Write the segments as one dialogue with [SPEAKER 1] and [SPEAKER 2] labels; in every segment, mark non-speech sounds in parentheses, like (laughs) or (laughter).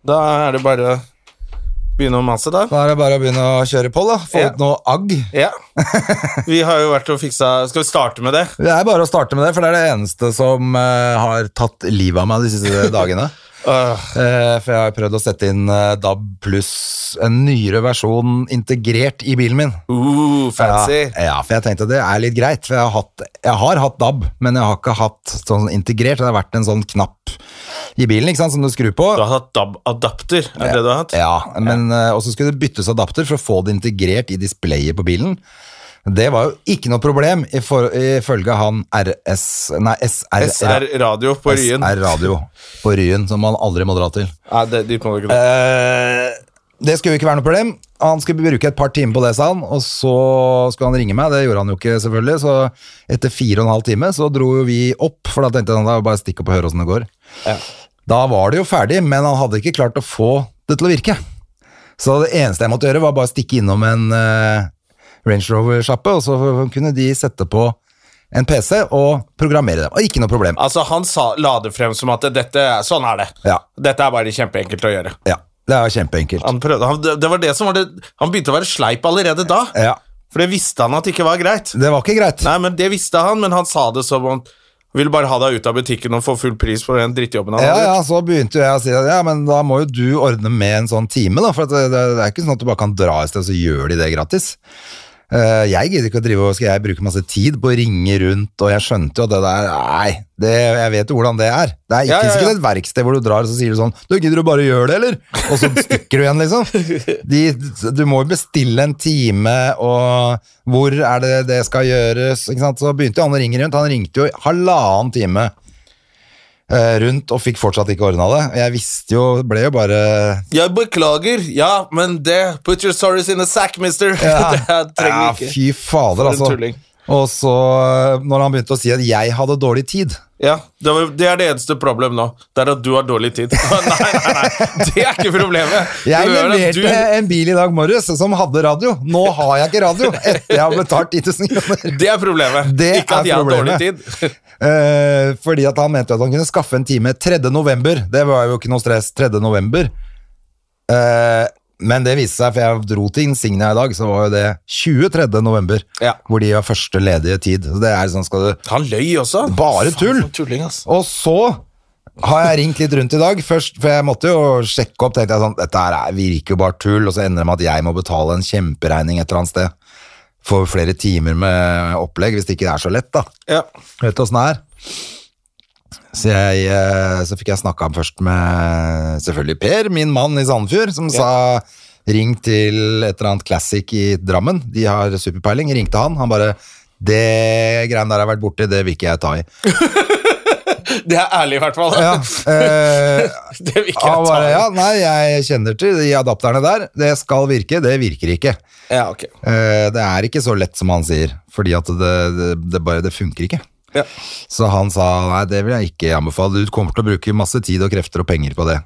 [SPEAKER 1] Da er det bare å begynne å mase, da.
[SPEAKER 2] Da er det bare å begynne å kjøre på, da. Få
[SPEAKER 1] Ja.
[SPEAKER 2] ut noe agg.
[SPEAKER 1] Ja. Vi har jo vært og fiksa Skal vi starte med det?
[SPEAKER 2] Det er bare å starte med det, for det er det eneste som eh, har tatt livet av meg de siste
[SPEAKER 1] (laughs)
[SPEAKER 2] dagene.
[SPEAKER 1] Øh,
[SPEAKER 2] Eh, for jeg har prøvd å sette inn eh, DAB pluss en nyere versjon integrert i bilen min.
[SPEAKER 1] uh, fancy.
[SPEAKER 2] Ja, ja, for jeg tenkte det er litt greit, for jeg har hatt, jeg har hatt DAB, men jeg har ikke hatt sånn integrert. Det har vært en sånn knapp i bilen ikke sant, som du skrur på.
[SPEAKER 1] Du har hatt DAB-adapter, er det det du har hatt?
[SPEAKER 2] Ja, men eh, Og så skulle det byttes adapter for å få det integrert i displayet på bilen. Det var jo ikke noe problem, i for- ifølge han RS Nei, SR,
[SPEAKER 1] SR Radio på Ryen.
[SPEAKER 2] SR Radio på Ryen, som man aldri må dra til.
[SPEAKER 1] Nei, det, dit må du ikke dra.
[SPEAKER 2] Eh, det skulle jo ikke være noe problem. Han skulle bruke et par timer på det, sa han, og så skulle han ringe meg. Det gjorde han jo ikke, selvfølgelig. Så etter fire og en halv time så dro jo vi opp, for da tenkte han da bare stikk opp og høre åssen det går. Da var det jo ferdig, men han hadde ikke klart å få det til å virke. Så det eneste jeg måtte gjøre, var bare stikke innom en eh, Range Rover-sjappe, og så kunne de sette på en PC og programmere det. Og ikke noe problem.
[SPEAKER 1] Altså, han sa, la det frem som at dette, sånn er det.
[SPEAKER 2] Ja.
[SPEAKER 1] Dette er bare kjempeenkelt å gjøre.
[SPEAKER 2] Ja, det er jo kjempeenkelt.
[SPEAKER 1] Han, prøvde, han, det- det var det som var det, han begynte å være sleip allerede da,
[SPEAKER 2] Ja,
[SPEAKER 1] for det visste han at det ikke var greit.
[SPEAKER 2] det var ikke greit.
[SPEAKER 1] Nei, men det visste han, men han sa det som om han ville bare ha deg ut av butikken og få full pris for den drittjobben han
[SPEAKER 2] Ja,
[SPEAKER 1] hadde.
[SPEAKER 2] ja, så begynte jo jeg å si at ja, men da må jo du ordne med en sånn time, da, for at det, det, det er ikke sånn at du bare kan dra et sted, og så gjør de det gratis. Eh, jeg gidder ikke å drive og skal jeg bruke masse tid på å ringe rundt, og jeg skjønte jo at det der Nei, det, jeg vet jo hvordan det er. Det er ikke
[SPEAKER 1] Ja, ja, ja.
[SPEAKER 2] sikkert et verksted hvor du drar og så sier du sånn Du gidder du bare å gjøre det, eller? Og så stikker du igjen,
[SPEAKER 1] (laughs)
[SPEAKER 2] liksom. De, du må jo bestille en time, og hvor er det det skal gjøres? Ikke sant? Så begynte jo han å ringe rundt. Han ringte jo i halvannen time eh, rundt og fikk fortsatt ikke ordna det. Jeg visste jo, ble jo bare
[SPEAKER 1] Jeg beklager, ja, men det Put your stories in a sack, mister. (laughs) det trenger vi
[SPEAKER 2] Ja,
[SPEAKER 1] ikke.
[SPEAKER 2] fy fader,
[SPEAKER 1] For en
[SPEAKER 2] altså.
[SPEAKER 1] tulling.
[SPEAKER 2] Og så, eh, når han begynte å si at jeg hadde dårlig tid
[SPEAKER 1] Ja, det, var, det er det eneste problemet nå. Det er at du har dårlig tid. (laughs) nei, nei, nei, det er ikke problemet.
[SPEAKER 2] Jeg
[SPEAKER 1] Det er at
[SPEAKER 2] leverte en bil i dag morges som hadde radio. Nå har jeg ikke
[SPEAKER 1] (laughs)
[SPEAKER 2] radio etter jeg har betalt 10 000 kroner.
[SPEAKER 1] Det er problemet.
[SPEAKER 2] Det
[SPEAKER 1] ikke at
[SPEAKER 2] er
[SPEAKER 1] jeg har dårlig
[SPEAKER 2] problemet.
[SPEAKER 1] tid.
[SPEAKER 2] (laughs)
[SPEAKER 1] (laughs)
[SPEAKER 2] Eh, fordi at han mente at han kunne skaffe en time 3. november. Det var jo ikke noe stress. 3. november. Eh, men det viste seg, for jeg dro til Insignia i dag, så var jo det 23. november.
[SPEAKER 1] Ja.
[SPEAKER 2] Hvor de har første ledige tid. Så det er sånn, skal du
[SPEAKER 1] Han løy også.
[SPEAKER 2] Bare tull.
[SPEAKER 1] Faen, for tulling, ass.
[SPEAKER 2] Og så har jeg ringt litt rundt i dag, først, for jeg måtte jo sjekke opp. tenkte jeg sånn, Dette her er- virker jo bare tull, og så ender det med at jeg må betale en kjemperegning et eller annet sted. For flere timer med opplegg, hvis det ikke er så lett, da.
[SPEAKER 1] Ja.
[SPEAKER 2] Vet du åssen det er? Så, jeg, eh, så fikk jeg snakka først med selvfølgelig Per, min mann i Sandefjord, som sa ring til et eller annet Classic i Drammen. De har superpeiling. Ringte han. Han bare det greiene der jeg har vært borti, det vil ikke jeg ta i.
[SPEAKER 1] Det er ærlig, i hvert fall.
[SPEAKER 2] Ja, eh,
[SPEAKER 1] (laughs) Det vil ikke
[SPEAKER 2] han
[SPEAKER 1] jeg ta.
[SPEAKER 2] bare, ja, nei, jeg kjenner til de adapterne der. Det skal virke, det virker ikke.
[SPEAKER 1] Ja, ok.
[SPEAKER 2] Eh, det er ikke så lett som han sier, fordi at det, det, det bare det funker ikke.
[SPEAKER 1] Ja.
[SPEAKER 2] Så han sa nei, det vil jeg ikke anbefale. Du kommer til å bruke masse tid og krefter og penger på det.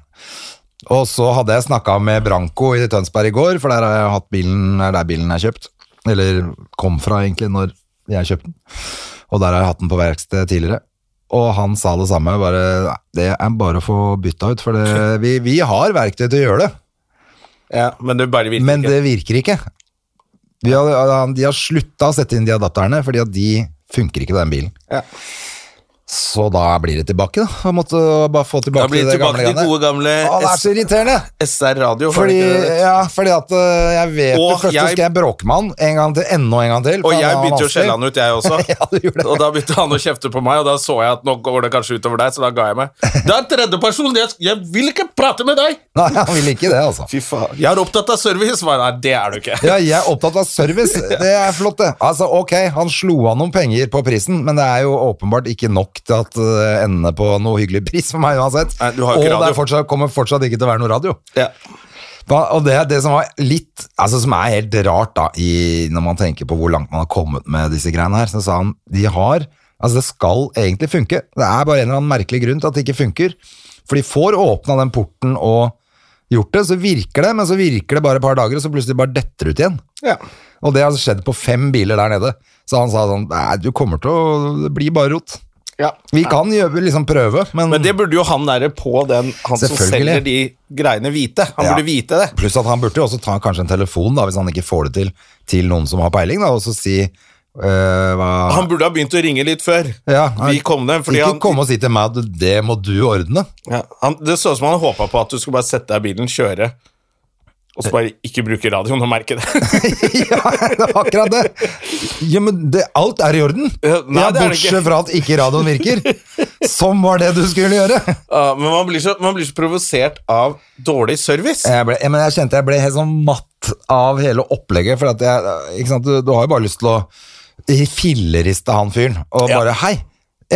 [SPEAKER 2] Og så hadde jeg snakka med Branko i Tønsberg i går, for der har jeg hatt bilen, er der bilen er kjøpt. Eller kom fra, egentlig, når jeg kjøpte den. Og der har jeg hatt den på verksted tidligere. Og han sa det samme, bare nei, det er bare å få bytta ut, for det, vi, vi har verktøy til å gjøre det.
[SPEAKER 1] Ja, men det bare virker
[SPEAKER 2] Men
[SPEAKER 1] ikke.
[SPEAKER 2] det virker ikke. De har, de har slutta å sette inn de adapterne, fordi at de funker ikke på den bilen.
[SPEAKER 1] Ja.
[SPEAKER 2] Så da blir det tilbake, da. Jeg måtte bare få
[SPEAKER 1] Da
[SPEAKER 2] tilbake,
[SPEAKER 1] blir det tilbake
[SPEAKER 2] gamle
[SPEAKER 1] til de gode
[SPEAKER 2] greiene.
[SPEAKER 1] gamle
[SPEAKER 2] Å, det er så irriterende!
[SPEAKER 1] SR Radio. var det
[SPEAKER 2] Fordi,
[SPEAKER 1] ikke det?
[SPEAKER 2] ja, fordi at øh, jeg vet
[SPEAKER 1] Og
[SPEAKER 2] det først, så
[SPEAKER 1] jeg-
[SPEAKER 2] skal jeg bråke med han en gang til, enda en gang til.
[SPEAKER 1] Og
[SPEAKER 2] for
[SPEAKER 1] jeg
[SPEAKER 2] han var
[SPEAKER 1] begynte jo å skjelle han
[SPEAKER 2] vanskelig.
[SPEAKER 1] ut, jeg også.
[SPEAKER 2] (laughs) Ja, du gjorde det.
[SPEAKER 1] Og da begynte han å kjefte på meg, og da så jeg at nå går det kanskje utover deg, så da ga jeg meg. Det er tredjeperson, jeg, jeg vil ikke prate med deg!
[SPEAKER 2] Nei, han vil ikke det, altså.
[SPEAKER 1] Fy faen. Jeg er opptatt av service, var nei, det er du ikke.
[SPEAKER 2] Ja, jeg er opptatt av
[SPEAKER 1] (laughs)
[SPEAKER 2] service. Det er flott, det. Altså, ok, han slo av noen penger på prisen, men det er jo åpenbart ikke nok akkurat eh, ende på noe hyggelig pris for meg uansett.
[SPEAKER 1] Nei, du har jo
[SPEAKER 2] og
[SPEAKER 1] ikke
[SPEAKER 2] det
[SPEAKER 1] radio.
[SPEAKER 2] er fortsatt, kommer fortsatt ikke til å være noe radio.
[SPEAKER 1] Ja.
[SPEAKER 2] Da- Og det, er det som var litt Altså som er helt rart da i, Når man tenker på hvor langt man har kommet med disse greiene her Så sa han, de har Altså det skal egentlig funke Det er bare en eller annen merkelig grunn til at det ikke funker For de får åpnet den porten og gjort det Så virker det, men så virker det bare et par dager Og så plutselig bare detter ut igjen
[SPEAKER 1] Ja.
[SPEAKER 2] Og det har skjedd på fem biler der nede Så han sa sånn, nei du kommer til å Det blir bare rot
[SPEAKER 1] Ja.
[SPEAKER 2] Vi kan gjøre, liksom prøve Men,
[SPEAKER 1] Men det burde jo han derre på den Han som
[SPEAKER 2] Selvfølgelig.
[SPEAKER 1] selger de greiene, vite. Han
[SPEAKER 2] Ja.
[SPEAKER 1] burde vite det.
[SPEAKER 2] Pluss at han burde jo også ta kanskje en telefon da, hvis han ikke får det til, til noen som har peiling, da, og så si øh, hva
[SPEAKER 1] Han burde ha begynt å ringe litt før
[SPEAKER 2] ja,
[SPEAKER 1] vi kom ned. Fordi
[SPEAKER 2] Ikke
[SPEAKER 1] han,
[SPEAKER 2] komme og si til meg at det må du ordne. (laughs)
[SPEAKER 1] ja, han, det så ut som han håpa på at du skulle bare sette deg i bilen, kjøre, og så bare ikke bruke radioen og merke (laughs) det.
[SPEAKER 2] ja, det var akkurat det. Ja, men det, alt er i orden.
[SPEAKER 1] Ja, nei,
[SPEAKER 2] ja,
[SPEAKER 1] det er det
[SPEAKER 2] bortsett
[SPEAKER 1] ikke.
[SPEAKER 2] fra at ikke radioen virker.
[SPEAKER 1] (laughs)
[SPEAKER 2] Som var det du skulle gjøre.
[SPEAKER 1] Ja, men man blir, så, man blir så provosert av dårlig service.
[SPEAKER 2] Jeg, ble, ja, men jeg kjente jeg ble helt sånn matt av hele opplegget, for at jeg, ikke sant, du, du har jo bare lyst til å filleriste han fyren, og
[SPEAKER 1] Ja.
[SPEAKER 2] bare hei,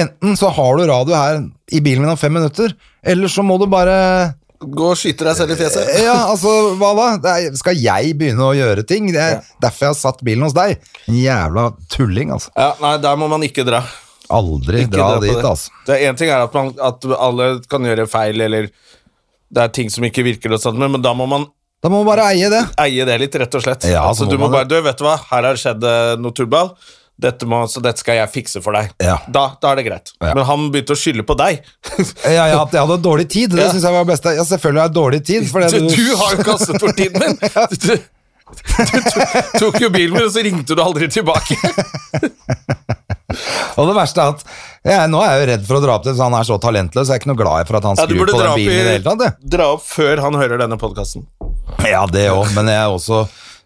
[SPEAKER 2] enten så har du radio her i bilen min om fem minutter, eller så må du bare,
[SPEAKER 1] Gå og skyte deg selv i fjeset.
[SPEAKER 2] ja, altså, hva da? Det er, skal jeg begynne å gjøre ting? Det er derfor jeg har satt bilen hos deg. En jævla tulling, altså.
[SPEAKER 1] Ja, nei, der må man ikke dra.
[SPEAKER 2] Aldri
[SPEAKER 1] Ikke
[SPEAKER 2] dra
[SPEAKER 1] dra på
[SPEAKER 2] dit,
[SPEAKER 1] det.
[SPEAKER 2] altså.
[SPEAKER 1] Det er en ting er at, man, at alle kan gjøre feil, eller det er ting som ikke virker, og sånt, men men da må man
[SPEAKER 2] Da må man bare eie det.
[SPEAKER 1] eie det litt, rett og slett.
[SPEAKER 2] Ja,
[SPEAKER 1] altså,
[SPEAKER 2] så må
[SPEAKER 1] du må
[SPEAKER 2] man
[SPEAKER 1] bare,
[SPEAKER 2] det.
[SPEAKER 1] du, vet du hva, her har det skjedd eh, noe tullball, dette må, så dette skal jeg fikse for deg.
[SPEAKER 2] Ja.
[SPEAKER 1] Da, da er det greit.
[SPEAKER 2] Ja.
[SPEAKER 1] Men han begynte å skylde på
[SPEAKER 2] (laughs)
[SPEAKER 1] deg.
[SPEAKER 2] Ja, ja, at jeg hadde dårlig tid, det
[SPEAKER 1] Ja.
[SPEAKER 2] synes jeg var det beste. Ja, selvfølgelig har jeg dårlig tid, for det
[SPEAKER 1] Du, du har jo kastet bort tiden
[SPEAKER 2] (laughs)
[SPEAKER 1] min! Du, du, du tok jo bilen min, og så ringte du aldri tilbake.
[SPEAKER 2] Og det verste er at jeg, nå er jeg jo redd for å dra opp det, så han er så talentløs. Jeg er ikke noe glad for at han
[SPEAKER 1] Ja, du
[SPEAKER 2] skrur
[SPEAKER 1] burde
[SPEAKER 2] på
[SPEAKER 1] dra
[SPEAKER 2] den
[SPEAKER 1] opp,
[SPEAKER 2] bilen i det hele tatt.
[SPEAKER 1] i,
[SPEAKER 2] jeg.
[SPEAKER 1] dra opp før han hører denne podkasten.
[SPEAKER 2] Ja, det òg, men jeg er også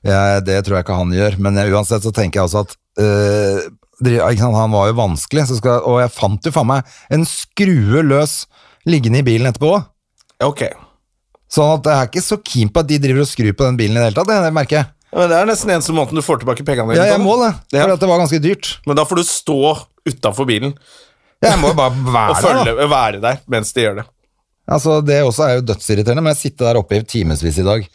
[SPEAKER 2] jeg, Det tror jeg ikke han gjør. Men jeg, uansett så tenker jeg også at øh, dri- ikke sant, Han var jo vanskelig, så skal, og jeg fant jo faen meg en skrue løs liggende i bilen etterpå òg.
[SPEAKER 1] Ok.
[SPEAKER 2] Sånn at jeg er ikke så keen på at de driver og skrur på den bilen i det hele tatt, det, det merker jeg.
[SPEAKER 1] Ja, Men Det er nesten eneste måten du får tilbake pengene
[SPEAKER 2] Ja,
[SPEAKER 1] på,
[SPEAKER 2] jeg
[SPEAKER 1] da.
[SPEAKER 2] må det,
[SPEAKER 1] Ja.
[SPEAKER 2] for det var ganske dyrt.
[SPEAKER 1] Men da får du stå utafor bilen
[SPEAKER 2] Jeg må jo bare
[SPEAKER 1] (laughs) og
[SPEAKER 2] være der, da.
[SPEAKER 1] følge, være der mens de gjør det.
[SPEAKER 2] Altså, det også er jo dødsirriterende, men jeg sitter der oppe i timevis i dag.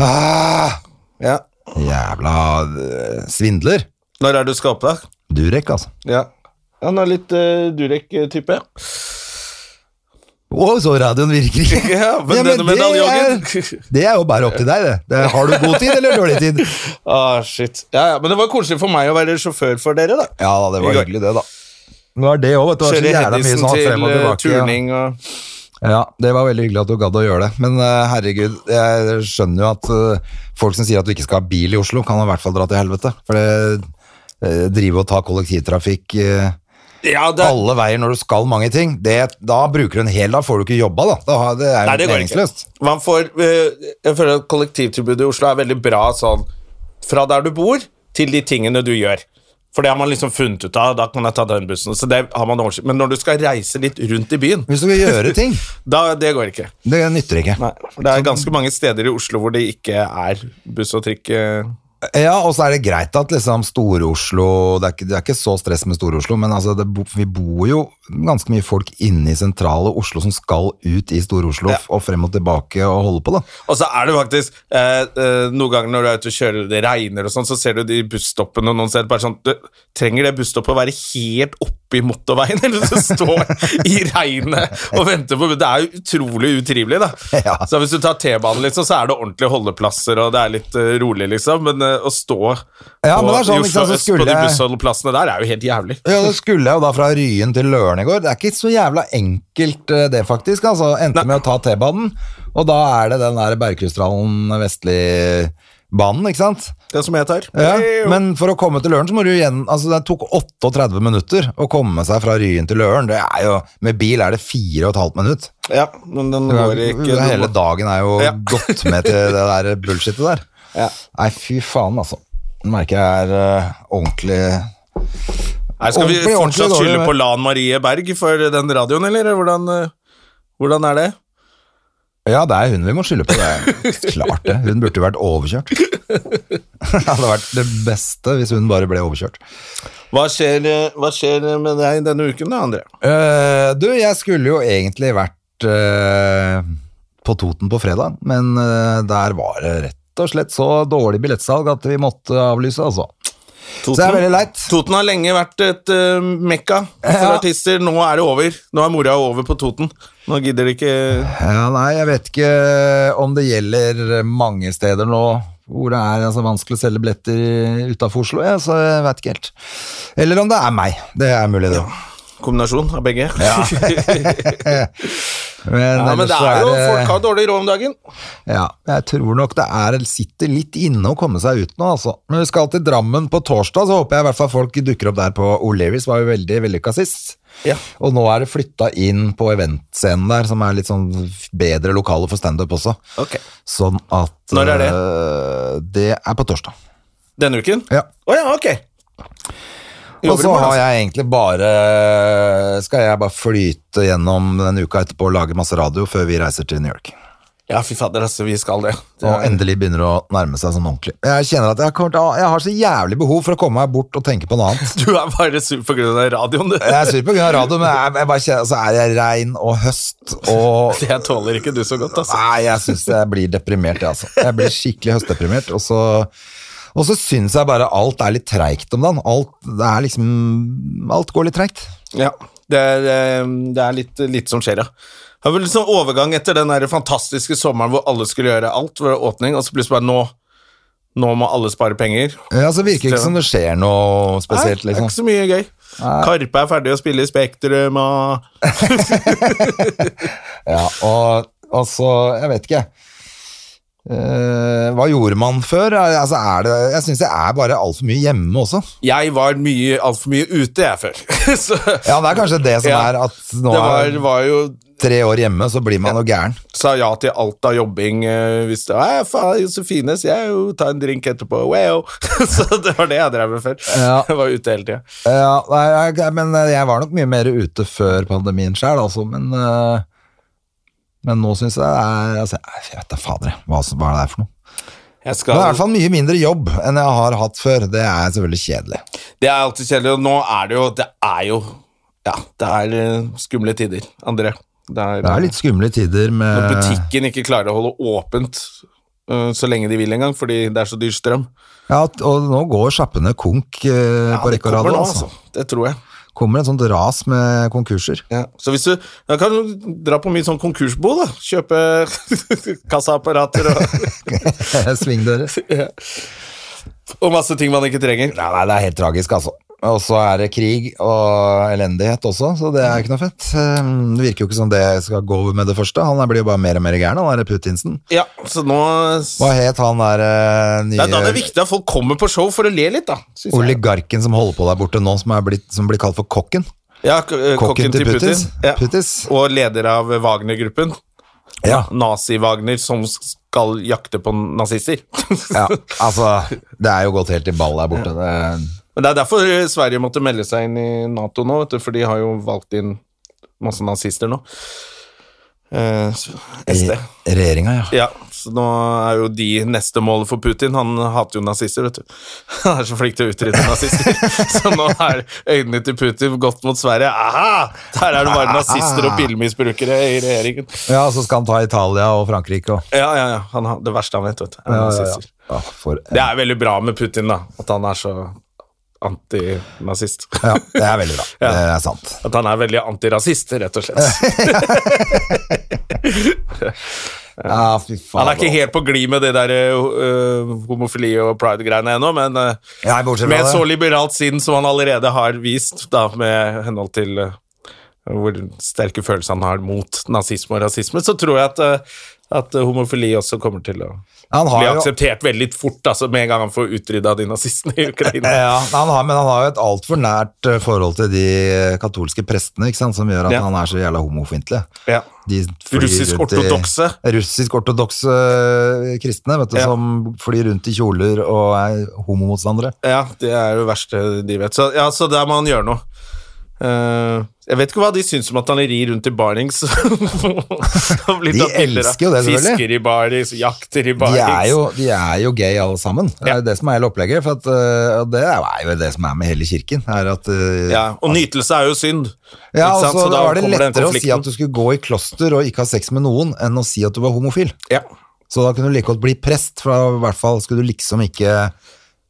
[SPEAKER 2] Ah,
[SPEAKER 1] Ja.
[SPEAKER 2] Jævla øh, svindler.
[SPEAKER 1] Når er det du skal opp, da?
[SPEAKER 2] Durek, altså.
[SPEAKER 1] Ja. Han er litt eh, Durek-type.
[SPEAKER 2] Å, så radioen virker ikke.
[SPEAKER 1] (laughs) Ja, men denne
[SPEAKER 2] det,
[SPEAKER 1] medaljongen.
[SPEAKER 2] er, det er jo bare opp til deg, det. det. Har du god tid eller dårlig tid?
[SPEAKER 1] Ah, shit. Ja, ja, men det var koselig for meg å være sjåfør for dere, da.
[SPEAKER 2] Ja da, det
[SPEAKER 1] I
[SPEAKER 2] var
[SPEAKER 1] går.
[SPEAKER 2] hyggelig, det, da. Det var det òg, vet du. Det var så
[SPEAKER 1] Kjøre
[SPEAKER 2] jævla mye
[SPEAKER 1] Hedisen
[SPEAKER 2] sånn frem
[SPEAKER 1] til
[SPEAKER 2] og
[SPEAKER 1] eh,
[SPEAKER 2] tilbake. ja.
[SPEAKER 1] turning og
[SPEAKER 2] Ja, det var veldig hyggelig at du gadd å gjøre det. Men eh, herregud, jeg skjønner jo at eh, folk som sier at du ikke skal ha bil i Oslo, kan i hvert fall dra til helvete. For det eh, drive og ta kollektivtrafikk eh,
[SPEAKER 1] Ja, det, er-
[SPEAKER 2] alle veier når du skal mange ting, det, da bruker du en hel dag, får du ikke jobba da. da har- det er
[SPEAKER 1] nei,
[SPEAKER 2] jo
[SPEAKER 1] det går ikke.
[SPEAKER 2] meningsløst.
[SPEAKER 1] Man får eh, Jeg føler at kollektivtilbudet i Oslo er veldig bra sånn fra der du bor, til de tingene du gjør. For det har man liksom funnet ut av. Da kan jeg ta den bussen. Så det har man oversikt Men når du skal reise litt rundt i byen,
[SPEAKER 2] Hvis du vil gjøre ting,
[SPEAKER 1] da Det går ikke.
[SPEAKER 2] det nytter ikke.
[SPEAKER 1] Nei, for det er ganske mange steder i Oslo hvor det ikke er buss og trikk. eh.
[SPEAKER 2] Ja, og så er det greit at liksom Store-Oslo det, er ikke- det er ikke så stress med Store-Oslo, men altså det, bo- vi bor jo ganske mye folk inne i sentrale Oslo som skal ut i Store-Oslo f- og frem og tilbake og holde på, da.
[SPEAKER 1] Og så er det faktisk eh, eh, noen ganger når du er ute og kjører, det regner og sånn, så ser du de busstoppene, og noen ser bare sånn du, Trenger det busstoppet å være helt oppe i motorveien, (laughs) eller så står i regnet og venter på Det er jo utrolig utrivelig, da.
[SPEAKER 2] (laughs) Ja.
[SPEAKER 1] Så hvis du tar T-banen, liksom, så er det ordentlige holdeplasser, og det er litt eh, rolig, liksom, men eh, å stå
[SPEAKER 2] Ja,
[SPEAKER 1] på,
[SPEAKER 2] men det er sånn,
[SPEAKER 1] i
[SPEAKER 2] ikke sant,
[SPEAKER 1] Oslo
[SPEAKER 2] så
[SPEAKER 1] øst på
[SPEAKER 2] skulle
[SPEAKER 1] de
[SPEAKER 2] jeg-
[SPEAKER 1] bussholdeplassene der, er jo helt jævlig.
[SPEAKER 2] Ja, det skulle jeg jo da fra Ryen til Løren i går. Det er ikke så jævla enkelt eh, det, faktisk. Altså, endte med å ta T-banen, og da er det den der Bergkrysstralen Vestli-banen, ikke sant?
[SPEAKER 1] Det som jeg tar.
[SPEAKER 2] Ja, men for å komme til Løren så må du igjen Altså, det tok 38 minutter å komme seg fra Ryen til Løren. Det er jo Med bil er det 4,5 minutt.
[SPEAKER 1] ja, men den går ikke du
[SPEAKER 2] Hele
[SPEAKER 1] må-
[SPEAKER 2] dagen er jo
[SPEAKER 1] Ja.
[SPEAKER 2] gått med til det
[SPEAKER 1] (laughs)
[SPEAKER 2] der bullshitet der. Nei, fy faen, altså. Nå merker jeg er eh, ordentlig
[SPEAKER 1] Nei, skal
[SPEAKER 2] Ordentlig,
[SPEAKER 1] vi
[SPEAKER 2] ordentlig
[SPEAKER 1] fortsatt
[SPEAKER 2] dårlig
[SPEAKER 1] skylde
[SPEAKER 2] humør.
[SPEAKER 1] på Lan Marie Berg for den radioen, eller? Hvordan, eh, hvordan er det?
[SPEAKER 2] Ja, det er hun vi må skylde på. Det
[SPEAKER 1] (laughs)
[SPEAKER 2] er klart det. Hun burde jo vært overkjørt. (laughs) Det hadde vært det beste hvis hun bare ble overkjørt.
[SPEAKER 1] Hva skjer, eh, hva skjer med deg denne uken, da, André?
[SPEAKER 2] Eh, du, jeg skulle jo egentlig vært eh, på Toten på fredag, men eh, der var det rett og slett så dårlig billettsalg at vi måtte avlyse, altså. Så det er veldig leit.
[SPEAKER 1] Toten har lenge vært et eh, mekka for
[SPEAKER 2] Ja.
[SPEAKER 1] artister. Nå er det over. Nå er mora over på Toten. Nå gidder de ikke eh,
[SPEAKER 2] Ja, nei, jeg vet ikke eh, om det gjelder mange steder nå hvor det er altså, vanskelig å selge billetter utafor Oslo, ja, så jeg vet ikke helt. Eller om det er meg. Det er mulig, det òg.
[SPEAKER 1] kombinasjon av begge. (laughs) Ja.
[SPEAKER 2] (laughs) Men,
[SPEAKER 1] men
[SPEAKER 2] ellers
[SPEAKER 1] det
[SPEAKER 2] så
[SPEAKER 1] er jo, folk har
[SPEAKER 2] det-
[SPEAKER 1] dårlig råd om dagen.
[SPEAKER 2] Ja, jeg tror nok det er, sitter litt inne å komme seg ut nå, altså. Men vi skal til Drammen på torsdag, så håper jeg i hvert fall folk dukker opp der på O'Learys, var jo veldig vellykka sist.
[SPEAKER 1] Ja.
[SPEAKER 2] Og nå er det flytta inn på eventscenen der, som er litt sånn bedre lokale for standup også.
[SPEAKER 1] Ok.
[SPEAKER 2] Sånn at
[SPEAKER 1] Når er det?
[SPEAKER 2] øh, det er på torsdag.
[SPEAKER 1] Denne uken? Å
[SPEAKER 2] Ja.
[SPEAKER 1] ja, ok.
[SPEAKER 2] Og så
[SPEAKER 1] Jobber i morgen,
[SPEAKER 2] har
[SPEAKER 1] altså.
[SPEAKER 2] jeg egentlig bare Skal jeg bare flyte gjennom den uka etterpå og lage masse radio før vi reiser til New York.
[SPEAKER 1] Ja, fy fader, altså. Vi skal det. det
[SPEAKER 2] Og endelig begynner det å nærme seg sånn ordentlig. Jeg kjenner at jeg, kommer til, å- jeg har så jævlig behov for å komme meg bort og tenke på noe
[SPEAKER 1] (laughs)
[SPEAKER 2] annet.
[SPEAKER 1] Du er bare sur på grunn av radioen, du.
[SPEAKER 2] Jeg er sur på grunn av radio, men jeg, jeg bare kjenner, så er det regn og høst
[SPEAKER 1] (laughs)
[SPEAKER 2] og
[SPEAKER 1] Jeg tåler ikke du så godt, altså.
[SPEAKER 2] Nei, jeg syns jeg blir deprimert, jeg, altså. Jeg blir skikkelig høstdeprimert. Og så, og så syns jeg bare alt er litt treigt om dagen. Alt, det er liksom, alt går litt treigt.
[SPEAKER 1] Ja, det er, eh, det er litt, litt som skjer, ja. Det var vel sånn overgang etter den der fantastiske sommeren hvor alle skulle gjøre alt, hvor det var åpning, og så plutselig bare nå, nå må alle spare penger.
[SPEAKER 2] Ja, så virker det ikke som det skjer noe
[SPEAKER 1] Nei,
[SPEAKER 2] spesielt,
[SPEAKER 1] det er ikke
[SPEAKER 2] liksom.
[SPEAKER 1] så mye gøy. Karpe er ferdig å spille i Spektrum, og
[SPEAKER 2] Ja, og, og så, jeg vet ikke. Eh, hva gjorde man før? Er- Altså, er det, jeg syns jeg er bare altfor mye hjemme også.
[SPEAKER 1] jeg var mye, altfor mye ute jeg før. (laughs) så
[SPEAKER 2] Ja, det er kanskje det som
[SPEAKER 1] Ja.
[SPEAKER 2] er at nå
[SPEAKER 1] det var,
[SPEAKER 2] er
[SPEAKER 1] var jo
[SPEAKER 2] tre år hjemme, så blir man jo gæren.
[SPEAKER 1] sa ja til alt av jobbing eh, hvis det var faen, Josefines, jeg jo, ta en drink etterpå, wow. (laughs) så det var det jeg drev med før.
[SPEAKER 2] Ja.
[SPEAKER 1] Jeg var ute hele tida.
[SPEAKER 2] Ja, nei, jeg, men eh, jeg var nok mye mer ute før pandemien sjøl, altså, men øh, Men nå syns jeg det er altså, Jeg vet da fader, jeg, hva, som- hva er det er for noe.
[SPEAKER 1] Jeg
[SPEAKER 2] Det
[SPEAKER 1] skal-
[SPEAKER 2] er i hvert fall mye mindre jobb enn jeg har hatt før. Det er selvfølgelig kjedelig.
[SPEAKER 1] Det er alltid kjedelig, og nå er det jo Det er jo Ja, det er eh, skumle tider, André. Det er, eh,
[SPEAKER 2] Det er litt skumle tider
[SPEAKER 1] Når
[SPEAKER 2] med
[SPEAKER 1] butikken ikke klarer å holde åpent eh, så lenge de vil engang, fordi det er så dyr strøm.
[SPEAKER 2] Ja, og nå går sjappene konk øh, på
[SPEAKER 1] det
[SPEAKER 2] rekke og rad.
[SPEAKER 1] kommer nå,
[SPEAKER 2] Altså.
[SPEAKER 1] Det tror jeg.
[SPEAKER 2] Kommer et sånt ras med konkurser. (laughs)
[SPEAKER 1] Ja. Så hvis du Da kan du dra på mye sånn konkursbo, da. Kjøpe (laughs) kassaapparater og,
[SPEAKER 2] (laughs) Svingdører.
[SPEAKER 1] og masse ting man ikke trenger.
[SPEAKER 2] Nei, nei, det er helt tragisk, altså. Og så er det krig og elendighet også, så det er ikke noe fett. Ehm, Det virker jo ikke som det skal gå over med det første. Han der blir jo bare mer og mer gæren, han der Putinsen.
[SPEAKER 1] Ja, så nå
[SPEAKER 2] Hva het han der eh,
[SPEAKER 1] Det er da det er
[SPEAKER 2] nye
[SPEAKER 1] viktig at folk kommer på show for å le litt, da. synes jeg.
[SPEAKER 2] oligarken som holder på der borte nå, som, er blitt, som blir kalt for kokken?
[SPEAKER 1] Ja, k- eh, kokken til Putin.
[SPEAKER 2] Putins.
[SPEAKER 1] Ja.
[SPEAKER 2] Putis.
[SPEAKER 1] Og leder av Wagner-gruppen.
[SPEAKER 2] Ja.
[SPEAKER 1] Nazi-Wagner som skal jakte på nazister. (laughs)
[SPEAKER 2] ja. Altså, det er jo gått helt i ball der borte. Det,
[SPEAKER 1] Men Det er derfor Sverige måtte melde seg inn i Nato nå, vet du, for de har jo valgt inn masse nazister nå. Eh, så- SD.
[SPEAKER 2] Regjeringa, ja.
[SPEAKER 1] Ja, så nå er jo de neste målet for Putin. Han hater jo nazister, vet du. (laughs) Han er så flink
[SPEAKER 2] (laughs)
[SPEAKER 1] til å utrydde nazister. (laughs) Så nå er øynene til Putin gått mot Sverige. Aha! Der er det bare nazister og pillemisbrukere i regjeringen.
[SPEAKER 2] Ja, så skal han ta Italia og Frankrike og
[SPEAKER 1] Ja, ja, ja. Han har, det verste han vet, vet du. er nazister.
[SPEAKER 2] Ja, for,
[SPEAKER 1] Det er veldig bra med Putin, da. At han er så antinazist.
[SPEAKER 2] ja, det er veldig bra.
[SPEAKER 1] Ja.
[SPEAKER 2] Det er sant.
[SPEAKER 1] At han er veldig antirasist, rett og slett.
[SPEAKER 2] Ja, fy (laughs) faen. altså.
[SPEAKER 1] Han er ikke helt på glid med det der øh, homofili og pride-greiene ennå, men øh,
[SPEAKER 2] Nei, bortsett fra
[SPEAKER 1] med et så
[SPEAKER 2] det.
[SPEAKER 1] liberalt sinn som han allerede har vist, da, med henhold til øh, hvor sterke følelser han har mot nazisme og rasisme, så tror jeg at, øh, at homofili også kommer til å
[SPEAKER 2] Han har
[SPEAKER 1] bli
[SPEAKER 2] jo-
[SPEAKER 1] akseptert veldig fort, altså, med en gang han får utrydda de nazistene i Ukraina.
[SPEAKER 2] (laughs) Ja, han har, men han har jo et altfor nært eh, forhold til de eh, katolske prestene, ikke sant, som gjør at
[SPEAKER 1] Ja.
[SPEAKER 2] han er så jævla homofientlig.
[SPEAKER 1] Ja.
[SPEAKER 2] De flyr
[SPEAKER 1] Russisk
[SPEAKER 2] rundt i-
[SPEAKER 1] ortodokse.
[SPEAKER 2] Russisk ortodokse eh, kristne, vet du,
[SPEAKER 1] Ja.
[SPEAKER 2] som flyr rundt i kjoler og er homomotstandere.
[SPEAKER 1] Ja, det er jo det verste de vet. Så, ja, så der må han gjøre noe. Eh, jeg vet ikke hva de syns om at han rir rundt i (laughs) barings. de
[SPEAKER 2] De elsker jo det, selvfølgelig.
[SPEAKER 1] Fisker i barings, jakter i
[SPEAKER 2] De
[SPEAKER 1] barings.
[SPEAKER 2] er, jo, de er jo gay alle sammen. Det er
[SPEAKER 1] Ja.
[SPEAKER 2] jo det som er hele opplegget. For at, øh, og det er jo det som er med hele kirken. Er at, øh,
[SPEAKER 1] ja, og nytelse er jo synd.
[SPEAKER 2] ja,
[SPEAKER 1] Ikke
[SPEAKER 2] og
[SPEAKER 1] sant?
[SPEAKER 2] så
[SPEAKER 1] Så da
[SPEAKER 2] var det
[SPEAKER 1] kommer den
[SPEAKER 2] lettere å si
[SPEAKER 1] konflikten.
[SPEAKER 2] at du skulle gå i kloster og ikke ha sex med noen, enn å si at du var homofil.
[SPEAKER 1] Ja.
[SPEAKER 2] Så da kunne du like godt bli prest, for da i hvert fall skulle du liksom ikke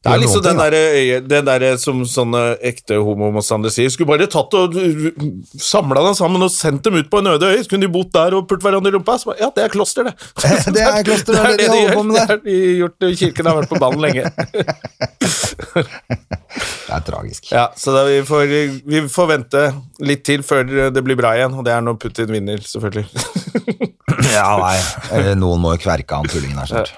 [SPEAKER 1] Det
[SPEAKER 2] gjøre
[SPEAKER 1] er liksom
[SPEAKER 2] noen ting,
[SPEAKER 1] den
[SPEAKER 2] da.
[SPEAKER 1] derre øye- det derre som sånne ekte homomotstandere sier. Skulle bare tatt og samla dem sammen og sendt dem ut på en øde øy. Så kunne de bodd der og pult hverandre i rumpa. Så, bare, ja, det er
[SPEAKER 2] (laughs)
[SPEAKER 1] kloster, det.
[SPEAKER 2] Det er kloster, det er det de holder på med
[SPEAKER 1] (laughs) Det har de gjort. eh, Kirken har vært på ballen
[SPEAKER 2] (laughs)
[SPEAKER 1] lenge.
[SPEAKER 2] Det er
[SPEAKER 1] (clears throat)
[SPEAKER 2] tragisk.
[SPEAKER 1] Ja, så da vi, får, eh, vi får vente litt til før eh, det blir bra igjen, og det er når Putin vinner, selvfølgelig. (laughs)
[SPEAKER 2] Ja, nei. (laughs) Eller Noen må jo kverke han tullingen her snart.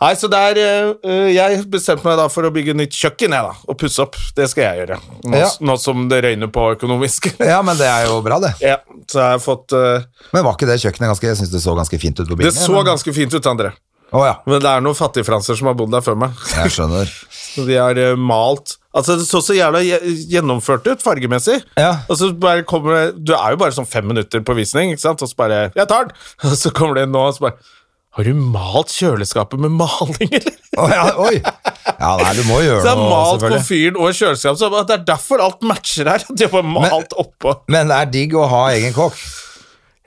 [SPEAKER 1] Nei, så der eh, Jeg bestemte meg da for å bygge nytt kjøkken, jeg, da. Og pusse opp. Det skal jeg gjøre. Nå,
[SPEAKER 2] Ja.
[SPEAKER 1] nå som det røyner på økonomisk. (laughs)
[SPEAKER 2] Ja, men det er jo bra, det.
[SPEAKER 1] ja, så jeg har fått eh,
[SPEAKER 2] Men var ikke det kjøkkenet ganske Jeg syns det så ganske fint ut på
[SPEAKER 1] Det
[SPEAKER 2] bildet.
[SPEAKER 1] så ganske fint ut, André.
[SPEAKER 2] Å ja.
[SPEAKER 1] Men det er noen fattigfranser som har bodd der før meg.
[SPEAKER 2] Jeg skjønner.
[SPEAKER 1] Så de har eh, malt Altså, det så så jævla gje- gjennomført ut fargemessig.
[SPEAKER 2] Ja.
[SPEAKER 1] Og så bare kommer det Du er jo bare sånn fem minutter på visning, ikke sant, og så bare 'Jeg tar den!' (laughs) Og så kommer det en nå, og så bare har du malt kjøleskapet med maling, eller? (laughs)
[SPEAKER 2] Å ja, oi! Ja, nei, du må
[SPEAKER 1] Så det
[SPEAKER 2] gjøre
[SPEAKER 1] er
[SPEAKER 2] noe,
[SPEAKER 1] malt
[SPEAKER 2] selvfølgelig.
[SPEAKER 1] komfyren og kjøleskapet, så jeg bare, det er derfor alt matcher her. (laughs) De har bare malt oppå.
[SPEAKER 2] Men det er digg å ha egen kokk.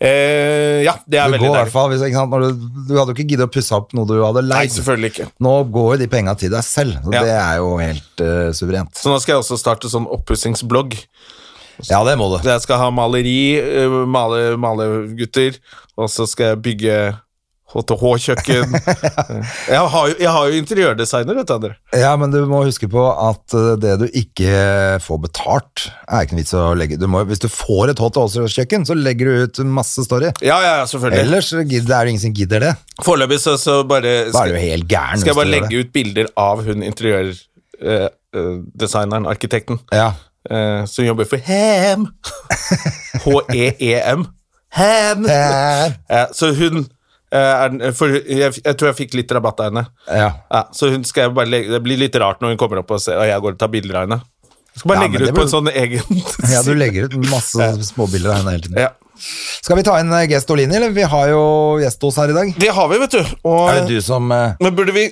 [SPEAKER 1] Eh, ja, det er
[SPEAKER 2] Du går
[SPEAKER 1] veldig
[SPEAKER 2] i hvert
[SPEAKER 1] deilig.
[SPEAKER 2] fall, hvis, ikke sant? Når du, du hadde jo ikke giddet å pusse opp noe du hadde
[SPEAKER 1] Nei,
[SPEAKER 2] leid.
[SPEAKER 1] selvfølgelig ikke.
[SPEAKER 2] Nå går jo de penga til deg selv, så
[SPEAKER 1] Ja.
[SPEAKER 2] det er jo helt eh, suverent.
[SPEAKER 1] Så nå skal jeg også starte sånn oppussingsblogg.
[SPEAKER 2] Ja, det må du.
[SPEAKER 1] Jeg skal ha maleri, eh, male malegutter, og så skal jeg bygge
[SPEAKER 2] (laughs)
[SPEAKER 1] HTH-kjøkken. jeg, har jo- jeg har jo interiørdesigner, vet du, André.
[SPEAKER 2] Ja, men du må huske på at eh, det du ikke får betalt, er ikke noe vits å legge du må, Hvis du får et Hot Ålesund-kjøkken, så legger du ut masse story.
[SPEAKER 1] Ja, ja, ja, selvfølgelig.
[SPEAKER 2] Ellers gidder, det er det ingen som gidder det.
[SPEAKER 1] Foreløpig så, så bare
[SPEAKER 2] Da er du helt gæren.
[SPEAKER 1] skal jeg bare legge ut bilder av hun interiørdesigneren, arkitekten,
[SPEAKER 2] Ja.
[SPEAKER 1] eh, som jobber
[SPEAKER 2] (laughs)
[SPEAKER 1] for HEM. E H-E-E-M. HEM.
[SPEAKER 2] Eh,
[SPEAKER 1] Eh, så hun eh, er, den- for, jeg, jeg tror jeg fikk litt rabatt av henne.
[SPEAKER 2] ja.
[SPEAKER 1] Ja, så hun skal jeg bare legge, Det blir litt rart når hun kommer opp og, ser, og jeg går og tar bilder av henne. Jeg skal bare
[SPEAKER 2] Ja,
[SPEAKER 1] legge
[SPEAKER 2] men
[SPEAKER 1] det
[SPEAKER 2] det
[SPEAKER 1] ut på en sånn egen
[SPEAKER 2] (laughs) ja, du legger ut masse småbilder av henne hele tiden.
[SPEAKER 1] Ja.
[SPEAKER 2] Skal vi ta inn eh, Gestolini, eller? Vi har jo gjest hos her i dag.
[SPEAKER 1] Det har vi, vet du. Og,
[SPEAKER 2] Er det du som, eh,
[SPEAKER 1] Men burde vi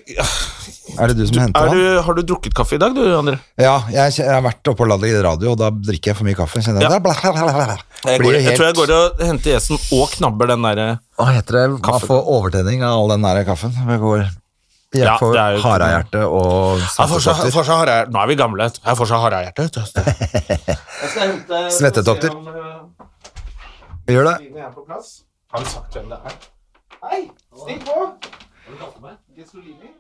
[SPEAKER 2] er det du som henter
[SPEAKER 1] er du,
[SPEAKER 2] han?
[SPEAKER 1] Har du drukket kaffe i dag, du, André?
[SPEAKER 2] Ja, jeg, kje- jeg har vært oppe og ladd i radio, og da drikker jeg for mye kaffe. Kjenner jeg det?
[SPEAKER 1] Ja.
[SPEAKER 2] Bla, bla, bla, bla.
[SPEAKER 1] Jeg,
[SPEAKER 2] Blir jo
[SPEAKER 1] går, jeg
[SPEAKER 2] helt-
[SPEAKER 1] tror jeg går og henter gjesten og knabber den eh, derre
[SPEAKER 2] Hva heter det? Man får overtenning av all den nære kaffen. Jeg går jeg
[SPEAKER 1] Ja,
[SPEAKER 2] får
[SPEAKER 1] det er jo-
[SPEAKER 2] harehjerte og
[SPEAKER 1] Jeg får så-
[SPEAKER 2] svettetokter.
[SPEAKER 1] får så harde- Nå er vi gamle. vet du. Jeg får så harehjerte. vet du. Jeg skal hente-
[SPEAKER 2] Svettetokter.
[SPEAKER 1] se om, eh,
[SPEAKER 2] Gjør det.
[SPEAKER 1] Line er på plass. Har vi sagt hvem det er? Hei, stikk på! Har du kalt meg? Gesolini?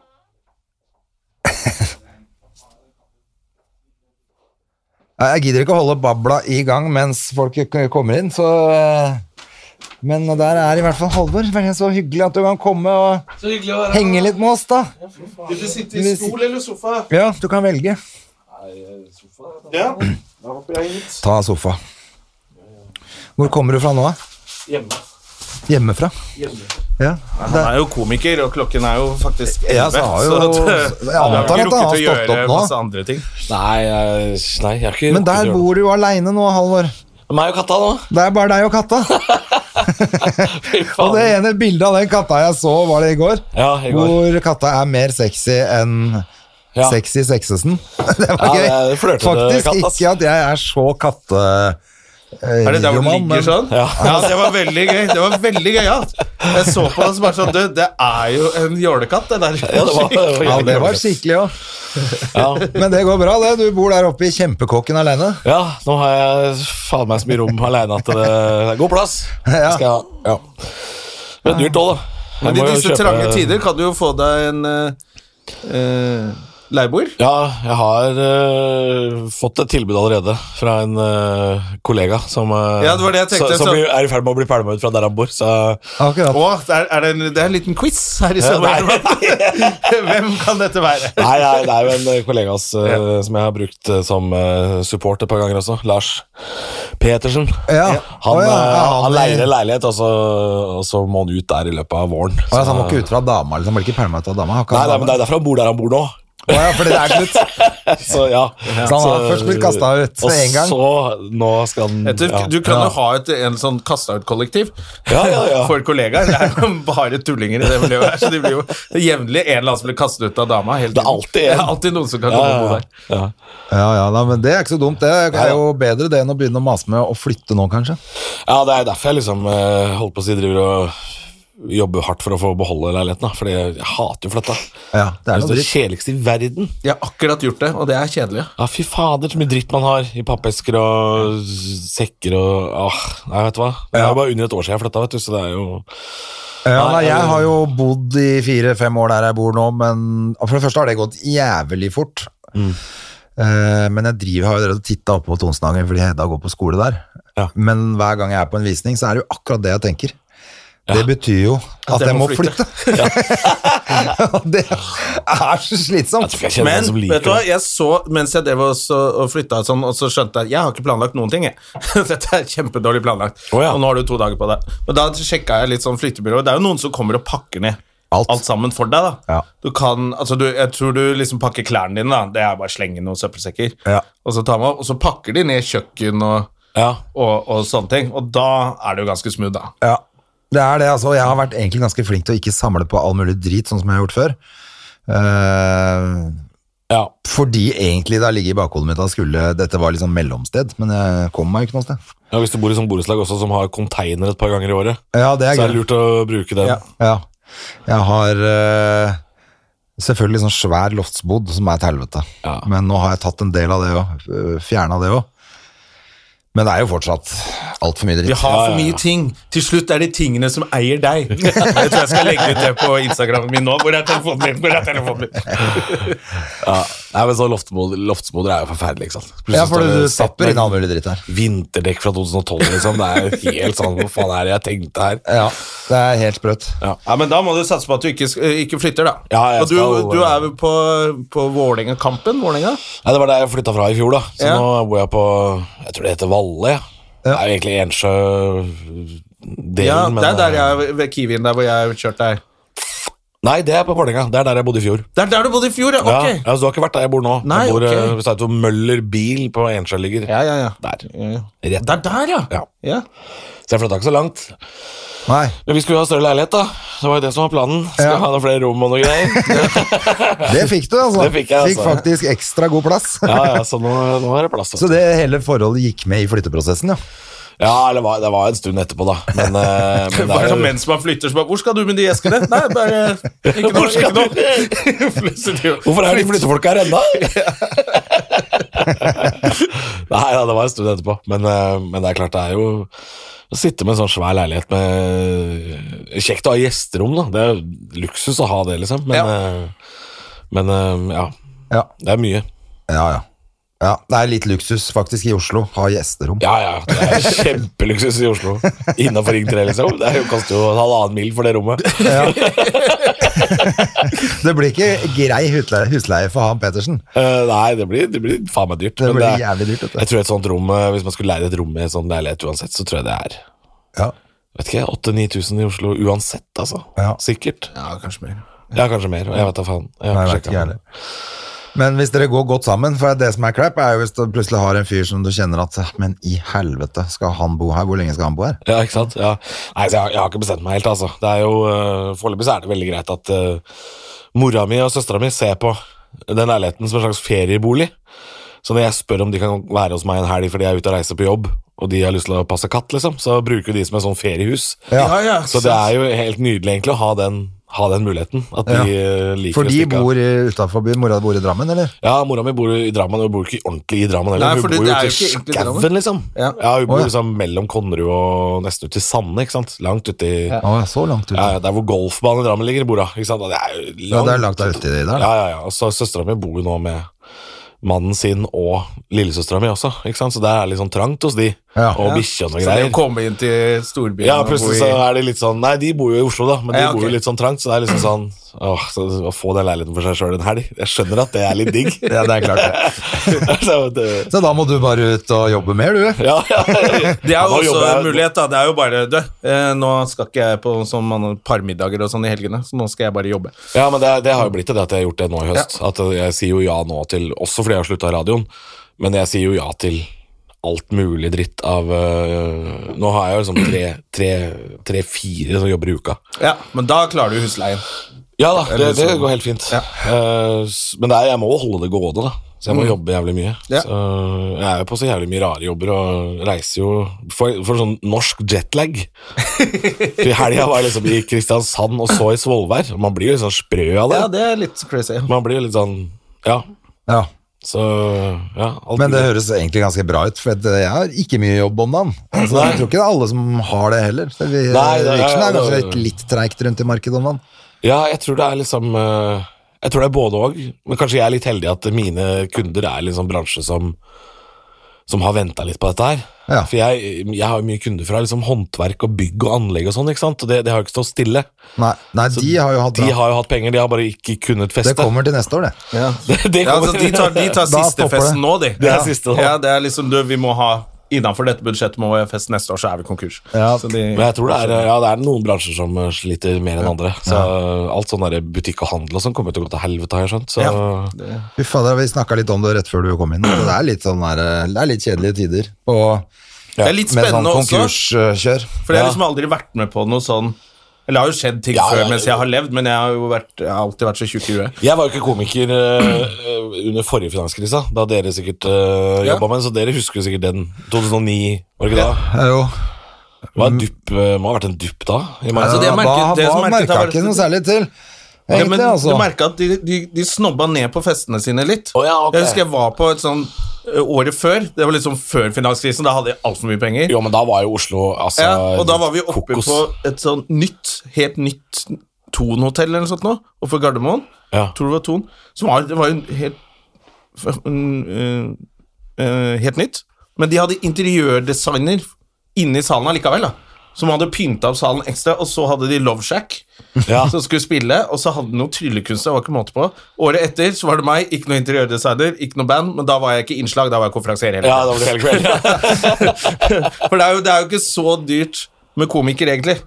[SPEAKER 2] (laughs) Nei, Jeg gidder ikke å holde babla i gang mens folk k- kommer inn, så eh, Men der er i hvert fall Halvor. Vær Så hyggelig at du kan komme og
[SPEAKER 1] Så hyggelig å være her.
[SPEAKER 2] henge litt med oss, da.
[SPEAKER 1] Vil du sitte
[SPEAKER 2] Vil du
[SPEAKER 1] i
[SPEAKER 2] si-
[SPEAKER 1] stol eller sofa?
[SPEAKER 2] Ja, du kan velge.
[SPEAKER 1] Ja. Da hopper jeg hit.
[SPEAKER 2] Ta sofa. Hvor kommer du fra nå, da?
[SPEAKER 1] Hjemme.
[SPEAKER 2] Hjemmefra? Ja.
[SPEAKER 1] (laughs) Han er jo komiker, og klokken er jo faktisk
[SPEAKER 2] Ja, så har jo- jeg antar at han har stått opp nå.
[SPEAKER 1] masse andre ting.
[SPEAKER 3] Nei, jeg, nei, jeg har ikke
[SPEAKER 2] Men der bor du jo aleine nå, Halvor.
[SPEAKER 3] Meg og katta nå.
[SPEAKER 2] Det er bare deg og
[SPEAKER 3] (laughs)
[SPEAKER 2] katta.
[SPEAKER 3] Fy
[SPEAKER 2] Og
[SPEAKER 3] faen.
[SPEAKER 2] det ene bildet av den katta jeg så, var det i går.
[SPEAKER 3] Ja, i går.
[SPEAKER 2] Hvor katta er mer sexy enn
[SPEAKER 3] Ja.
[SPEAKER 2] sexy sexesen. (laughs) Det var
[SPEAKER 3] Ja,
[SPEAKER 2] gøy.
[SPEAKER 3] det er flørtende
[SPEAKER 2] Faktisk
[SPEAKER 3] katt, ass.
[SPEAKER 2] ikke at jeg er så katte... eh,
[SPEAKER 1] Er det der hvor det
[SPEAKER 2] videoman, men-
[SPEAKER 1] ligger sånn? Ja. det var veldig gøy. Det var veldig gøy, ja. Jeg så på det som bare sånn, du, det er jo en jålekatt, det der.
[SPEAKER 3] (laughs) Ja, det var, det
[SPEAKER 2] Ja,
[SPEAKER 3] var,
[SPEAKER 2] det var skikkelig òg.
[SPEAKER 3] ja.
[SPEAKER 2] Men det går bra, det. Du bor der oppe i kjempekåken aleine.
[SPEAKER 3] ja, nå har jeg faen meg så mye rom alene at det det er god plass.
[SPEAKER 1] (laughs)
[SPEAKER 2] Ja.
[SPEAKER 3] Skal jeg, ja. Det er dyrt òg, da.
[SPEAKER 1] (laughs)
[SPEAKER 3] Jeg
[SPEAKER 1] Men i
[SPEAKER 3] må jo
[SPEAKER 1] disse
[SPEAKER 3] kjøpe-
[SPEAKER 1] trange tider kan du jo få deg en uh, leieboer.
[SPEAKER 3] Ja, jeg har eh, fått et tilbud allerede fra en eh, kollega som, eh,
[SPEAKER 1] Ja, det var det jeg tenkte,
[SPEAKER 3] som,
[SPEAKER 1] så-
[SPEAKER 3] blir- er i ferd med å bli pælma ut fra der han bor. Så
[SPEAKER 2] Akkurat.
[SPEAKER 1] Å, det er, er det, en, det er en liten quiz her i
[SPEAKER 3] Ja,
[SPEAKER 1] sommer.
[SPEAKER 3] (laughs) nei.
[SPEAKER 1] Hvem kan dette være?
[SPEAKER 3] Nei, nei, det er jo en eh, kollega ass, eh, som jeg har brukt eh, som eh, support et par ganger også. Lars Petersen.
[SPEAKER 2] Ja. Å
[SPEAKER 3] Han,
[SPEAKER 2] ja,
[SPEAKER 3] eh,
[SPEAKER 2] ja,
[SPEAKER 3] han,
[SPEAKER 2] han-
[SPEAKER 3] leier en leilighet, og så, og så må han ut der i løpet av våren.
[SPEAKER 2] Å, ja, så han må ikke ut fra dama, liksom. Han blir ikke pælma ut av dama. Har ikke
[SPEAKER 3] Nei,
[SPEAKER 2] han
[SPEAKER 3] nei,
[SPEAKER 2] dame?
[SPEAKER 3] men Det er derfor han bor der han bor nå. (laughs)
[SPEAKER 2] Å ja, fordi det er slutt.
[SPEAKER 3] Så ja.
[SPEAKER 2] Så han har først blitt kastet ut
[SPEAKER 3] og
[SPEAKER 2] en gang.
[SPEAKER 3] så nå skal han
[SPEAKER 1] Du,
[SPEAKER 3] ja.
[SPEAKER 1] du kan jo ha et en sånn kasta-ut-kollektiv
[SPEAKER 3] Ja, ja,
[SPEAKER 1] (laughs)
[SPEAKER 3] ja.
[SPEAKER 1] for kollegaer. Det er jo bare tullinger i det miljøet her, så de blir jo jevnlig en eller annen som blir kastet ut av dama. hele
[SPEAKER 3] Det er
[SPEAKER 1] tiden.
[SPEAKER 3] alltid en.
[SPEAKER 1] Det er alltid noen som kan
[SPEAKER 3] ja,
[SPEAKER 1] komme
[SPEAKER 3] ja,
[SPEAKER 1] på
[SPEAKER 3] ja.
[SPEAKER 1] der.
[SPEAKER 3] ja.
[SPEAKER 2] Ja, ja, nei, men Det er ikke så dumt. Det er jo bedre det enn å begynne å mase med å flytte nå, kanskje.
[SPEAKER 3] Ja, det er derfor jeg liksom eh, holdt på å si driver og jobber hardt for å få beholde leiligheten. da, Fordi jeg hater jo flytta.
[SPEAKER 2] Ja, det er
[SPEAKER 3] det
[SPEAKER 2] noe
[SPEAKER 3] er det
[SPEAKER 2] dritt.
[SPEAKER 3] kjedeligste i verden.
[SPEAKER 1] Jeg har akkurat gjort det, og det er kjedelig.
[SPEAKER 3] Ja, fy fader, så mye dritt man har i pappesker og s- sekker og ah, Nei, vet du hva. Det er jo bare under et år siden jeg flytta, vet du, så det er jo
[SPEAKER 2] Ja,
[SPEAKER 3] Nei,
[SPEAKER 2] nei, jeg
[SPEAKER 3] jeg-
[SPEAKER 2] har jo bodd i fire-fem år der jeg bor nå, men for det første har det gått jævlig fort. Eh, men jeg driver, har jo allerede titta oppe på Tonsenhagen fordi Hedda går på skole der.
[SPEAKER 3] Ja.
[SPEAKER 2] Men hver gang jeg er på en visning, så er det jo akkurat det jeg tenker. Det betyr jo at,
[SPEAKER 1] jeg
[SPEAKER 2] jeg
[SPEAKER 1] må
[SPEAKER 2] må flytte. (laughs) Og det er så slitsomt.
[SPEAKER 3] Jeg tror ikke jeg kjenner
[SPEAKER 1] Men
[SPEAKER 3] noen
[SPEAKER 1] vet
[SPEAKER 3] som
[SPEAKER 1] du
[SPEAKER 3] liker
[SPEAKER 1] hva,
[SPEAKER 3] det.
[SPEAKER 1] jeg så mens jeg drev og, så, og flytta og sånn, og så skjønte jeg jeg har ikke planlagt noen ting. Jeg. (laughs) Dette er kjempedårlig planlagt.
[SPEAKER 3] Å, ja.
[SPEAKER 1] Og nå har du to dager på deg. Men da sjekka jeg litt sånn flyttebyrå. Det er jo noen som kommer og pakker ned
[SPEAKER 2] Alt.
[SPEAKER 1] sammen for deg. da
[SPEAKER 2] Ja.
[SPEAKER 1] Du kan, altså du, Jeg tror du liksom pakker klærne dine. da Det er bare å slenge noen søppelsekker.
[SPEAKER 2] Ja.
[SPEAKER 1] Og så tar man opp, og så pakker de ned kjøkken og,
[SPEAKER 3] Ja.
[SPEAKER 1] og, og sånne ting. Og da er det jo ganske smooth, da.
[SPEAKER 2] Ja, det er det. altså. Jeg har vært egentlig ganske flink til å ikke samle på all mulig drit, sånn som jeg har gjort før. Eh,
[SPEAKER 3] ja.
[SPEAKER 2] fordi egentlig det har ligget i bakhodet mitt at skulle, dette var liksom mellomsted, men jeg kom meg ikke noe sted.
[SPEAKER 3] ja, Hvis du bor i sånn borettslag også som har container et par ganger i året,
[SPEAKER 2] Ja, det er
[SPEAKER 3] så
[SPEAKER 2] gøy.
[SPEAKER 3] er det lurt å bruke den.
[SPEAKER 2] Ja. ja. Jeg har eh, selvfølgelig sånn svær loftsbod som er et helvete.
[SPEAKER 3] Ja.
[SPEAKER 2] Men nå har jeg tatt en del av det òg. Fjerna det òg. Men det er jo fortsatt altfor mye
[SPEAKER 1] Vi
[SPEAKER 2] dritt.
[SPEAKER 1] har for
[SPEAKER 3] ja, ja.
[SPEAKER 1] mye ting. Til slutt er det tingene som eier (laughs) deg. Jeg tror jeg skal legge ut det på Instagramen min nå. Hvor er telefonen min? Hvor er telefonen min?
[SPEAKER 3] Ja. Nei, men så loftsmoder, loftsmoder er jo forferdelig, ikke sant. Plutselig
[SPEAKER 2] Ja, for
[SPEAKER 3] står det
[SPEAKER 2] du
[SPEAKER 3] sett
[SPEAKER 2] stapper
[SPEAKER 3] med
[SPEAKER 2] inn all mulig dritt her.
[SPEAKER 3] Vinterdekk fra 2012, liksom. Det er jo helt sånn Hva faen er det jeg tenkte her?
[SPEAKER 2] Ja, det er helt sprøtt.
[SPEAKER 1] Ja, men Da må du satse på at du ikke, eh, ikke flytter, da.
[SPEAKER 3] Ja, jeg
[SPEAKER 1] og du,
[SPEAKER 3] skal-
[SPEAKER 1] du er vel på, på Vålerenga-kampen? Vålerenga?
[SPEAKER 3] Nei, Det var der jeg flytta fra i fjor, da. Så
[SPEAKER 1] Ja.
[SPEAKER 3] nå bor jeg på Jeg tror det heter Valle. Ja. Det er jo egentlig Ensjø-delen,
[SPEAKER 1] Ja,
[SPEAKER 3] men eh,
[SPEAKER 1] det er der jeg, ved Kiwien, der hvor jeg kjørte deg.
[SPEAKER 3] Nei, det er på Vålerenga. Det er der jeg bodde i fjor.
[SPEAKER 1] Det er der du bodde i fjor, ja!
[SPEAKER 3] Ja,
[SPEAKER 1] Ok.
[SPEAKER 3] altså, du har ikke vært der jeg bor nå.
[SPEAKER 1] Nei,
[SPEAKER 3] jeg bor
[SPEAKER 1] ok.
[SPEAKER 3] eh, ved siden av Møller bil på Ensjø ligger.
[SPEAKER 1] Ja, ja, ja.
[SPEAKER 3] Der.
[SPEAKER 1] Ja, ja.
[SPEAKER 3] Rett.
[SPEAKER 1] Det er der, ja!
[SPEAKER 3] Ja.
[SPEAKER 1] ja.
[SPEAKER 3] Så jeg flytta ikke så langt.
[SPEAKER 2] Nei.
[SPEAKER 3] Men vi skulle jo ha større leilighet, da. Det var jo det som var planen. Skal
[SPEAKER 2] Ja.
[SPEAKER 3] ha noen flere rom og noe
[SPEAKER 1] (laughs)
[SPEAKER 3] greier.
[SPEAKER 2] Det fikk du, altså.
[SPEAKER 3] Det fikk jeg, altså.
[SPEAKER 2] faktisk ekstra god plass.
[SPEAKER 3] Ja, ja, så nå, nå er det plass.
[SPEAKER 2] (laughs) Så det hele forholdet gikk med i flytteprosessen, ja.
[SPEAKER 3] Ja, eller hva- det var en stund etterpå, da. Men,
[SPEAKER 1] (laughs)
[SPEAKER 3] eh, men det
[SPEAKER 1] Bare
[SPEAKER 3] er
[SPEAKER 1] sånn
[SPEAKER 3] jo-
[SPEAKER 1] mens man flytter, så bare 'Hvor skal du med de eskene?' Nei, bare
[SPEAKER 3] (laughs)
[SPEAKER 1] Ikke noe.
[SPEAKER 3] Hvor skal
[SPEAKER 1] Ikke noe. (laughs) Plutselig-
[SPEAKER 3] Hvorfor er de flyttefolka her ennå?
[SPEAKER 2] (laughs)
[SPEAKER 3] Nei, ja, det var en stund etterpå. Men, eh, men det er klart, det er jo å sitte med en sånn svær leilighet med Kjekt å ha gjesterom, da. Det er jo luksus å ha det, liksom. Men,
[SPEAKER 1] Ja.
[SPEAKER 3] eh, men eh, ja.
[SPEAKER 2] Ja,
[SPEAKER 3] Det er mye.
[SPEAKER 2] ja. ja. ja det er litt luksus, faktisk, i Oslo. Ha gjesterom.
[SPEAKER 3] Ja, ja. Det er kjempeluksus i Oslo. Innafor Ring 3, liksom. Det er jo, koster jo en halvannen mil for det rommet.
[SPEAKER 2] Det blir ikke grei hutleie, husleie for han Petersen.
[SPEAKER 3] Eh, nei, det blir, det blir faen meg dyrt.
[SPEAKER 2] Det
[SPEAKER 3] men
[SPEAKER 2] blir
[SPEAKER 3] er-
[SPEAKER 2] jævlig dyrt, dette.
[SPEAKER 3] Jeg tror et sånt rom, eh, Hvis man skulle leie et rom i en sånn leilighet uansett, så tror jeg det er
[SPEAKER 2] Ja.
[SPEAKER 3] vet ikke, 8000-9000 i Oslo uansett, altså.
[SPEAKER 2] Ja.
[SPEAKER 3] Sikkert.
[SPEAKER 1] Ja, kanskje mer.
[SPEAKER 3] Ja, kanskje mer. Jeg vet da faen. Jeg
[SPEAKER 2] Nei,
[SPEAKER 3] har
[SPEAKER 2] jeg vet ikke
[SPEAKER 3] ikke
[SPEAKER 2] jeg
[SPEAKER 3] sjekket.
[SPEAKER 2] heller. Men hvis dere går godt sammen, for det som er crap, er jo hvis du plutselig har en fyr som du kjenner at Men i helvete, skal han bo her? Hvor lenge skal han bo her?
[SPEAKER 3] Ja, ikke sant? Ja. Nei, så jeg, har- jeg har ikke bestemt meg helt, altså. Det er jo, eh, Foreløpig så er det veldig greit at eh, mora mi og søstera mi ser på den leiligheten som en slags feriebolig. Så når jeg spør om de kan være hos meg en helg fordi jeg er ute og reiser på jobb, og de har lyst til å passe katt, liksom, så bruker de som et sånn feriehus.
[SPEAKER 1] Ja, ja.
[SPEAKER 3] Så det er jo helt nydelig egentlig å ha den, ha den muligheten. At de
[SPEAKER 2] Ja.
[SPEAKER 3] eh, liker
[SPEAKER 2] For
[SPEAKER 3] å
[SPEAKER 2] de
[SPEAKER 3] stikke av.
[SPEAKER 2] bor utafor byen? Mora bor i Drammen, eller?
[SPEAKER 3] Ja, mora mi bor i Drammen, og hun bor ikke ordentlig i Drammen heller.
[SPEAKER 1] Nei,
[SPEAKER 3] Hun
[SPEAKER 1] for det-
[SPEAKER 3] bor
[SPEAKER 1] det
[SPEAKER 3] jo
[SPEAKER 1] er jo
[SPEAKER 3] til
[SPEAKER 1] ikke egentlig Drammen.
[SPEAKER 3] skauen, liksom.
[SPEAKER 1] Ja.
[SPEAKER 3] Ja, hun
[SPEAKER 2] Å,
[SPEAKER 3] bor
[SPEAKER 2] ja.
[SPEAKER 3] liksom mellom Konnerud og nesten ut til Sande, ikke sant. Langt uti ja.
[SPEAKER 2] Å, så langt ute.
[SPEAKER 3] Ja, Der hvor golfbanen i Drammen ligger, bor hun. Ikke sant? Og Det er jo langt,
[SPEAKER 2] Ja, det er langt der ute i det der, da.
[SPEAKER 3] Ja, ja, ja. Og så søstera mi bor jo nå med mannen sin og lillesøstera mi også, ikke sant. Så der er det litt sånn trangt hos de.
[SPEAKER 2] Ja.
[SPEAKER 3] Og bikkja og noe
[SPEAKER 1] Så det er
[SPEAKER 3] greier.
[SPEAKER 1] å komme inn til storbyen
[SPEAKER 3] Ja,
[SPEAKER 1] og bo
[SPEAKER 3] plutselig
[SPEAKER 1] i-
[SPEAKER 3] så er det litt sånn Nei, de bor jo i Oslo, da, men de
[SPEAKER 1] Ja, ok.
[SPEAKER 3] bor jo litt sånn trangt, så det er liksom sånn Åh, så Å få den leiligheten for seg sjøl en helg Jeg skjønner at det er litt
[SPEAKER 1] (laughs)
[SPEAKER 3] digg.
[SPEAKER 2] Ja, det er klart det.
[SPEAKER 3] (laughs) altså, det
[SPEAKER 2] Så da må du bare ut og jobbe mer, du.
[SPEAKER 3] ja, ja.
[SPEAKER 1] (laughs) Det er
[SPEAKER 3] Ja, nå
[SPEAKER 1] jo også
[SPEAKER 3] jobber jeg-
[SPEAKER 1] en mulighet, da. Det er jo bare du, eh, nå skal ikke jeg på sånn man- parmiddager og sånn i helgene, så nå skal jeg bare jobbe.
[SPEAKER 3] Ja, men det, det har jo blitt til det at jeg har gjort det nå i høst. At jeg sier jo ja nå til, også fordi jeg har slutta i radioen, men jeg sier jo ja til alt mulig dritt av øh, Nå har jeg jo liksom tre-fire som jobber i uka.
[SPEAKER 1] Ja, Men da klarer du husleien.
[SPEAKER 3] Ja da, det,
[SPEAKER 1] Eller
[SPEAKER 3] det
[SPEAKER 1] så-
[SPEAKER 3] går helt fint. Eh, s- men det er, jeg må holde det gående, da. Så jeg må jobbe jævlig mye.
[SPEAKER 1] Mm. Ja.
[SPEAKER 3] Så eh, jeg er jo på så jævlig mye rare jobber og reiser jo For, for sånn norsk jetlag.
[SPEAKER 1] (laughs)
[SPEAKER 3] For I helga var jeg liksom i Kristiansand og så i Svolvær. Man blir jo litt sånn sprø av det.
[SPEAKER 1] Ja, det er litt crazy.
[SPEAKER 3] Man blir jo litt sånn Ja.
[SPEAKER 2] Ja.
[SPEAKER 3] Så ja, alt
[SPEAKER 2] Men det høres egentlig ganske bra ut, for at jeg har ikke mye jobb om dagen. Så jeg tror ikke det er alle som har det heller. Så vi,
[SPEAKER 3] Nei, det er-
[SPEAKER 2] Virksomheten er kanskje
[SPEAKER 3] det-
[SPEAKER 2] litt, litt treigt rundt i markedet om dagen.
[SPEAKER 3] Ja, jeg tror det er liksom eh, Jeg tror det er både òg, men kanskje jeg er litt heldig at mine kunder er liksom bransje som som har venta litt på dette her.
[SPEAKER 2] Ja.
[SPEAKER 3] For jeg, jeg har jo mye kunder fra liksom håndverk og bygg og anlegg og sånn, ikke sant. Og det, det har jo ikke stått stille.
[SPEAKER 2] Nei, nei de har jo hatt
[SPEAKER 3] De
[SPEAKER 2] bra.
[SPEAKER 3] har jo hatt penger, de har bare ikke kunnet feste.
[SPEAKER 2] Det kommer til neste år, det.
[SPEAKER 3] Det, (laughs) det
[SPEAKER 1] Ja,
[SPEAKER 3] kommer.
[SPEAKER 1] altså, de tar, de tar
[SPEAKER 2] Da
[SPEAKER 1] siste
[SPEAKER 2] stopper det.
[SPEAKER 1] festen nå, de.
[SPEAKER 3] Det er siste nå.
[SPEAKER 1] Ja, det er liksom, du, vi må ha Innenfor dette budsjettet må vi ha fest neste år, så er vi konkurs.
[SPEAKER 2] Ja.
[SPEAKER 1] Så de,
[SPEAKER 3] Men jeg tror det er, ja, det er noen bransjer som eh, sliter mer enn andre. Så eh, alt sånn der butikk og handel og sånn kommer til å gå til helvete, har jeg skjønt. Så
[SPEAKER 1] Ja.
[SPEAKER 2] Fy fader, vi snakka litt om det rett før du kom inn. Det er litt, sånn der, eh, det er litt kjedelige tider på,
[SPEAKER 1] det er
[SPEAKER 2] med
[SPEAKER 1] litt
[SPEAKER 2] sånn
[SPEAKER 1] spennende også,
[SPEAKER 2] konkurskjør.
[SPEAKER 1] for jeg har
[SPEAKER 3] Ja.
[SPEAKER 1] liksom aldri vært med på noe sånn Eller det har jo skjedd ting
[SPEAKER 3] Ja, ja,
[SPEAKER 1] før mens jeg har levd, men jeg har jo vært, jeg har alltid vært så tjukk i huet.
[SPEAKER 3] Jeg var jo ikke komiker eh, under forrige finanskrisa, da dere sikkert uh,
[SPEAKER 1] Ja.
[SPEAKER 3] jobba med den, så dere husker jo sikkert den. 2009, var det ikke da?
[SPEAKER 2] Ja, Jo.
[SPEAKER 3] Det var en dupp, eh, må ha vært en dupp da. I
[SPEAKER 1] Altså, det
[SPEAKER 2] Ja,
[SPEAKER 1] jeg merket- det
[SPEAKER 2] da
[SPEAKER 1] som
[SPEAKER 2] da
[SPEAKER 1] merket
[SPEAKER 2] merka
[SPEAKER 1] har
[SPEAKER 2] jeg ikke
[SPEAKER 1] vært-
[SPEAKER 2] noe særlig til.
[SPEAKER 1] Ja, men
[SPEAKER 2] Egentlig, altså.
[SPEAKER 1] Du merka at de, de, de snobba ned på festene sine litt.
[SPEAKER 3] Å, ja, ok.
[SPEAKER 1] Jeg husker jeg var på et sånn ø, Året før, det var liksom før finanskrisen, da hadde jeg altfor mye penger.
[SPEAKER 3] jo, men da var jo Oslo altså,
[SPEAKER 1] Ja, og da var vi oppe
[SPEAKER 3] kokos.
[SPEAKER 1] på et sånn nytt, helt nytt Thon-hotell eller noe sånt nå, oppe i Gardermoen.
[SPEAKER 3] Ja.
[SPEAKER 1] Tror det var Thon. Som var, det var jo en helt f- en, ø, ø, Helt nytt. Men de hadde interiørdesigner inne i salen allikevel, da. Som hadde pynta opp salen ekstra, og så hadde de Love Shack (laughs)
[SPEAKER 3] Ja.
[SPEAKER 1] som skulle spille, og så hadde han noen tryllekunstnere, det var ikke måte på. Året etter så var det meg, ikke noe interiørdesigner, ikke noe band, men da var jeg ikke innslag, da var jeg konferansier hele
[SPEAKER 3] ja,
[SPEAKER 1] tiden.
[SPEAKER 3] da var det hele kvelden.
[SPEAKER 1] For det er, jo, det er jo ikke så dyrt med komiker, egentlig.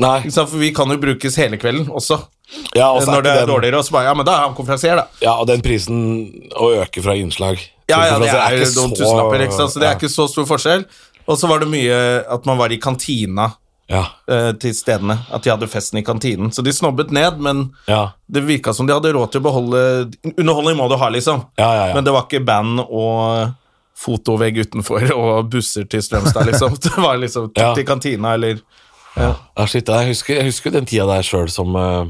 [SPEAKER 3] Nei,
[SPEAKER 1] Ikke sant? For vi kan jo brukes hele kvelden også,
[SPEAKER 3] ja, og så
[SPEAKER 1] når det er
[SPEAKER 3] ikke den,
[SPEAKER 1] dårligere, og så bare, ja, men da er han konferansier, da.
[SPEAKER 3] Ja, og den prisen å øke fra innslag
[SPEAKER 1] Ja, ja, det
[SPEAKER 3] til konferanser
[SPEAKER 1] er jo
[SPEAKER 3] ikke
[SPEAKER 1] noen
[SPEAKER 3] så-
[SPEAKER 1] tusenlapper, ikke sant, så det
[SPEAKER 3] ja.
[SPEAKER 1] er ikke så stor forskjell. Og så var det mye at man var i kantina
[SPEAKER 3] Ja,
[SPEAKER 1] eh, til stedene, at de hadde festen i kantinen. Så de snobbet ned, men
[SPEAKER 3] ja.
[SPEAKER 1] Det virka som de hadde råd til å beholde Underholdning må du ha, liksom.
[SPEAKER 3] Ja, ja, ja.
[SPEAKER 1] Men det var ikke band og fotovegg utenfor og busser til Strømstad, liksom. (laughs) Det var liksom t-
[SPEAKER 3] Ja.
[SPEAKER 1] til kantina eller
[SPEAKER 3] Ja, shit, jeg husker, jeg husker den tida der sjøl som, eh,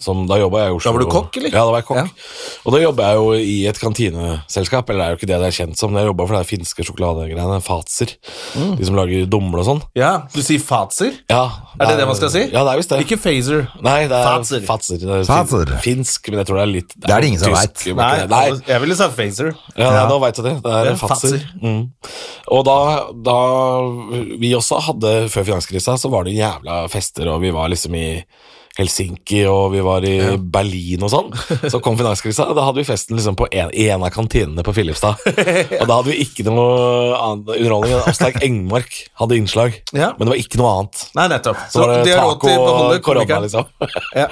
[SPEAKER 3] som Da jobba jeg i Oslo.
[SPEAKER 1] Da var du kokk, eller?
[SPEAKER 3] Ja, da var jeg kokk.
[SPEAKER 1] Ja.
[SPEAKER 3] Og da jobba jeg jo i et kantineselskap, eller det er jo ikke det det er kjent som, men jeg jobba for det her finske sjokoladegreiene, Fatser.
[SPEAKER 1] Mm.
[SPEAKER 3] De som lager dumle og sånn.
[SPEAKER 1] Ja, du sier Fatser?
[SPEAKER 3] Ja,
[SPEAKER 1] Er det det man skal si?
[SPEAKER 3] Ja, det er visst det.
[SPEAKER 1] Ikke Phaser.
[SPEAKER 3] Nei, det er
[SPEAKER 1] Fatser.
[SPEAKER 3] Fatser. Det er fin-
[SPEAKER 2] Fatser.
[SPEAKER 3] Finsk, men jeg tror det er litt
[SPEAKER 2] Det er det ingen som
[SPEAKER 3] tysk,
[SPEAKER 2] vet.
[SPEAKER 3] men ikke det. Nei,
[SPEAKER 1] jeg ville sagt Phaser.
[SPEAKER 3] ja, nei, nå veit du det. Det er
[SPEAKER 1] Det er
[SPEAKER 3] Fatser.
[SPEAKER 1] Fatser.
[SPEAKER 3] Mm. Og da, da vi også hadde, før finanskrisa, så var det jævla fester, og vi var liksom i Helsinki, og vi var i Berlin og sånn. Så kom finanskrisa, og da hadde vi festen liksom på en, i en av kantinene på (laughs) Filipstad. Og da hadde vi ikke noe annen underholdning enn Asterk Engmark hadde innslag,
[SPEAKER 1] Ja.
[SPEAKER 3] men det var ikke noe annet.
[SPEAKER 1] Nei, nettopp.
[SPEAKER 3] Så var det
[SPEAKER 1] de har råd
[SPEAKER 3] taco
[SPEAKER 1] til å
[SPEAKER 3] og
[SPEAKER 1] beholde
[SPEAKER 3] korona,
[SPEAKER 1] komikeren.
[SPEAKER 3] liksom. (laughs)
[SPEAKER 1] Ja.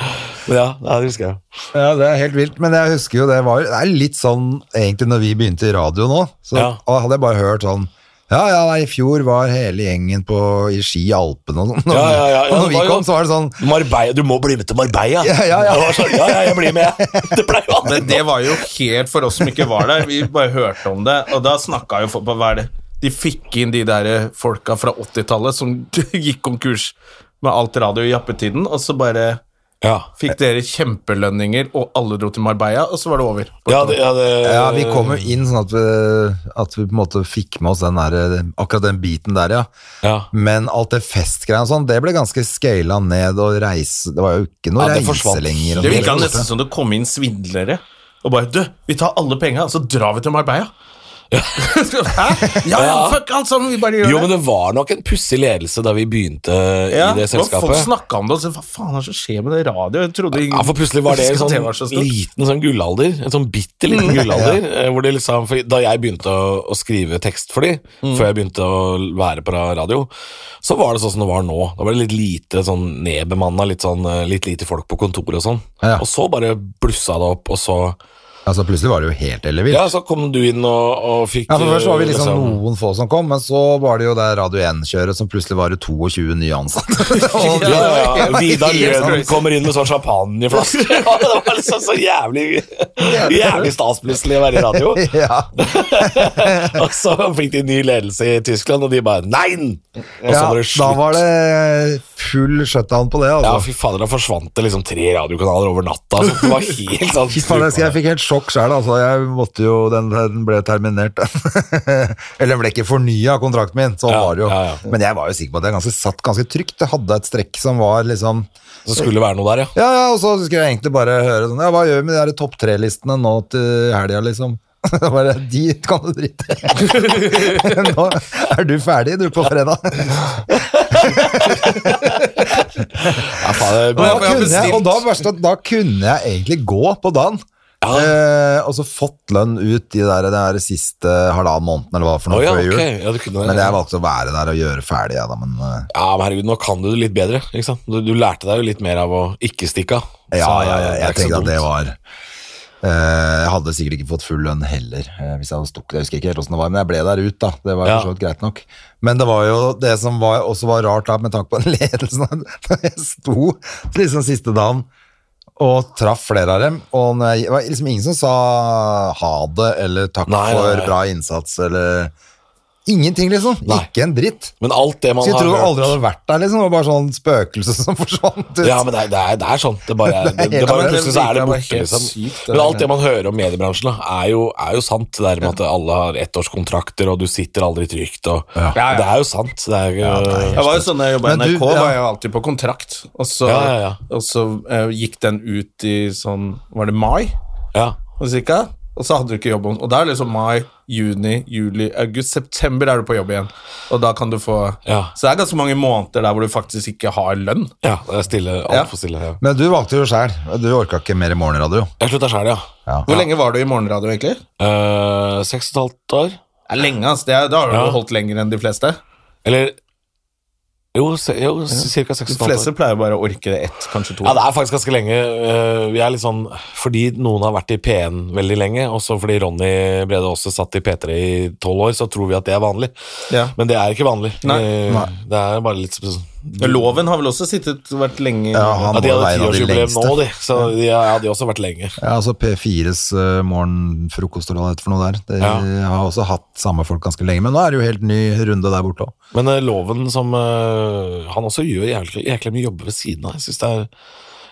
[SPEAKER 3] Men ja, det husker jeg.
[SPEAKER 2] Ja, det er helt vilt, men jeg husker jo det var Det er litt sånn, egentlig når vi begynte i radio nå, så
[SPEAKER 3] Ja.
[SPEAKER 2] da hadde jeg bare hørt sånn ja, ja, nei, i fjor var hele gjengen på, i Ski i Alpene og sånn.
[SPEAKER 3] Ja, ja, ja, ja,
[SPEAKER 2] og når
[SPEAKER 3] det
[SPEAKER 2] vi
[SPEAKER 3] var jo-
[SPEAKER 2] kom, så var det sånn
[SPEAKER 3] Marbella, du må bli med til Marbella!
[SPEAKER 2] Ja, ja, ja.
[SPEAKER 3] Det var sånn, ja, ja, jeg blir med! (laughs) Det pleier jo alltid
[SPEAKER 1] Men det var jo helt for oss som ikke var der. Vi bare hørte om det, og da snakka jo folk på hva er det De fikk inn de der folka fra 80-tallet som (laughs) gikk konkurs med alt radio i jappetiden, og så bare
[SPEAKER 3] Ja.
[SPEAKER 1] fikk dere kjempelønninger, og alle dro til Marbella, og så var det over.
[SPEAKER 3] Ja, det, ja, det,
[SPEAKER 2] Ja, vi kom jo inn sånn at vi, at vi på en måte fikk med oss den der, eh, akkurat den biten der, ja.
[SPEAKER 3] Ja.
[SPEAKER 2] Men alt det festgreiene og sånn, det ble ganske scala ned og reise Det var jo ikke
[SPEAKER 3] Ja,
[SPEAKER 2] noe
[SPEAKER 3] det
[SPEAKER 2] reise
[SPEAKER 3] forsvant.
[SPEAKER 2] lenger. og
[SPEAKER 1] Det
[SPEAKER 2] noe
[SPEAKER 1] virka
[SPEAKER 2] sånt.
[SPEAKER 1] nesten som det kom inn svindlere og bare Du, vi tar alle penga, og så drar vi til Marbella.
[SPEAKER 3] (laughs)
[SPEAKER 1] Hæ? Ja, ja,
[SPEAKER 3] Ja.
[SPEAKER 1] fuck alt sammen, vi bare gjør
[SPEAKER 3] Jo, men
[SPEAKER 1] det.
[SPEAKER 3] det var nok en pussig ledelse da vi begynte
[SPEAKER 1] Ja,
[SPEAKER 3] i det
[SPEAKER 1] og Folk
[SPEAKER 3] selskapet.
[SPEAKER 1] snakka om det og sa hva faen er det som skjer med det radio? Jeg trodde
[SPEAKER 3] Ja, for plutselig var det en
[SPEAKER 1] Skal
[SPEAKER 3] sånn
[SPEAKER 1] være så stort?
[SPEAKER 3] liten sånn gullalder, en sånn bitte
[SPEAKER 2] Mm.
[SPEAKER 3] liten gullalder, eh, hvor det liksom, for da jeg begynte å, å skrive tekst for de,
[SPEAKER 2] Mm.
[SPEAKER 3] før jeg begynte å være på ra- radio, så var det sånn som det var nå. Da var det litt lite sånn nedbemanna, litt sånn, eh, litt lite folk på kontoret og sånn.
[SPEAKER 2] Ja.
[SPEAKER 3] Og så bare blussa det opp, og så,
[SPEAKER 2] Altså, plutselig var det jo helt ellevilt.
[SPEAKER 3] ja, så kom du inn og, og fikk...
[SPEAKER 2] Ja, for først var vi
[SPEAKER 3] eh,
[SPEAKER 2] liksom noen få som kom, men så var det jo det Radio 1-kjøret som plutselig var det 22 nye ansatte. Og-
[SPEAKER 3] (laughs) Ja, ja, ja.
[SPEAKER 2] (laughs)
[SPEAKER 3] Vidar
[SPEAKER 2] Helt
[SPEAKER 3] Løden
[SPEAKER 2] crazy.
[SPEAKER 3] kommer inn med sånn champagneflaske. (laughs) Ja, det var liksom så jævlig Jævlig stas plutselig å være i radio.
[SPEAKER 2] (laughs) Ja.
[SPEAKER 3] Og så fikk de ny ledelse i Tyskland, og de bare Nein! Og så
[SPEAKER 2] Ja,
[SPEAKER 3] var det
[SPEAKER 2] da var
[SPEAKER 3] slutt.
[SPEAKER 2] det full shutdown på det,
[SPEAKER 3] Ja,
[SPEAKER 2] altså.
[SPEAKER 3] fy fader, da forsvant det liksom tre radiokanaler over natta. Så det var helt sånn
[SPEAKER 2] Fy faen, jeg husker jeg fikk helt sjokk sjøl, altså. Jeg måtte jo, den, den ble terminert. (laughs) Eller den ble ikke fornya, kontrakten min. Sånn
[SPEAKER 3] Ja,
[SPEAKER 2] var det jo.
[SPEAKER 3] ja,
[SPEAKER 2] Men jeg var jo sikker på at jeg ganske, satt ganske trygt. Jeg hadde et strekk som var liksom
[SPEAKER 3] Så skulle det være noe der, ja.
[SPEAKER 2] Ja, ja, og så skulle jeg egentlig bare høre sånn Ja, hva gjør vi med de der topp tre-listene nå til helga, liksom? (laughs) Da Bare, de kan du drite i. (laughs) Nå er du ferdig, du, på fredag.
[SPEAKER 3] ja faen,
[SPEAKER 2] Og da
[SPEAKER 3] det,
[SPEAKER 2] kunne jeg, og da, verst at da kunne jeg egentlig gå på dagen. Eh, og så fått lønn ut de der, den der siste halvannen måneden, eller hva for
[SPEAKER 3] Å
[SPEAKER 2] noe,
[SPEAKER 3] ja,
[SPEAKER 2] før jul.
[SPEAKER 3] ok. Ja, du kunne det,
[SPEAKER 2] men
[SPEAKER 3] ja.
[SPEAKER 2] jeg valgte å være der og gjøre ferdig, jeg, da. Men eh,
[SPEAKER 3] ja, men herregud, nå kan du det litt bedre. Ikke sant? Du, du lærte deg jo litt mer av å ikke stikke av.
[SPEAKER 2] ja, ja,
[SPEAKER 3] Så
[SPEAKER 2] ja,
[SPEAKER 3] det er
[SPEAKER 2] jeg
[SPEAKER 3] ikke så
[SPEAKER 2] tenkte at det
[SPEAKER 3] dumt.
[SPEAKER 2] var eh, Jeg hadde sikkert ikke fått full lønn heller, eh, hvis jeg hadde stukket. Jeg husker ikke helt åssen det var, men jeg ble der ut, da. Det var jo
[SPEAKER 3] Ja.
[SPEAKER 2] for så vidt greit nok. Men det var jo det som var, også var rart, da, med tanke på (laughs) den ledelsen, da jeg sto liksom siste dagen og traff flere av dem. Og når jeg, det var liksom ingen som sa ha det, eller takk
[SPEAKER 3] Nei, nei,
[SPEAKER 2] for
[SPEAKER 3] nei.
[SPEAKER 2] bra innsats, eller Ingenting, liksom.
[SPEAKER 3] Nei.
[SPEAKER 2] Ikke en dritt.
[SPEAKER 3] Men alt det man
[SPEAKER 2] Skulle
[SPEAKER 3] har
[SPEAKER 2] tro du
[SPEAKER 3] hørt-
[SPEAKER 2] aldri hadde vært der, liksom. Det var bare sånn spøkelse som (laughs) forsvant ut.
[SPEAKER 3] Ja, men det er, det er, det er sånn. Det
[SPEAKER 1] (laughs)
[SPEAKER 3] bare, det, det,
[SPEAKER 2] Ja,
[SPEAKER 3] bare
[SPEAKER 2] men det
[SPEAKER 3] plutselig så er det
[SPEAKER 1] virker bare
[SPEAKER 3] borte,
[SPEAKER 1] helt
[SPEAKER 3] liksom.
[SPEAKER 1] sykt, det
[SPEAKER 3] Men
[SPEAKER 1] er
[SPEAKER 3] alt det man hører om mediebransjen, da, er jo, er jo sant. Det der med at alle har ettårskontrakter, og du sitter aldri trygt, og
[SPEAKER 1] Ja, ja.
[SPEAKER 3] Det er jo sant. Det er, jo-
[SPEAKER 1] Jeg var jo sånn da jeg jobbet i
[SPEAKER 2] Men du-
[SPEAKER 1] NRK, var
[SPEAKER 2] ja.
[SPEAKER 1] jeg alltid på kontrakt. Og så,
[SPEAKER 3] Ja, ja, ja.
[SPEAKER 1] Og så eh, gikk den ut i sånn Var det mai?
[SPEAKER 3] ja.
[SPEAKER 1] Og cirka? Og så hadde du ikke jobb om Og da er det liksom mai, juni, juli, august, september er du på jobb igjen. Og da kan du få
[SPEAKER 3] Ja.
[SPEAKER 1] Så det er ganske mange måneder der hvor du faktisk ikke har lønn.
[SPEAKER 3] ja det er stille.
[SPEAKER 1] Ja.
[SPEAKER 3] Altfor stille. Ja.
[SPEAKER 2] Men du valgte jo sjæl. Du orka ikke mer i morgenradio.
[SPEAKER 3] Jeg slutta sjæl, ja.
[SPEAKER 2] Ja.
[SPEAKER 1] Hvor lenge var du i morgenradio, egentlig?
[SPEAKER 3] Eh, Seks og et halvt år.
[SPEAKER 1] Det er lenge, ass. Det er, da har du
[SPEAKER 3] Ja.
[SPEAKER 1] holdt lenger enn de fleste.
[SPEAKER 3] Eller jo, se, jo ca. seks og
[SPEAKER 1] De
[SPEAKER 3] et halvt år.
[SPEAKER 1] fleste pleier bare å orke det ett, kanskje to.
[SPEAKER 3] Ja, det er faktisk ganske lenge. Eh, Vi er litt sånn Fordi noen har vært i P1 veldig lenge, også fordi Ronny Brede Aase satt i P3 i tolv år, så tror vi at det er vanlig.
[SPEAKER 1] Ja.
[SPEAKER 3] Men det er ikke vanlig.
[SPEAKER 1] Nei.
[SPEAKER 3] Eh,
[SPEAKER 2] Nei.
[SPEAKER 3] Det er bare litt sånn
[SPEAKER 1] Men Loven har vel også sittet vært lenge
[SPEAKER 2] Ja, han
[SPEAKER 3] ja,
[SPEAKER 2] var
[SPEAKER 3] De
[SPEAKER 2] jo
[SPEAKER 3] hadde
[SPEAKER 2] en av de
[SPEAKER 3] tiårsjubileum nå,
[SPEAKER 2] lengste.
[SPEAKER 3] de. Så de, ja, de har også vært lenge.
[SPEAKER 2] Ja, altså P4s eh, morgenfrokost eller hva det heter for noe der. Det
[SPEAKER 3] Ja.
[SPEAKER 2] har også hatt samme folk ganske lenge, men nå er det jo helt ny runde der borte òg.
[SPEAKER 3] Men eh, Loven som eh, Han også gjør jævlig, jæklig mye jobber ved siden av. Jeg synes det er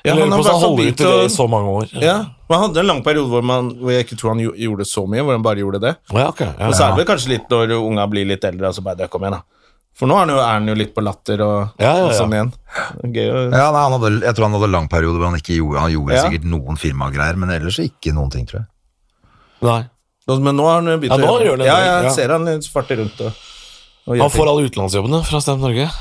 [SPEAKER 1] Ja, han
[SPEAKER 3] Jeg lurer
[SPEAKER 1] har
[SPEAKER 3] på hvordan
[SPEAKER 1] vært
[SPEAKER 3] han holder
[SPEAKER 1] forbi
[SPEAKER 3] ut i det
[SPEAKER 1] til-
[SPEAKER 3] i så mange år.
[SPEAKER 1] Ja, man hadde en lang periode hvor, man, hvor jeg ikke tror han jo, gjorde så mye, hvor han bare gjorde det.
[SPEAKER 3] ja ok. Ja.
[SPEAKER 1] Men så er det vel kanskje litt når unga blir litt eldre, og så bare det, kom igjen, da. For nå er han jo, er han jo litt på latter og,
[SPEAKER 3] Ja, ja,
[SPEAKER 1] og
[SPEAKER 3] ja.
[SPEAKER 1] sånn igjen. Gøy å
[SPEAKER 2] Ja, nei, han hadde, jeg tror han hadde lang periode hvor han ikke gjorde Han gjorde
[SPEAKER 1] Ja.
[SPEAKER 2] sikkert noen firmagreier, men ellers ikke noen ting, tror jeg.
[SPEAKER 3] Nei.
[SPEAKER 1] Men nå har han jo begynt
[SPEAKER 3] Ja, nå
[SPEAKER 1] å
[SPEAKER 3] gjør han det.
[SPEAKER 1] Ja, ja, jeg
[SPEAKER 3] Ja.
[SPEAKER 1] ser han litt farter rundt og, og
[SPEAKER 3] Han får alle utenlandsjobbene fra Stemt Norge.
[SPEAKER 1] ting.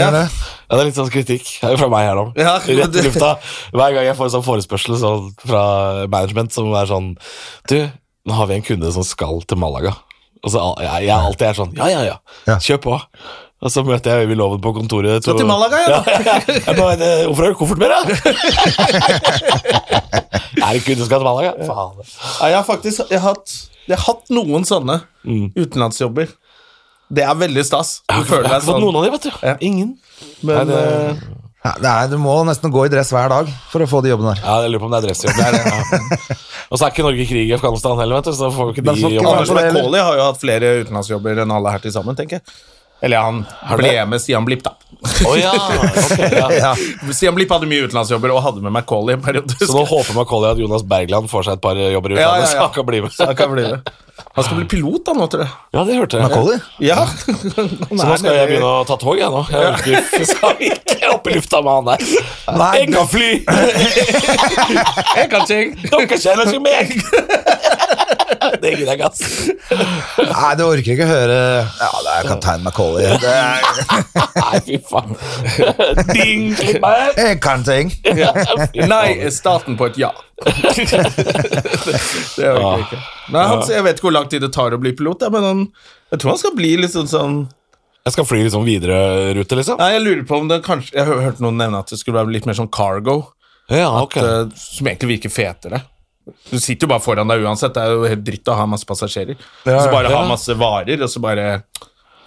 [SPEAKER 1] ja.
[SPEAKER 3] Ja, Det er litt sånn kritikk Det er jo fra meg her nå.
[SPEAKER 1] Ja, men
[SPEAKER 3] Rett i
[SPEAKER 1] du-
[SPEAKER 3] lufta. Hver gang jeg får en sånn forespørsel sånn, fra management som er sånn Du, nå har vi en kunde som skal til Malaga. Og så al- jeg, jeg alltid er sånn Ja, ja, ja.
[SPEAKER 2] Ja.
[SPEAKER 3] Kjør på. Og så møter jeg Øyvind Loven på kontoret.
[SPEAKER 1] Skal til Malaga, ja, da.
[SPEAKER 3] Jeg bare, «Eh, Hvorfor har du koffert med deg? (laughs) er det kunde som skal til Malaga? Faen.
[SPEAKER 1] Ja, jeg har faktisk jeg har hatt, jeg har hatt noen sånne utenlandsjobber. Det er veldig stas. Du
[SPEAKER 3] Mm. Jeg har
[SPEAKER 1] føler
[SPEAKER 3] ikke
[SPEAKER 1] deg
[SPEAKER 3] fått
[SPEAKER 1] sånn.
[SPEAKER 3] noen av de, vet du.
[SPEAKER 1] Ja.
[SPEAKER 3] Ingen.
[SPEAKER 1] Men,
[SPEAKER 3] Nei, det-
[SPEAKER 1] eh,
[SPEAKER 2] Ja, det er, du må nesten gå i dress hver dag for å få de jobbene der.
[SPEAKER 3] Ja, jeg lurer på om det er dressjobb. Det er det,
[SPEAKER 1] (laughs)
[SPEAKER 3] ja. Og så er ikke Norge i krig i Afghanistan heller, vet du. Så får jo ikke
[SPEAKER 2] Da får
[SPEAKER 3] de
[SPEAKER 2] ikke
[SPEAKER 3] jobbe.
[SPEAKER 1] sånn Anders McCauley har jo hatt flere utenlandsjobber enn alle her til sammen, tenker jeg. Eller han
[SPEAKER 3] du
[SPEAKER 1] ble
[SPEAKER 3] det?
[SPEAKER 1] med Stian Blipp, da.
[SPEAKER 3] Å ja, ok, ja.
[SPEAKER 2] Ja.
[SPEAKER 1] Stian Blipp hadde mye utenlandsjobber, og hadde med McCauley en periode.
[SPEAKER 3] Så nå håper Macaulay at Jonas Bergland får seg et par jobber i
[SPEAKER 1] Ja,
[SPEAKER 3] utlandet,
[SPEAKER 1] ja, ja.
[SPEAKER 3] så han kan bli med.
[SPEAKER 1] Så han kan bli det. Han skal bli pilot, da, nå, tror jeg.
[SPEAKER 3] Ja, det hørte jeg.
[SPEAKER 2] Macaulay?
[SPEAKER 1] Ja.
[SPEAKER 3] (laughs) Så nå skal jeg begynne å ta tog, jeg nå. Jeg orker jeg skal ikke opp i lufta med han der.
[SPEAKER 2] Nei.
[SPEAKER 3] Jeg kan fly!
[SPEAKER 1] Jeg kan ting.
[SPEAKER 3] (laughs) Dere kjenner ikke meg! Det gidder jeg ikke, ass.
[SPEAKER 2] Nei, du orker ikke høre Ja, det er kaptein Macaulay. Det
[SPEAKER 3] Nei, fy faen. Ding! klipp meg.
[SPEAKER 2] er kan ting.
[SPEAKER 1] Nei, starten på et
[SPEAKER 3] (laughs)
[SPEAKER 1] ja. det orker jeg ikke. Nei, han, jeg vet ikke hvor lang tid det tar å bli pilot, jeg, men han, jeg tror han skal bli litt sånn sånn
[SPEAKER 3] Jeg skal fly litt sånn Widerøe-rute, liksom.
[SPEAKER 1] Nei, jeg lurer på om det kanskje Jeg har hørt noen nevne at det skulle være litt mer sånn cargo,
[SPEAKER 3] Ja, ok.
[SPEAKER 1] eh, som egentlig virker fetere. Du sitter jo bare foran deg uansett, det er jo helt dritt å ha masse passasjerer. så bare
[SPEAKER 3] ja.
[SPEAKER 1] ha masse varer, og så bare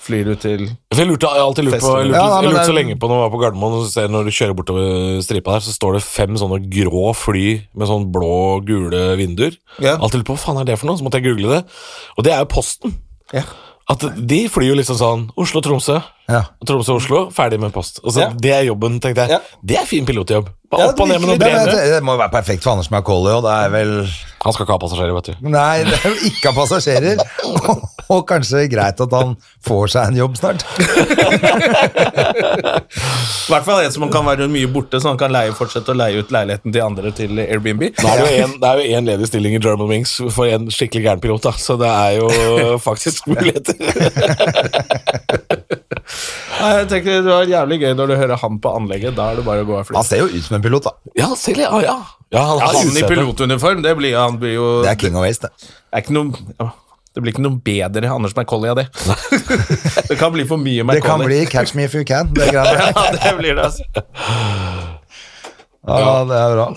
[SPEAKER 1] flyr du til
[SPEAKER 3] For Jeg lurte, jeg har alltid lurt på, jeg
[SPEAKER 2] Ja, nei,
[SPEAKER 3] lurte, jeg
[SPEAKER 2] men
[SPEAKER 3] lurte
[SPEAKER 2] det-
[SPEAKER 3] så lenge på når jeg var på Gardermoen og ser når du kjører bortover stripa der, så står det fem sånne grå fly med sånn blå-gule vinduer.
[SPEAKER 1] Ja.
[SPEAKER 3] Alltid lurt på hva faen er det for noe, så måtte jeg google det. Og det er jo Posten. At de flyr jo liksom sånn Oslo-Tromsø,
[SPEAKER 2] Ja.
[SPEAKER 3] Tromsø-Oslo, ferdig med post. Og så
[SPEAKER 1] Ja.
[SPEAKER 3] Det er jobben, tenkte jeg.
[SPEAKER 1] Ja.
[SPEAKER 3] Det er fin pilotjobb. Bare
[SPEAKER 1] Ja,
[SPEAKER 3] opp og ned med noen
[SPEAKER 2] Det, men,
[SPEAKER 3] brev.
[SPEAKER 2] det, det må jo være perfekt for Anders Macaulay, og det er vel
[SPEAKER 3] Han skal ikke ha passasjerer, vet du.
[SPEAKER 2] Nei, det er jo ikke av passasjerer. Og, og kanskje greit at han får seg en jobb snart.
[SPEAKER 1] I hvert fall en som han kan være mye borte, så han kan leie, fortsette å leie ut leiligheten til andre til Airbnb.
[SPEAKER 3] Nå er det, jo en, det er jo én ledig stilling i German Wings for en skikkelig gæren pilot, da. så det er
[SPEAKER 2] (laughs)
[SPEAKER 3] jo faktisk muligheter.
[SPEAKER 1] Nei, jeg tenker Det var jævlig gøy når du hører han på anlegget. Da er det bare å gå og fly.
[SPEAKER 2] Han ser jo ut som en pilot, da.
[SPEAKER 3] Ja, selv, ja. ja. ja han,
[SPEAKER 1] Ja,
[SPEAKER 3] har
[SPEAKER 1] han i
[SPEAKER 3] utseende.
[SPEAKER 1] pilotuniform, det blir, han blir jo
[SPEAKER 2] Det er King of Waste, det.
[SPEAKER 1] det er ikke noe, ja, det blir ikke noe bedre Anders Macaulay
[SPEAKER 3] (laughs)
[SPEAKER 1] av det. det kan bli for mye
[SPEAKER 2] Det kan
[SPEAKER 1] Macaulay.
[SPEAKER 2] bli Catch me if you can. Det, er greit.
[SPEAKER 1] Ja, (laughs)
[SPEAKER 3] (laughs)
[SPEAKER 1] det blir det, altså.
[SPEAKER 2] Ja, det er bra.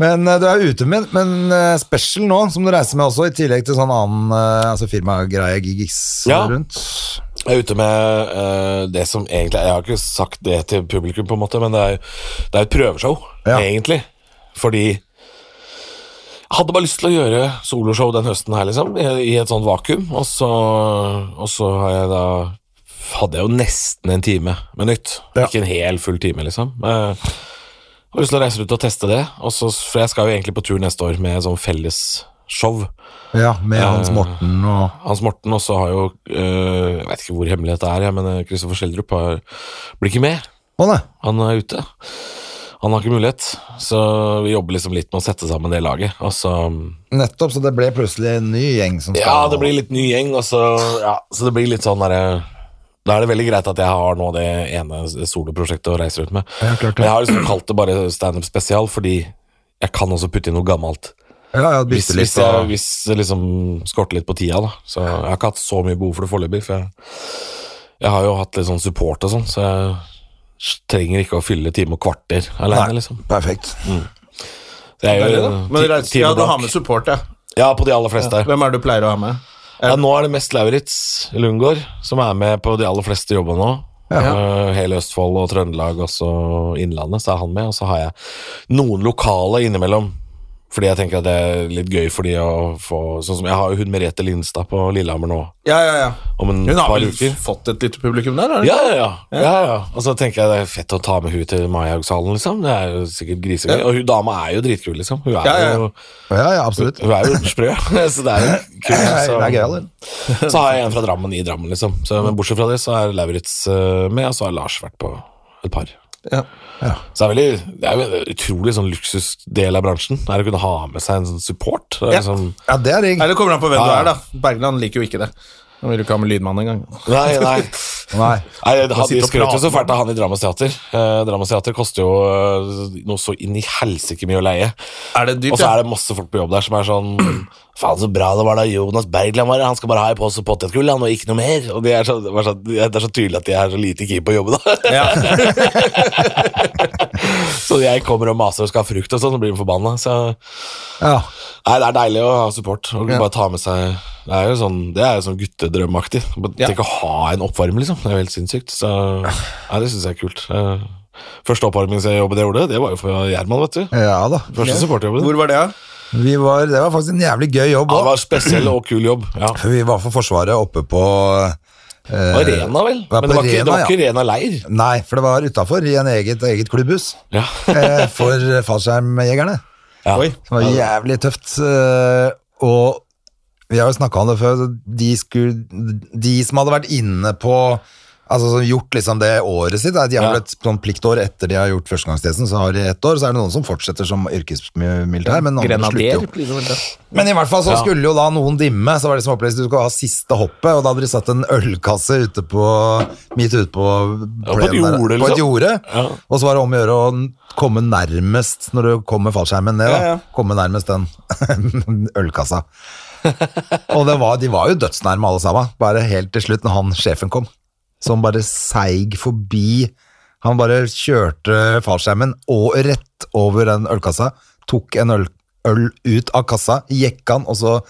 [SPEAKER 2] Men eh, du er ute med Men eh, special nå, som du reiser med også, i tillegg til sånn annen eh, altså firmagreie, gigs
[SPEAKER 3] Ja.
[SPEAKER 2] rundt.
[SPEAKER 3] Jeg er ute med eh, det som egentlig Jeg har ikke sagt det til publikum, på en måte, men det er, det er et prøveshow,
[SPEAKER 2] Ja.
[SPEAKER 3] egentlig. Fordi jeg hadde bare lyst til å gjøre soloshow den høsten her, liksom, i, i et sånt vakuum. Og så, og så har jeg da hadde jeg jo nesten en time med nytt.
[SPEAKER 2] Ja.
[SPEAKER 3] Ikke en hel full time, liksom. Eh, jeg har lyst til å reise ut og teste det, og så, for jeg skal jo egentlig på tur neste år med sånn fellesshow.
[SPEAKER 2] Ja, med Hans Morten og
[SPEAKER 3] Hans Morten også har jo øh, Jeg vet ikke hvor hemmelig dette er, jeg, men øh, Kristoffer Schjelderup har- blir ikke med.
[SPEAKER 2] Å nei.
[SPEAKER 3] Han er ute. Han har ikke mulighet, så vi jobber liksom litt med å sette sammen det laget. Og så um,
[SPEAKER 2] Nettopp, så det ble plutselig en ny gjeng som skal
[SPEAKER 3] Ja, det blir litt ny gjeng, og så ja, Så det blir litt sånn derre da er det veldig greit at jeg har nå det ene soloprosjektet å reise rundt med.
[SPEAKER 2] Ja, klart det.
[SPEAKER 3] Men jeg har liksom kalt det bare standup spesial, fordi jeg kan også putte inn noe gammelt.
[SPEAKER 2] Ja, ja,
[SPEAKER 3] Hvis,
[SPEAKER 2] bytte litt
[SPEAKER 3] hvis, jeg,
[SPEAKER 2] og-
[SPEAKER 3] hvis det liksom skorter litt på tida, da. Så jeg har ikke hatt så mye behov for det foreløpig. For jeg, jeg har jo hatt litt sånn support og sånn, så jeg trenger ikke å fylle time og kvarter
[SPEAKER 2] Nei.
[SPEAKER 3] alene, liksom.
[SPEAKER 2] Perfekt.
[SPEAKER 3] Det er
[SPEAKER 1] Det er det,
[SPEAKER 3] jo
[SPEAKER 1] da.
[SPEAKER 3] ti-
[SPEAKER 1] Men reis,
[SPEAKER 3] time
[SPEAKER 1] ja, du
[SPEAKER 3] blank.
[SPEAKER 1] har med support, ja.
[SPEAKER 3] Ja, på de aller fleste. Ja,
[SPEAKER 1] Hvem er det du pleier å ha med?
[SPEAKER 3] nå er det mest Lauritz Lundgaard som er med på de aller fleste jobber nå. Eh, hele Østfold og Trøndelag og så Innlandet, så er han med. Og så har jeg noen lokale innimellom. Fordi jeg tenker at det er litt gøy for de å få Sånn som jeg har jo hun Merete Lindstad på Lillehammer nå.
[SPEAKER 1] Ja, ja, ja.
[SPEAKER 3] om en
[SPEAKER 1] Hun har
[SPEAKER 3] Mm, par
[SPEAKER 1] vel
[SPEAKER 3] uker.
[SPEAKER 1] fått et lite publikum der? har hun
[SPEAKER 3] Ja,
[SPEAKER 1] ikke?
[SPEAKER 3] ja, ja. ja, ja. Og så tenker jeg det er fett å ta med hun til Maihaugshallen, liksom. Det er jo sikkert grisegøy.
[SPEAKER 1] Ja.
[SPEAKER 3] Og hun dama er jo dritkul, liksom. Hun er
[SPEAKER 1] Ja, ja, ja.
[SPEAKER 3] jo
[SPEAKER 2] Ja, ja, absolutt.
[SPEAKER 3] hun er jo sprø, (laughs) så det er jo kult.
[SPEAKER 2] Nei,
[SPEAKER 3] Så,
[SPEAKER 2] det er gøy, eller?
[SPEAKER 3] (laughs) så har jeg en fra Drammen i Drammen, liksom. Så, men bortsett fra det, så er Lauritz eh, med, og så har Lars vært på et par.
[SPEAKER 1] Ja.
[SPEAKER 3] Så det er, veldig, det er jo en utrolig sånn luksusdel av bransjen. Det er å kunne ha med seg en sånn support. Det er
[SPEAKER 1] Ja.
[SPEAKER 3] liksom,
[SPEAKER 2] Ja, det er digg.
[SPEAKER 1] Nei, det kommer an på hvem
[SPEAKER 3] Ja,
[SPEAKER 1] du
[SPEAKER 3] ja.
[SPEAKER 1] er, da. Bergland liker jo ikke det. Han vil jo ikke ha med lydmann engang.
[SPEAKER 3] nei, nei.
[SPEAKER 2] Nei.
[SPEAKER 3] Nei, det- han-
[SPEAKER 1] sitter
[SPEAKER 3] De
[SPEAKER 1] og
[SPEAKER 3] skrøt jo
[SPEAKER 1] prater
[SPEAKER 3] så fælt av han i Drammens Teater. Eh, Drammens Teater koster jo eh, noe så inn i helsike mye å leie.
[SPEAKER 1] Er det dyrt,
[SPEAKER 3] Og så er det masse folk på jobb der som er sånn (clears throat) Faen, så bra det var da Jonas Bergland var her. Han skal bare ha en pose potetgull, han, og ikke noe mer. Og de er så, det, var så, det er så tydelig at de er så lite keen på å jobbe, da.
[SPEAKER 1] ja. ja.
[SPEAKER 3] (laughs) så jeg kommer og maser og skal ha frukt og sånn, så blir de forbanna. Så
[SPEAKER 2] Ja.
[SPEAKER 3] nei, det er deilig å ha support. Og bare ta med seg Det er jo sånn, det er jo sånn guttedrømaktig. Bare
[SPEAKER 1] Ja.
[SPEAKER 3] Tenk å ha en oppvarmer, liksom. Det er jo helt sinnssykt. Så nei, det syns jeg er kult. Eh, Første oppvarmingsjobben jeg gjorde, det var jo for Gjerman, vet du.
[SPEAKER 2] ja da.
[SPEAKER 3] Første supportjobben.
[SPEAKER 1] Hvor var det, da?
[SPEAKER 2] Vi var, det var faktisk en jævlig gøy jobb
[SPEAKER 3] Ja, det
[SPEAKER 2] òg.
[SPEAKER 3] var en spesiell og kul jobb. Ja.
[SPEAKER 2] Vi var for Forsvaret oppe på eh,
[SPEAKER 3] Arena, vel?
[SPEAKER 2] var
[SPEAKER 3] Men det
[SPEAKER 2] på
[SPEAKER 3] var ikke, det
[SPEAKER 2] Arena,
[SPEAKER 3] var ikke Rena leir.
[SPEAKER 2] Nei, for det var utafor, i en eget, eget klubbhus.
[SPEAKER 3] Ja. (laughs)
[SPEAKER 2] eh, for fallskjermjegerne.
[SPEAKER 3] Ja.
[SPEAKER 1] Oi.
[SPEAKER 2] Som var jævlig tøft. eh, Og vi har jo snakka om det før, så de, skulle, de som hadde vært inne på Altså som gjort liksom det året sitt. De har vel et sånn pliktår etter de har gjort førstegangstjenesten, så har de ett år. Så er det noen som fortsetter som yrkesmilitær, men andre slutter
[SPEAKER 1] Grenader.
[SPEAKER 2] jo.
[SPEAKER 1] blir det vel da.
[SPEAKER 2] Men i hvert fall så skulle jo da noen dimme, så var det som opplevelse du skulle ha siste hoppet, og da hadde de satt en ølkasse ute på, midt ute på
[SPEAKER 3] Ja, på et
[SPEAKER 2] plenen der,
[SPEAKER 3] jorde,
[SPEAKER 2] på
[SPEAKER 3] liksom.
[SPEAKER 2] et jorde.
[SPEAKER 3] Ja.
[SPEAKER 2] Og så var det om å gjøre å n- komme nærmest, når du kommer fallskjermen ned, da.
[SPEAKER 1] Ja, ja.
[SPEAKER 2] komme nærmest den (laughs) ølkassa. og det var, de var jo dødsnærme alle sammen, bare helt til slutt når han sjefen kom, som bare seig forbi, han bare kjørte fallskjermen og rett over den ølkassa, tok en øl, øl ut av kassa, gikk han, og så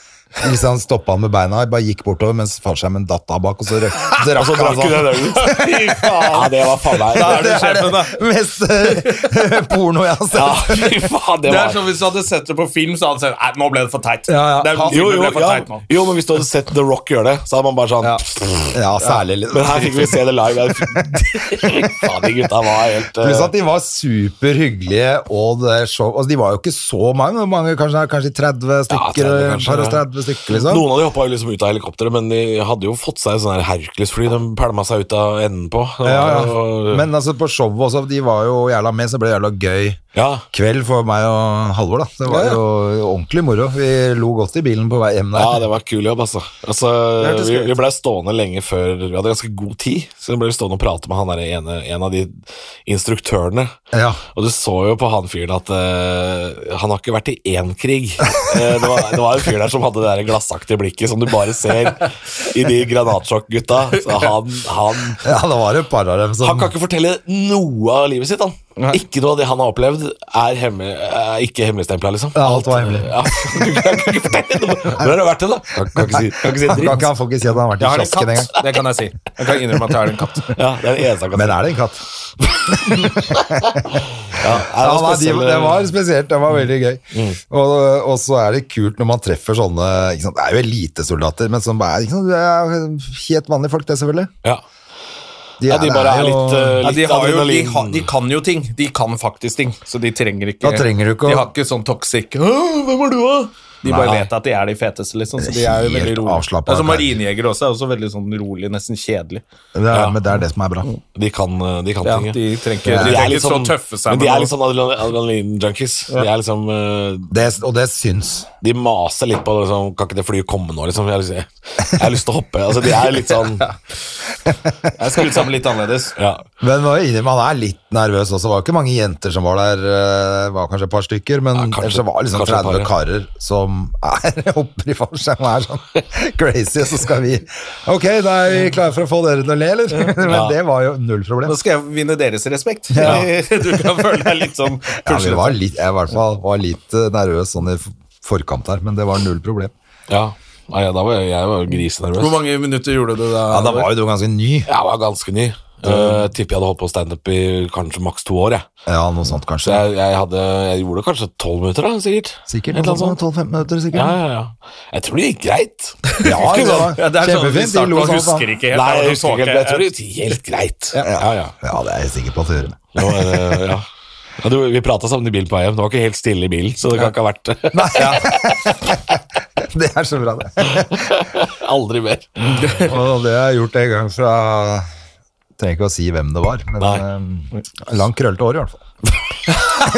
[SPEAKER 2] liksom stoppet han med beina, bare gikk bortover, mens fallskjermen datt av bak, og så rø-
[SPEAKER 3] (laughs)
[SPEAKER 2] drakk
[SPEAKER 3] Så
[SPEAKER 2] han
[SPEAKER 3] drakk
[SPEAKER 2] sånn.
[SPEAKER 3] du den ølen. (laughs) Fy faen. Ja, det var faen meg
[SPEAKER 1] Da er du sjefen, da.
[SPEAKER 2] Mest eh, (laughs) porno jeg har sett.
[SPEAKER 3] Ja, fy faen, det
[SPEAKER 1] Det
[SPEAKER 3] var
[SPEAKER 1] er som hvis du hadde sett det på film, så hadde du sagt Nei, nå ble det for teit.
[SPEAKER 2] Ja, ja.
[SPEAKER 1] Det er,
[SPEAKER 2] Han-
[SPEAKER 1] jo,
[SPEAKER 3] jo, jo,
[SPEAKER 1] ble for
[SPEAKER 3] ja.
[SPEAKER 1] teit nå.
[SPEAKER 3] jo, men hvis du hadde sett The Rock gjøre det, så hadde man bare sånn
[SPEAKER 2] Ja, ja særlig. litt.
[SPEAKER 3] Men her fikk vi se det
[SPEAKER 2] (laughs)
[SPEAKER 3] live. Jeg- Faen, de gutta var helt eh,
[SPEAKER 2] Pluss at de var superhyggelige, og det show, altså de var jo ikke så mange, hvor mange kanskje, kanskje 30 stykker,
[SPEAKER 3] Ja, 30
[SPEAKER 2] ja,
[SPEAKER 3] kanskje,
[SPEAKER 2] 30 stykker liksom.
[SPEAKER 3] Noen av de hoppa jo liksom ut av helikopteret, men de hadde jo fått seg sånn her Hercules-fly de pælma seg ut av enden på. Det var
[SPEAKER 2] Ja, ja.
[SPEAKER 3] jo-
[SPEAKER 2] Men altså på showet også, de var jo jævla med, så det ble jævla gøy
[SPEAKER 3] ja.
[SPEAKER 2] kveld for meg og Halvor da. Det var
[SPEAKER 1] Ja, ja.
[SPEAKER 2] jo ordentlig moro. Vi lo godt i bilen på vei hjem der.
[SPEAKER 3] Ja, det var kul jobb, altså. altså
[SPEAKER 1] hørtes
[SPEAKER 3] vi
[SPEAKER 1] gøy ut.
[SPEAKER 3] vi blei stående lenge før Vi hadde ganske god tid, så vi ble stående og prate med han der ene, en av de instruktørene.
[SPEAKER 2] Ja.
[SPEAKER 3] Og du så jo på han fyren at eh, han har ikke vært i én
[SPEAKER 1] (laughs)
[SPEAKER 3] krig. Eh, det, var, det var en fyr der som hadde det der glassaktige blikket som du bare ser i de granatsjokk-gutta. Så han, han
[SPEAKER 2] Ja, det var et par av dem som...
[SPEAKER 3] Han kan ikke fortelle noe av livet sitt, han. Ikke noe av det han har opplevd, er, hemme, er ikke hemmeligstempla, liksom.
[SPEAKER 2] Ja, alt var hemmelig.
[SPEAKER 3] Ja, (laughs) du kan, kan ikke fortelle noe. Hvor har du vært hen, da? Kan, kan ikke si, kan ikke si en
[SPEAKER 2] Kan
[SPEAKER 3] dritt.
[SPEAKER 2] ikke han får ikke si at han har vært i
[SPEAKER 1] Jeg har en
[SPEAKER 2] kiosken engang.
[SPEAKER 1] katt. Det kan jeg si. Jeg kan innrømme at jeg har en (laughs) katt.
[SPEAKER 3] Ja, det er det eneste han kan si.
[SPEAKER 2] Men er det en katt?
[SPEAKER 3] Ja, er
[SPEAKER 2] Ja,
[SPEAKER 3] det
[SPEAKER 2] nei, de,
[SPEAKER 3] noe spesielt? eh, mm.
[SPEAKER 2] det var spesielt, det var veldig gøy. Og, og så er det kult når man treffer sånne ikke sant? Det er jo elitesoldater, men som bare er ikke sant? Det er helt vanlige folk, det, selvfølgelig.
[SPEAKER 3] ja. ja, de
[SPEAKER 2] det
[SPEAKER 3] bare er
[SPEAKER 2] jo-
[SPEAKER 3] litt, eh,
[SPEAKER 1] Ja,
[SPEAKER 3] litt
[SPEAKER 1] de, har jo, de,
[SPEAKER 3] adrenalin.
[SPEAKER 1] har, de kan jo ting. De kan faktisk ting, så de trenger ikke
[SPEAKER 2] Da trenger du ikke å-
[SPEAKER 1] De har ikke sånn toxic «Åh, 'Hvem er du, da?' De bare
[SPEAKER 2] Nei.
[SPEAKER 1] vet at de er de feteste, liksom. Så de er jo
[SPEAKER 2] Helt
[SPEAKER 1] veldig rolig.
[SPEAKER 2] avslappet karakter.
[SPEAKER 1] Altså, Marinejegere også er også veldig sånn rolig, nesten kjedelig.
[SPEAKER 3] eh,
[SPEAKER 2] Det er, Men det er det som er bra.
[SPEAKER 3] De kan, eh, de kan
[SPEAKER 1] Ja,
[SPEAKER 3] ting,
[SPEAKER 1] de
[SPEAKER 3] ja.
[SPEAKER 1] trenger ikke
[SPEAKER 3] Men
[SPEAKER 1] de
[SPEAKER 3] de er
[SPEAKER 1] trenger
[SPEAKER 3] litt
[SPEAKER 1] ikke så
[SPEAKER 3] sånn-
[SPEAKER 1] tøffe seg
[SPEAKER 3] Men de
[SPEAKER 1] med
[SPEAKER 3] er
[SPEAKER 1] noe.
[SPEAKER 3] litt sånn adrenal- adrenalin-junkies. De er liksom eh,
[SPEAKER 2] Det, og det syns.
[SPEAKER 3] De maser litt på liksom, Kan ikke det flyet komme nå, liksom? Jeg har lyst, jeg, har lyst til å hoppe. Altså, de er
[SPEAKER 2] (laughs)
[SPEAKER 3] litt sånn
[SPEAKER 1] Jeg er skrudd sammen litt annerledes.
[SPEAKER 3] Ja.
[SPEAKER 2] Men man er litt nervøs også. Det var ikke mange jenter som var der. eh, Det var kanskje et par stykker, men
[SPEAKER 3] Ja, kanskje-
[SPEAKER 2] ellers så var det liksom
[SPEAKER 3] kanskje et
[SPEAKER 2] 30
[SPEAKER 3] par,
[SPEAKER 2] karer som er (laughs) hopper i fallskjerm og er sånn (laughs) crazy, og så skal vi Ok, da er vi klare for å få dere til å le, eller? (laughs) Men
[SPEAKER 3] Ja.
[SPEAKER 2] det var jo null problem.
[SPEAKER 1] Nå skal jeg vinne deres respekt.
[SPEAKER 2] Ja.
[SPEAKER 1] (laughs) Du kan føle deg litt sånn
[SPEAKER 2] Ja, vi var litt, jeg i hvert fall var litt eh, nervøs sånn i f- forkant her, men det var null problem.
[SPEAKER 3] ja. Nei, da var jeg, jeg var jo grisenervøs.
[SPEAKER 1] Hvor mange minutter gjorde du da?
[SPEAKER 2] Ja, da var jo du ganske ny.
[SPEAKER 3] Jeg var ganske ny. Uh, tipper jeg hadde holdt på standup i kanskje maks to år. Jeg.
[SPEAKER 2] Ja, noe sånt
[SPEAKER 3] Så
[SPEAKER 2] kanskje.
[SPEAKER 3] jeg, jeg, hadde, jeg gjorde kanskje tolv minutter, da, sikkert.
[SPEAKER 2] Sikkert
[SPEAKER 3] Et eller
[SPEAKER 2] noe sånt,
[SPEAKER 3] annet
[SPEAKER 2] 12-15
[SPEAKER 3] sånt.
[SPEAKER 2] minutter sikkert.
[SPEAKER 3] Ja, ja, ja. Jeg tror det gikk greit.
[SPEAKER 2] (laughs) Ja, det var
[SPEAKER 1] Ja, det er sånn,
[SPEAKER 2] kjempefint. De
[SPEAKER 1] starten,
[SPEAKER 2] lo
[SPEAKER 1] man
[SPEAKER 2] sånn.
[SPEAKER 1] husker
[SPEAKER 2] faen.
[SPEAKER 1] ikke helt.
[SPEAKER 3] Nei,
[SPEAKER 1] det var sånn
[SPEAKER 3] jeg husker ikke helt, men jeg tror det gikk helt greit. Ja, ja.
[SPEAKER 2] Ja, det er jeg sikker på at du gjør. det.
[SPEAKER 3] Det var, eh, ja. Ja, du, vi prata sammen i bilen på vei hjem. Det var ikke helt stille i bilen, så det kan ikke ha
[SPEAKER 2] (laughs)
[SPEAKER 3] vært
[SPEAKER 2] Det er så bra, det.
[SPEAKER 3] (laughs) Aldri mer.
[SPEAKER 2] Og det har jeg gjort en gang fra Trenger ikke å si hvem det var, men eh, langt krøllete hår i hvert fall.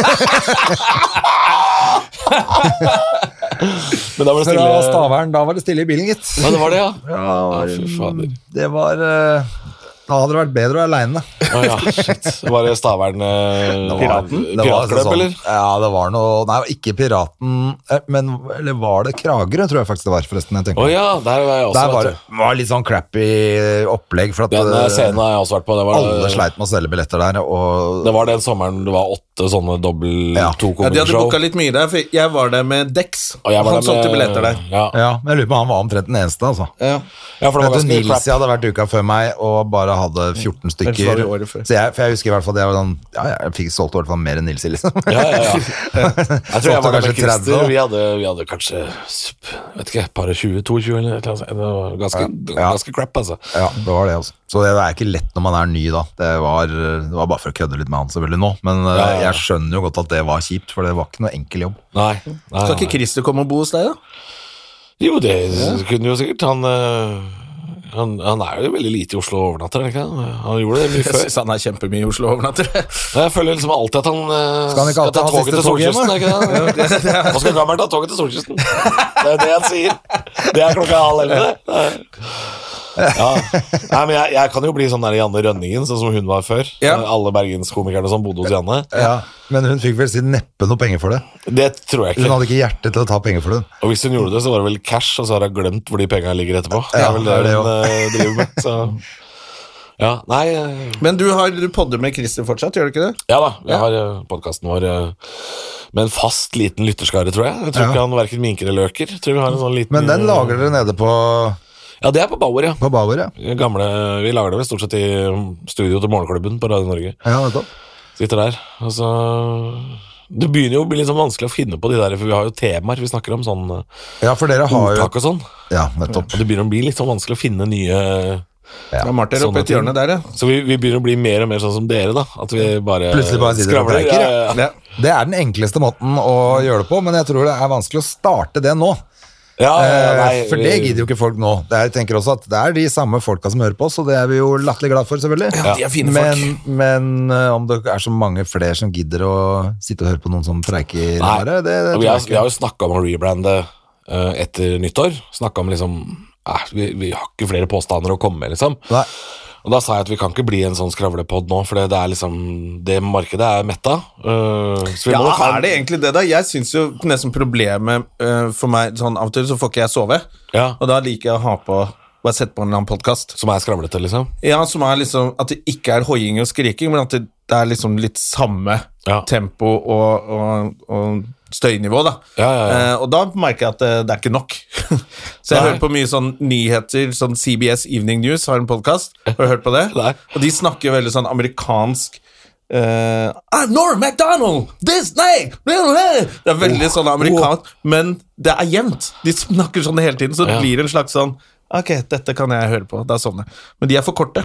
[SPEAKER 3] Men da var det
[SPEAKER 2] Fra
[SPEAKER 3] stille.
[SPEAKER 2] Stavern, da var det stille i bilen, gitt.
[SPEAKER 3] Ja, det var det, ja.
[SPEAKER 2] Ja,
[SPEAKER 3] fy fader.
[SPEAKER 2] det var eh, Da hadde det vært bedre å være aleine.
[SPEAKER 3] Å, ja. Shit. Var det Stavern eh,
[SPEAKER 2] Det var
[SPEAKER 3] Piratklubb,
[SPEAKER 2] sånn-
[SPEAKER 3] eller?
[SPEAKER 2] Ja, det var noe Nei, ikke Piraten, eh, men eller var det Kragerø, tror jeg faktisk det var, forresten. Jeg tenker.
[SPEAKER 3] Å ja, der var jeg også.
[SPEAKER 2] Der var det
[SPEAKER 3] vet du.
[SPEAKER 2] var litt sånn crappy opplegg, for at
[SPEAKER 3] Den eh, scenen
[SPEAKER 2] eh,
[SPEAKER 3] har jeg også vært på. Det var, eh,
[SPEAKER 2] alle sleit med å selge billetter der, og
[SPEAKER 3] Det var den sommeren det var åtte sånne dobbel
[SPEAKER 2] Ja.
[SPEAKER 3] to
[SPEAKER 1] Ja, de hadde
[SPEAKER 3] komedishow.
[SPEAKER 1] booka litt mye der, for jeg var der med Dex.
[SPEAKER 3] og jeg
[SPEAKER 1] han
[SPEAKER 3] var der med-
[SPEAKER 1] solgte billetter der.
[SPEAKER 3] Ja,
[SPEAKER 2] ja, men jeg lurer på om han var omtrent den eneste, altså.
[SPEAKER 1] Ja.
[SPEAKER 3] ja for det var
[SPEAKER 2] Vet du,
[SPEAKER 3] ganske
[SPEAKER 2] Nils
[SPEAKER 3] crap.
[SPEAKER 2] jeg hadde vært uka før meg og bare
[SPEAKER 3] Mm.
[SPEAKER 2] hadde 14
[SPEAKER 1] Ellers var
[SPEAKER 2] stykker.
[SPEAKER 1] det året før.
[SPEAKER 2] Så jeg, for jeg husker i hvert fall det var sånn Ja, ja, jeg fikk solgt i hvert fall mer enn Nils i, liksom.
[SPEAKER 3] Ja, ja,
[SPEAKER 2] (laughs)
[SPEAKER 3] ja. Jeg tror jeg
[SPEAKER 2] Solgte
[SPEAKER 3] var der med
[SPEAKER 2] kanskje 30,
[SPEAKER 3] Christer.
[SPEAKER 2] da.
[SPEAKER 3] Vi hadde, vi hadde kanskje sp- vet ikke, par og 20, 22 eller et eller annet. sånt. Det var ganske,
[SPEAKER 2] Ja.
[SPEAKER 3] ganske crap, altså.
[SPEAKER 2] Ja, det var det, altså. Så det er ikke lett når man er ny, da. Det var, det var bare for å kødde litt med han selvfølgelig nå, men eh,
[SPEAKER 3] Ja, ja, ja.
[SPEAKER 2] jeg skjønner jo godt at det var kjipt, for det var ikke noe enkel jobb.
[SPEAKER 3] Nei. nei,
[SPEAKER 1] Skal
[SPEAKER 3] nei.
[SPEAKER 1] ikke Christer komme og bo hos deg, da?
[SPEAKER 3] Jo, det kunne jo sikkert han eh, Han, han er jo veldig lite i Oslo og overnatter, er han ikke det? Han gjorde det mye
[SPEAKER 1] Jeg
[SPEAKER 3] før.
[SPEAKER 1] syns han er kjempemye i Oslo overnatter.
[SPEAKER 3] Ja, Jeg føler liksom alltid at han eh,
[SPEAKER 2] Skal han ikke alltid
[SPEAKER 3] at det er
[SPEAKER 2] ha
[SPEAKER 3] toget
[SPEAKER 2] siste
[SPEAKER 3] til
[SPEAKER 2] tog hjemme?
[SPEAKER 3] Solkysten? er ikke
[SPEAKER 2] (laughs)
[SPEAKER 3] det? Nå skal gammelen ta toget til Solkysten. Det er det han sier. Det er klokka halv elleve. det. Ja. Nei, men jeg, jeg kan jo bli sånn der Janne Rønningen, sånn som hun var før.
[SPEAKER 1] Ja.
[SPEAKER 3] Alle bergenskomikerne som bodde hos Janne.
[SPEAKER 2] Ja, men hun fikk vel si neppe noe penger for det.
[SPEAKER 3] Det tror jeg
[SPEAKER 2] Hun
[SPEAKER 3] ikke.
[SPEAKER 2] hadde ikke hjerte til å ta penger for det.
[SPEAKER 3] Og hvis hun gjorde det, så var det vel cash, og så har hun glemt hvor de penga ligger etterpå. Det
[SPEAKER 2] Ja,
[SPEAKER 3] er vel det
[SPEAKER 2] det er det
[SPEAKER 3] hun eh, driver med. Så. Ja, nei eh,
[SPEAKER 1] (laughs) Men du, har, du podder med Christer fortsatt, gjør du ikke det?
[SPEAKER 3] Ja da, jeg
[SPEAKER 1] Ja.
[SPEAKER 3] har podkasten vår eh, med en fast liten lytterskare, tror jeg. Jeg tror
[SPEAKER 2] Ja.
[SPEAKER 3] ikke han verken minker eller øker. Jeg Tror vi har en sånn liten
[SPEAKER 2] Men den lager dere nede på,
[SPEAKER 3] Ja, det er på Bauer, ja.
[SPEAKER 2] på Bauer, ja.
[SPEAKER 3] Gamle, vi lager det vel stort sett i mm, studio til Morgenklubben på Radio Norge.
[SPEAKER 2] Ja, nettopp.
[SPEAKER 3] Sitter der, og så Det begynner jo å bli litt sånn vanskelig å finne på de der, for vi har jo temaer vi snakker om, sånn eh,
[SPEAKER 2] ja for dere har jo
[SPEAKER 3] ordtak og sånn.
[SPEAKER 2] Ja, nettopp.
[SPEAKER 3] Og det begynner å bli litt sånn vanskelig å finne nye
[SPEAKER 1] Ja, Martin er
[SPEAKER 3] Sånne
[SPEAKER 1] oppe i et
[SPEAKER 3] ting.
[SPEAKER 1] hjørne der, ja.
[SPEAKER 3] Så vi, vi begynner å bli mer og mer sånn som dere, da. At vi bare
[SPEAKER 2] Plutselig bare sitter og
[SPEAKER 3] skravler.
[SPEAKER 2] preiker,
[SPEAKER 3] Ja,
[SPEAKER 2] ja.
[SPEAKER 3] ja, ja.
[SPEAKER 1] ja.
[SPEAKER 2] Det er den enkleste måten å gjøre det på, men jeg tror det er vanskelig å starte det nå.
[SPEAKER 3] Ja, ja,
[SPEAKER 2] Eh,
[SPEAKER 3] nei,
[SPEAKER 2] for det gidder jo ikke folk nå. Det er, jeg tenker også at det er de samme folka som hører på oss, og det er vi jo latterlig glad for, selvfølgelig.
[SPEAKER 1] Ja, de er fine
[SPEAKER 2] men,
[SPEAKER 1] folk.
[SPEAKER 2] Men eh, om det er så mange flere som gidder å sitte og høre på noen som preiker
[SPEAKER 3] Nei.
[SPEAKER 2] bare, det, det
[SPEAKER 3] Og
[SPEAKER 2] tror
[SPEAKER 3] vi, har,
[SPEAKER 2] jeg
[SPEAKER 3] vi
[SPEAKER 2] ikke.
[SPEAKER 3] har jo snakka om å rebrande eh, etter nyttår. Snakka om liksom eh, vi, vi har ikke flere påstander å komme med, liksom.
[SPEAKER 2] Nei.
[SPEAKER 3] Og da sa jeg at vi kan ikke bli en sånn skravlepod nå, for det, det er liksom Det markedet er metta. eh, så vi
[SPEAKER 1] Ja,
[SPEAKER 3] må nok ha en-
[SPEAKER 1] er det egentlig det, da? Jeg syns jo nesten problemet eh, for meg sånn av og til, så får ikke jeg sove.
[SPEAKER 3] Ja,
[SPEAKER 1] Og da liker jeg å ha på bare sette på en eller annen podkast.
[SPEAKER 3] som er skravlete, liksom?
[SPEAKER 1] Ja, som er liksom At det ikke er hoiing og skriking, men at det, det er liksom litt samme
[SPEAKER 3] Ja.
[SPEAKER 1] tempo og, og, og støynivå, da.
[SPEAKER 3] Ja, ja, ja.
[SPEAKER 1] Eh, og da merker jeg at eh, det, det er ikke nok. (laughs) så jeg
[SPEAKER 3] Nei.
[SPEAKER 1] hører på mye sånn nyheter, sånn CBS Evening News har en podkast. Har du hørt på det?
[SPEAKER 3] Nei.
[SPEAKER 1] Og de snakker jo veldig sånn amerikansk eh, I'm Norm MacDonald! This day! Blah, blah. Det er veldig sånn amerikansk, men det er jevnt. De snakker sånn hele tiden, så det
[SPEAKER 3] Ja.
[SPEAKER 1] blir en slags sånn Ok, dette kan jeg høre på. Da sovner jeg. Men de er for korte.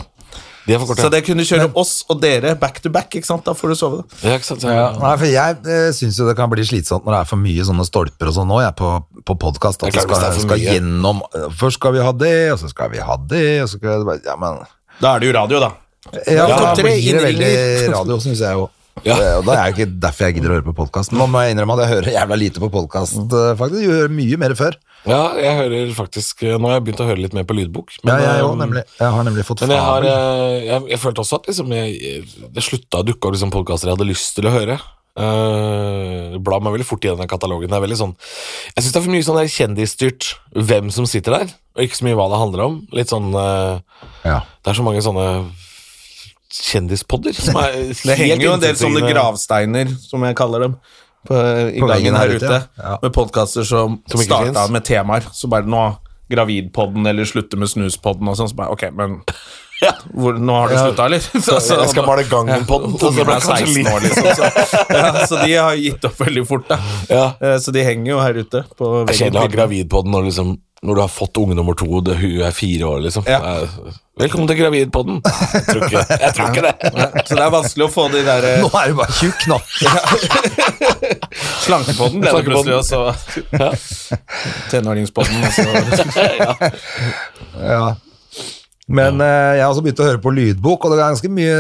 [SPEAKER 3] De er for korte.
[SPEAKER 1] Så det kunne kjøre oss og dere back to back. ikke sant? Da får du sove. da.
[SPEAKER 3] ja, ikke sant? Så,
[SPEAKER 2] Nei, for jeg eh, syns jo det kan bli slitsomt når det er for mye sånne stolper og sånn nå, jeg, på, på podkast.
[SPEAKER 3] Det er klart, hvis det er
[SPEAKER 2] skal,
[SPEAKER 3] for
[SPEAKER 2] skal
[SPEAKER 3] mye.
[SPEAKER 2] gjennom eh, Først skal vi ha det, og så skal vi ha det, og så skal vi Ja, men
[SPEAKER 1] Da er det jo radio, da.
[SPEAKER 2] Ja,
[SPEAKER 1] Ja,
[SPEAKER 2] da
[SPEAKER 1] topp tre,
[SPEAKER 2] blir det veldig
[SPEAKER 1] innringer.
[SPEAKER 2] (laughs) radio, syns jeg jo.
[SPEAKER 3] (laughs) Ja.
[SPEAKER 2] Eh, Og da er det ikke derfor jeg gidder å høre på podkast. Nå må jeg innrømme at jeg hører jævla lite på podkast, faktisk. Jeg hører mye mer før.
[SPEAKER 3] ja, jeg hører faktisk eh, Nå har jeg begynt å høre litt mer på lydbok. men,
[SPEAKER 2] Ja, jeg,
[SPEAKER 3] eh,
[SPEAKER 2] òg, nemlig. jeg har nemlig fått
[SPEAKER 3] Men jeg, har,
[SPEAKER 2] fabel.
[SPEAKER 3] eh, jeg, jeg følte også at liksom, jeg, det slutta å dukke opp liksom, podkaster jeg hadde lyst til å høre. Uh, Blar meg veldig fort i denne katalogen. Det er veldig sånn, jeg syns det er for mye sånn der kjendisstyrt hvem som sitter der, og ikke så mye hva det handler om. Litt sånn eh,
[SPEAKER 2] ja.
[SPEAKER 3] Det er så mange sånne kjendispodder som er helt
[SPEAKER 1] Det henger jo en del sånne
[SPEAKER 3] innsiktsgivende,
[SPEAKER 1] gravsteiner, som jeg kaller dem, på, i
[SPEAKER 2] På
[SPEAKER 1] gangen
[SPEAKER 2] veggen
[SPEAKER 1] her
[SPEAKER 2] her ute,
[SPEAKER 1] ute.
[SPEAKER 2] ja. Ja.
[SPEAKER 1] Med podkaster som,
[SPEAKER 3] Som ikke
[SPEAKER 1] starta
[SPEAKER 3] finnes.
[SPEAKER 1] med temaer. Så bare nå Gravidpodden eller slutte med snuspodden og sånn. Så bare ok,
[SPEAKER 3] (laughs)
[SPEAKER 1] men hvor, nå har du slutta, eller? Så, så-
[SPEAKER 3] Jeg skal male gangen på den. så det
[SPEAKER 1] Ungene
[SPEAKER 3] ble
[SPEAKER 1] er
[SPEAKER 3] kanskje
[SPEAKER 1] 16
[SPEAKER 3] litt-
[SPEAKER 1] år, liksom. Så, (laughs) ja, så de har gitt opp veldig fort, da.
[SPEAKER 3] Ja.
[SPEAKER 1] Eh, Så de henger jo her ute. På
[SPEAKER 3] Det er kjedelig å ha gravidpodden når, liksom, når du har fått unge nummer to, og det- hun er fire år, liksom.
[SPEAKER 1] Ja.
[SPEAKER 3] Eh, Velkommen til gravidpodden. Nei, Jeg tror ikke, jeg tror ikke det.
[SPEAKER 1] Ja, Så det er vanskelig å få de der
[SPEAKER 3] (laughs)
[SPEAKER 1] eh,
[SPEAKER 2] Nå er det bare tjukk knapp.
[SPEAKER 1] Slankepodden ble det plutselig,
[SPEAKER 3] Slankepodden.
[SPEAKER 1] og så (laughs) Tenåringspodden, og så
[SPEAKER 2] Ja. Men eh, jeg har også begynt å høre på lydbok, og det er ganske mye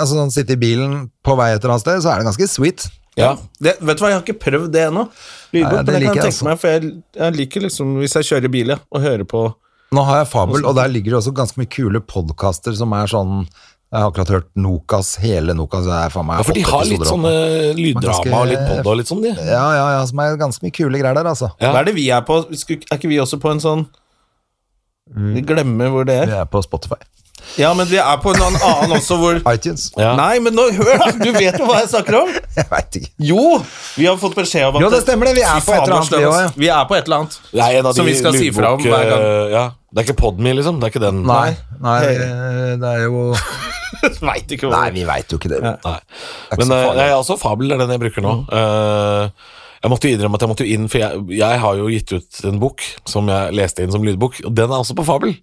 [SPEAKER 2] Altså sånn Sitte i bilen på vei et eller annet sted, så er det ganske sweet.
[SPEAKER 1] Ja. Det, vet du hva, jeg har ikke prøvd det ennå. Lydbok,
[SPEAKER 2] Nei, det
[SPEAKER 1] men det kan
[SPEAKER 2] liker
[SPEAKER 1] jeg
[SPEAKER 2] jeg altså.
[SPEAKER 1] tenke meg, for jeg, jeg liker liksom, hvis jeg kjører bil, ja, og hører på
[SPEAKER 2] Nå har jeg Fabel, og der ligger det også ganske mye kule podkaster som er sånn Jeg har akkurat hørt Nokas, hele Nokas. Det er faen meg
[SPEAKER 3] Ja, for de
[SPEAKER 2] åtte
[SPEAKER 3] har litt
[SPEAKER 2] episoder opp nå.
[SPEAKER 3] sånne eh, lyddrama og litt
[SPEAKER 2] Ganske-
[SPEAKER 3] podd og litt sånn, de.
[SPEAKER 2] Ja, ja, ja, som er ganske mye kule greier der, altså.
[SPEAKER 3] Ja.
[SPEAKER 1] Hva er det vi er på? Sku- Er ikke vi også på en sånn
[SPEAKER 2] Mm.
[SPEAKER 1] Vi glemmer hvor det er.
[SPEAKER 2] Vi er på Spotify.
[SPEAKER 1] Ja, men vi er på en annen- annen også
[SPEAKER 2] (laughs)
[SPEAKER 1] hvor
[SPEAKER 2] iTunes.
[SPEAKER 3] Ja.
[SPEAKER 1] Nei, men nå, hør, da! Du vet jo hva jeg snakker om!
[SPEAKER 2] Jeg veit ikke.
[SPEAKER 1] Jo! Vi har fått beskjed om at
[SPEAKER 2] Jo, det stemmer det, vi er
[SPEAKER 1] Fy
[SPEAKER 2] på et
[SPEAKER 1] faen,
[SPEAKER 2] eller
[SPEAKER 1] hvor
[SPEAKER 2] annet,
[SPEAKER 1] slem,
[SPEAKER 2] vi
[SPEAKER 1] ass.
[SPEAKER 2] også,
[SPEAKER 1] Vi er på et eller annet.
[SPEAKER 3] Det er en av de
[SPEAKER 1] Som vi skal si fra om
[SPEAKER 3] lydbok,
[SPEAKER 1] hver gang.
[SPEAKER 3] eh, Ja. Det er ikke Podme, liksom. Det er ikke den.
[SPEAKER 2] Nei, nei,
[SPEAKER 1] Hei.
[SPEAKER 2] det er jo
[SPEAKER 1] Veit ikke
[SPEAKER 2] Nei,
[SPEAKER 1] hvor
[SPEAKER 2] vi veit jo ikke det.
[SPEAKER 3] Nei.
[SPEAKER 2] er ikke
[SPEAKER 3] Men
[SPEAKER 2] så
[SPEAKER 3] eh,
[SPEAKER 2] farlig.
[SPEAKER 3] jeg er også Fabel er den jeg bruker nå. Eh, jeg måtte jo innrømme at jeg måtte jo inn, for jeg, jeg har jo gitt ut en bok som jeg leste inn som lydbok, og den er også på Fabel.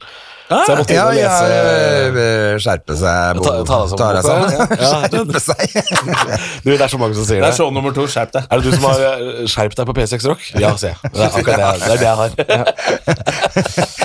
[SPEAKER 3] Så jeg måtte inn
[SPEAKER 2] Ja,
[SPEAKER 3] og
[SPEAKER 2] ja,
[SPEAKER 3] lese
[SPEAKER 2] eh, skjerpe seg.
[SPEAKER 3] Ta, ta deg sammen.
[SPEAKER 2] Ta deg sammen.
[SPEAKER 3] på en måte.
[SPEAKER 2] (laughs) Skjerpe seg.
[SPEAKER 3] (laughs) Du, det er så mange som sier
[SPEAKER 1] Det
[SPEAKER 3] det.
[SPEAKER 1] er show nummer to. Skjerp deg.
[SPEAKER 3] Er det du som har eh, skjerpt deg på P6 Rock? Ja, sier jeg. Det er akkurat det, jeg- det, er det jeg har.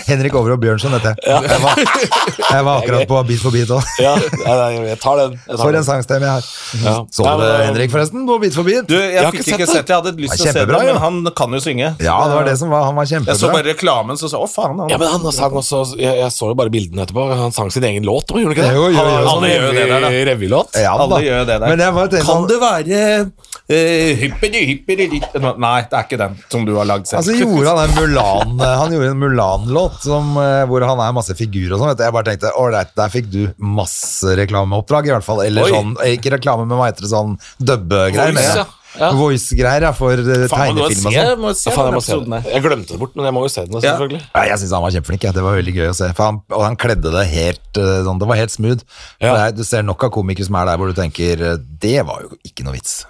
[SPEAKER 2] Henrik Over og Bjørnson, dette. Jeg var, jeg var akkurat på Beat for beat òg.
[SPEAKER 3] Ja, nei, nei, jeg tar den. Jeg tar
[SPEAKER 2] For en
[SPEAKER 3] den.
[SPEAKER 2] sangstemme jeg har.
[SPEAKER 3] Ja.
[SPEAKER 2] Så
[SPEAKER 3] Nei,
[SPEAKER 2] du det,
[SPEAKER 3] men,
[SPEAKER 2] Henrik, forresten? På Beat for beat?
[SPEAKER 1] Du, jeg,
[SPEAKER 3] Jeg har
[SPEAKER 1] fikk
[SPEAKER 3] ikke
[SPEAKER 1] ikke
[SPEAKER 3] sett
[SPEAKER 1] sett det. Jeg hadde lyst
[SPEAKER 2] Det er
[SPEAKER 1] til å se det,
[SPEAKER 2] kjempebra,
[SPEAKER 1] men
[SPEAKER 2] jo.
[SPEAKER 1] han kan jo synge.
[SPEAKER 2] Ja, det var det som var Han var
[SPEAKER 1] Jeg så
[SPEAKER 2] kjempebra.
[SPEAKER 1] bare reklamen, så sa jeg å faen. Han,
[SPEAKER 3] Ja, men han sang også Jeg, jeg så jo bare bildene etterpå. Han sang sin egen låt, gjorde han ikke det?
[SPEAKER 2] Jo, jo, jo.
[SPEAKER 3] Han har
[SPEAKER 1] Alle gjør jo det der, da.
[SPEAKER 3] sånn revylåt.
[SPEAKER 2] Ja,
[SPEAKER 1] alle
[SPEAKER 2] da.
[SPEAKER 1] gjør det der.
[SPEAKER 2] Men jeg bare tenkte
[SPEAKER 1] kan
[SPEAKER 2] han-
[SPEAKER 1] det være eh, hypperi, hypperi, litt Nei, det er ikke den som du har lagd selv.
[SPEAKER 2] Altså gjorde Han en Mulan eh, Han gjorde en Mulan-låt som, eh, hvor han er masse figur og sånn. vet du. Jeg bare tenkte ålreit, der fikk du masse reklameoppdrag, i hvert fall. Eller
[SPEAKER 1] Oi.
[SPEAKER 2] sånn, eh, ikke reklame, men hva heter det, sånn dubbe-greier.
[SPEAKER 1] Voice,
[SPEAKER 2] mener jeg.
[SPEAKER 3] ja. Ja.
[SPEAKER 2] Voice-greier ja, for eh,
[SPEAKER 1] Faen,
[SPEAKER 2] tegnefilm
[SPEAKER 1] må
[SPEAKER 2] og
[SPEAKER 1] se,
[SPEAKER 2] sånn.
[SPEAKER 1] må se
[SPEAKER 3] Ja, faen, jeg,
[SPEAKER 1] den
[SPEAKER 3] må se
[SPEAKER 1] episoden
[SPEAKER 3] den.
[SPEAKER 1] her.
[SPEAKER 3] jeg glemte det bort, men jeg må jo se den. da,
[SPEAKER 1] Ja.
[SPEAKER 3] selvfølgelig
[SPEAKER 2] Ja, jeg syns han var kjempeflink. Ja. Det var veldig gøy å se. For han, og han kledde det helt eh, sånn. Det var helt smooth.
[SPEAKER 3] Ja.
[SPEAKER 2] Det er- Du ser nok av komikere som er der hvor du tenker eh, Det var jo ikke noe vits.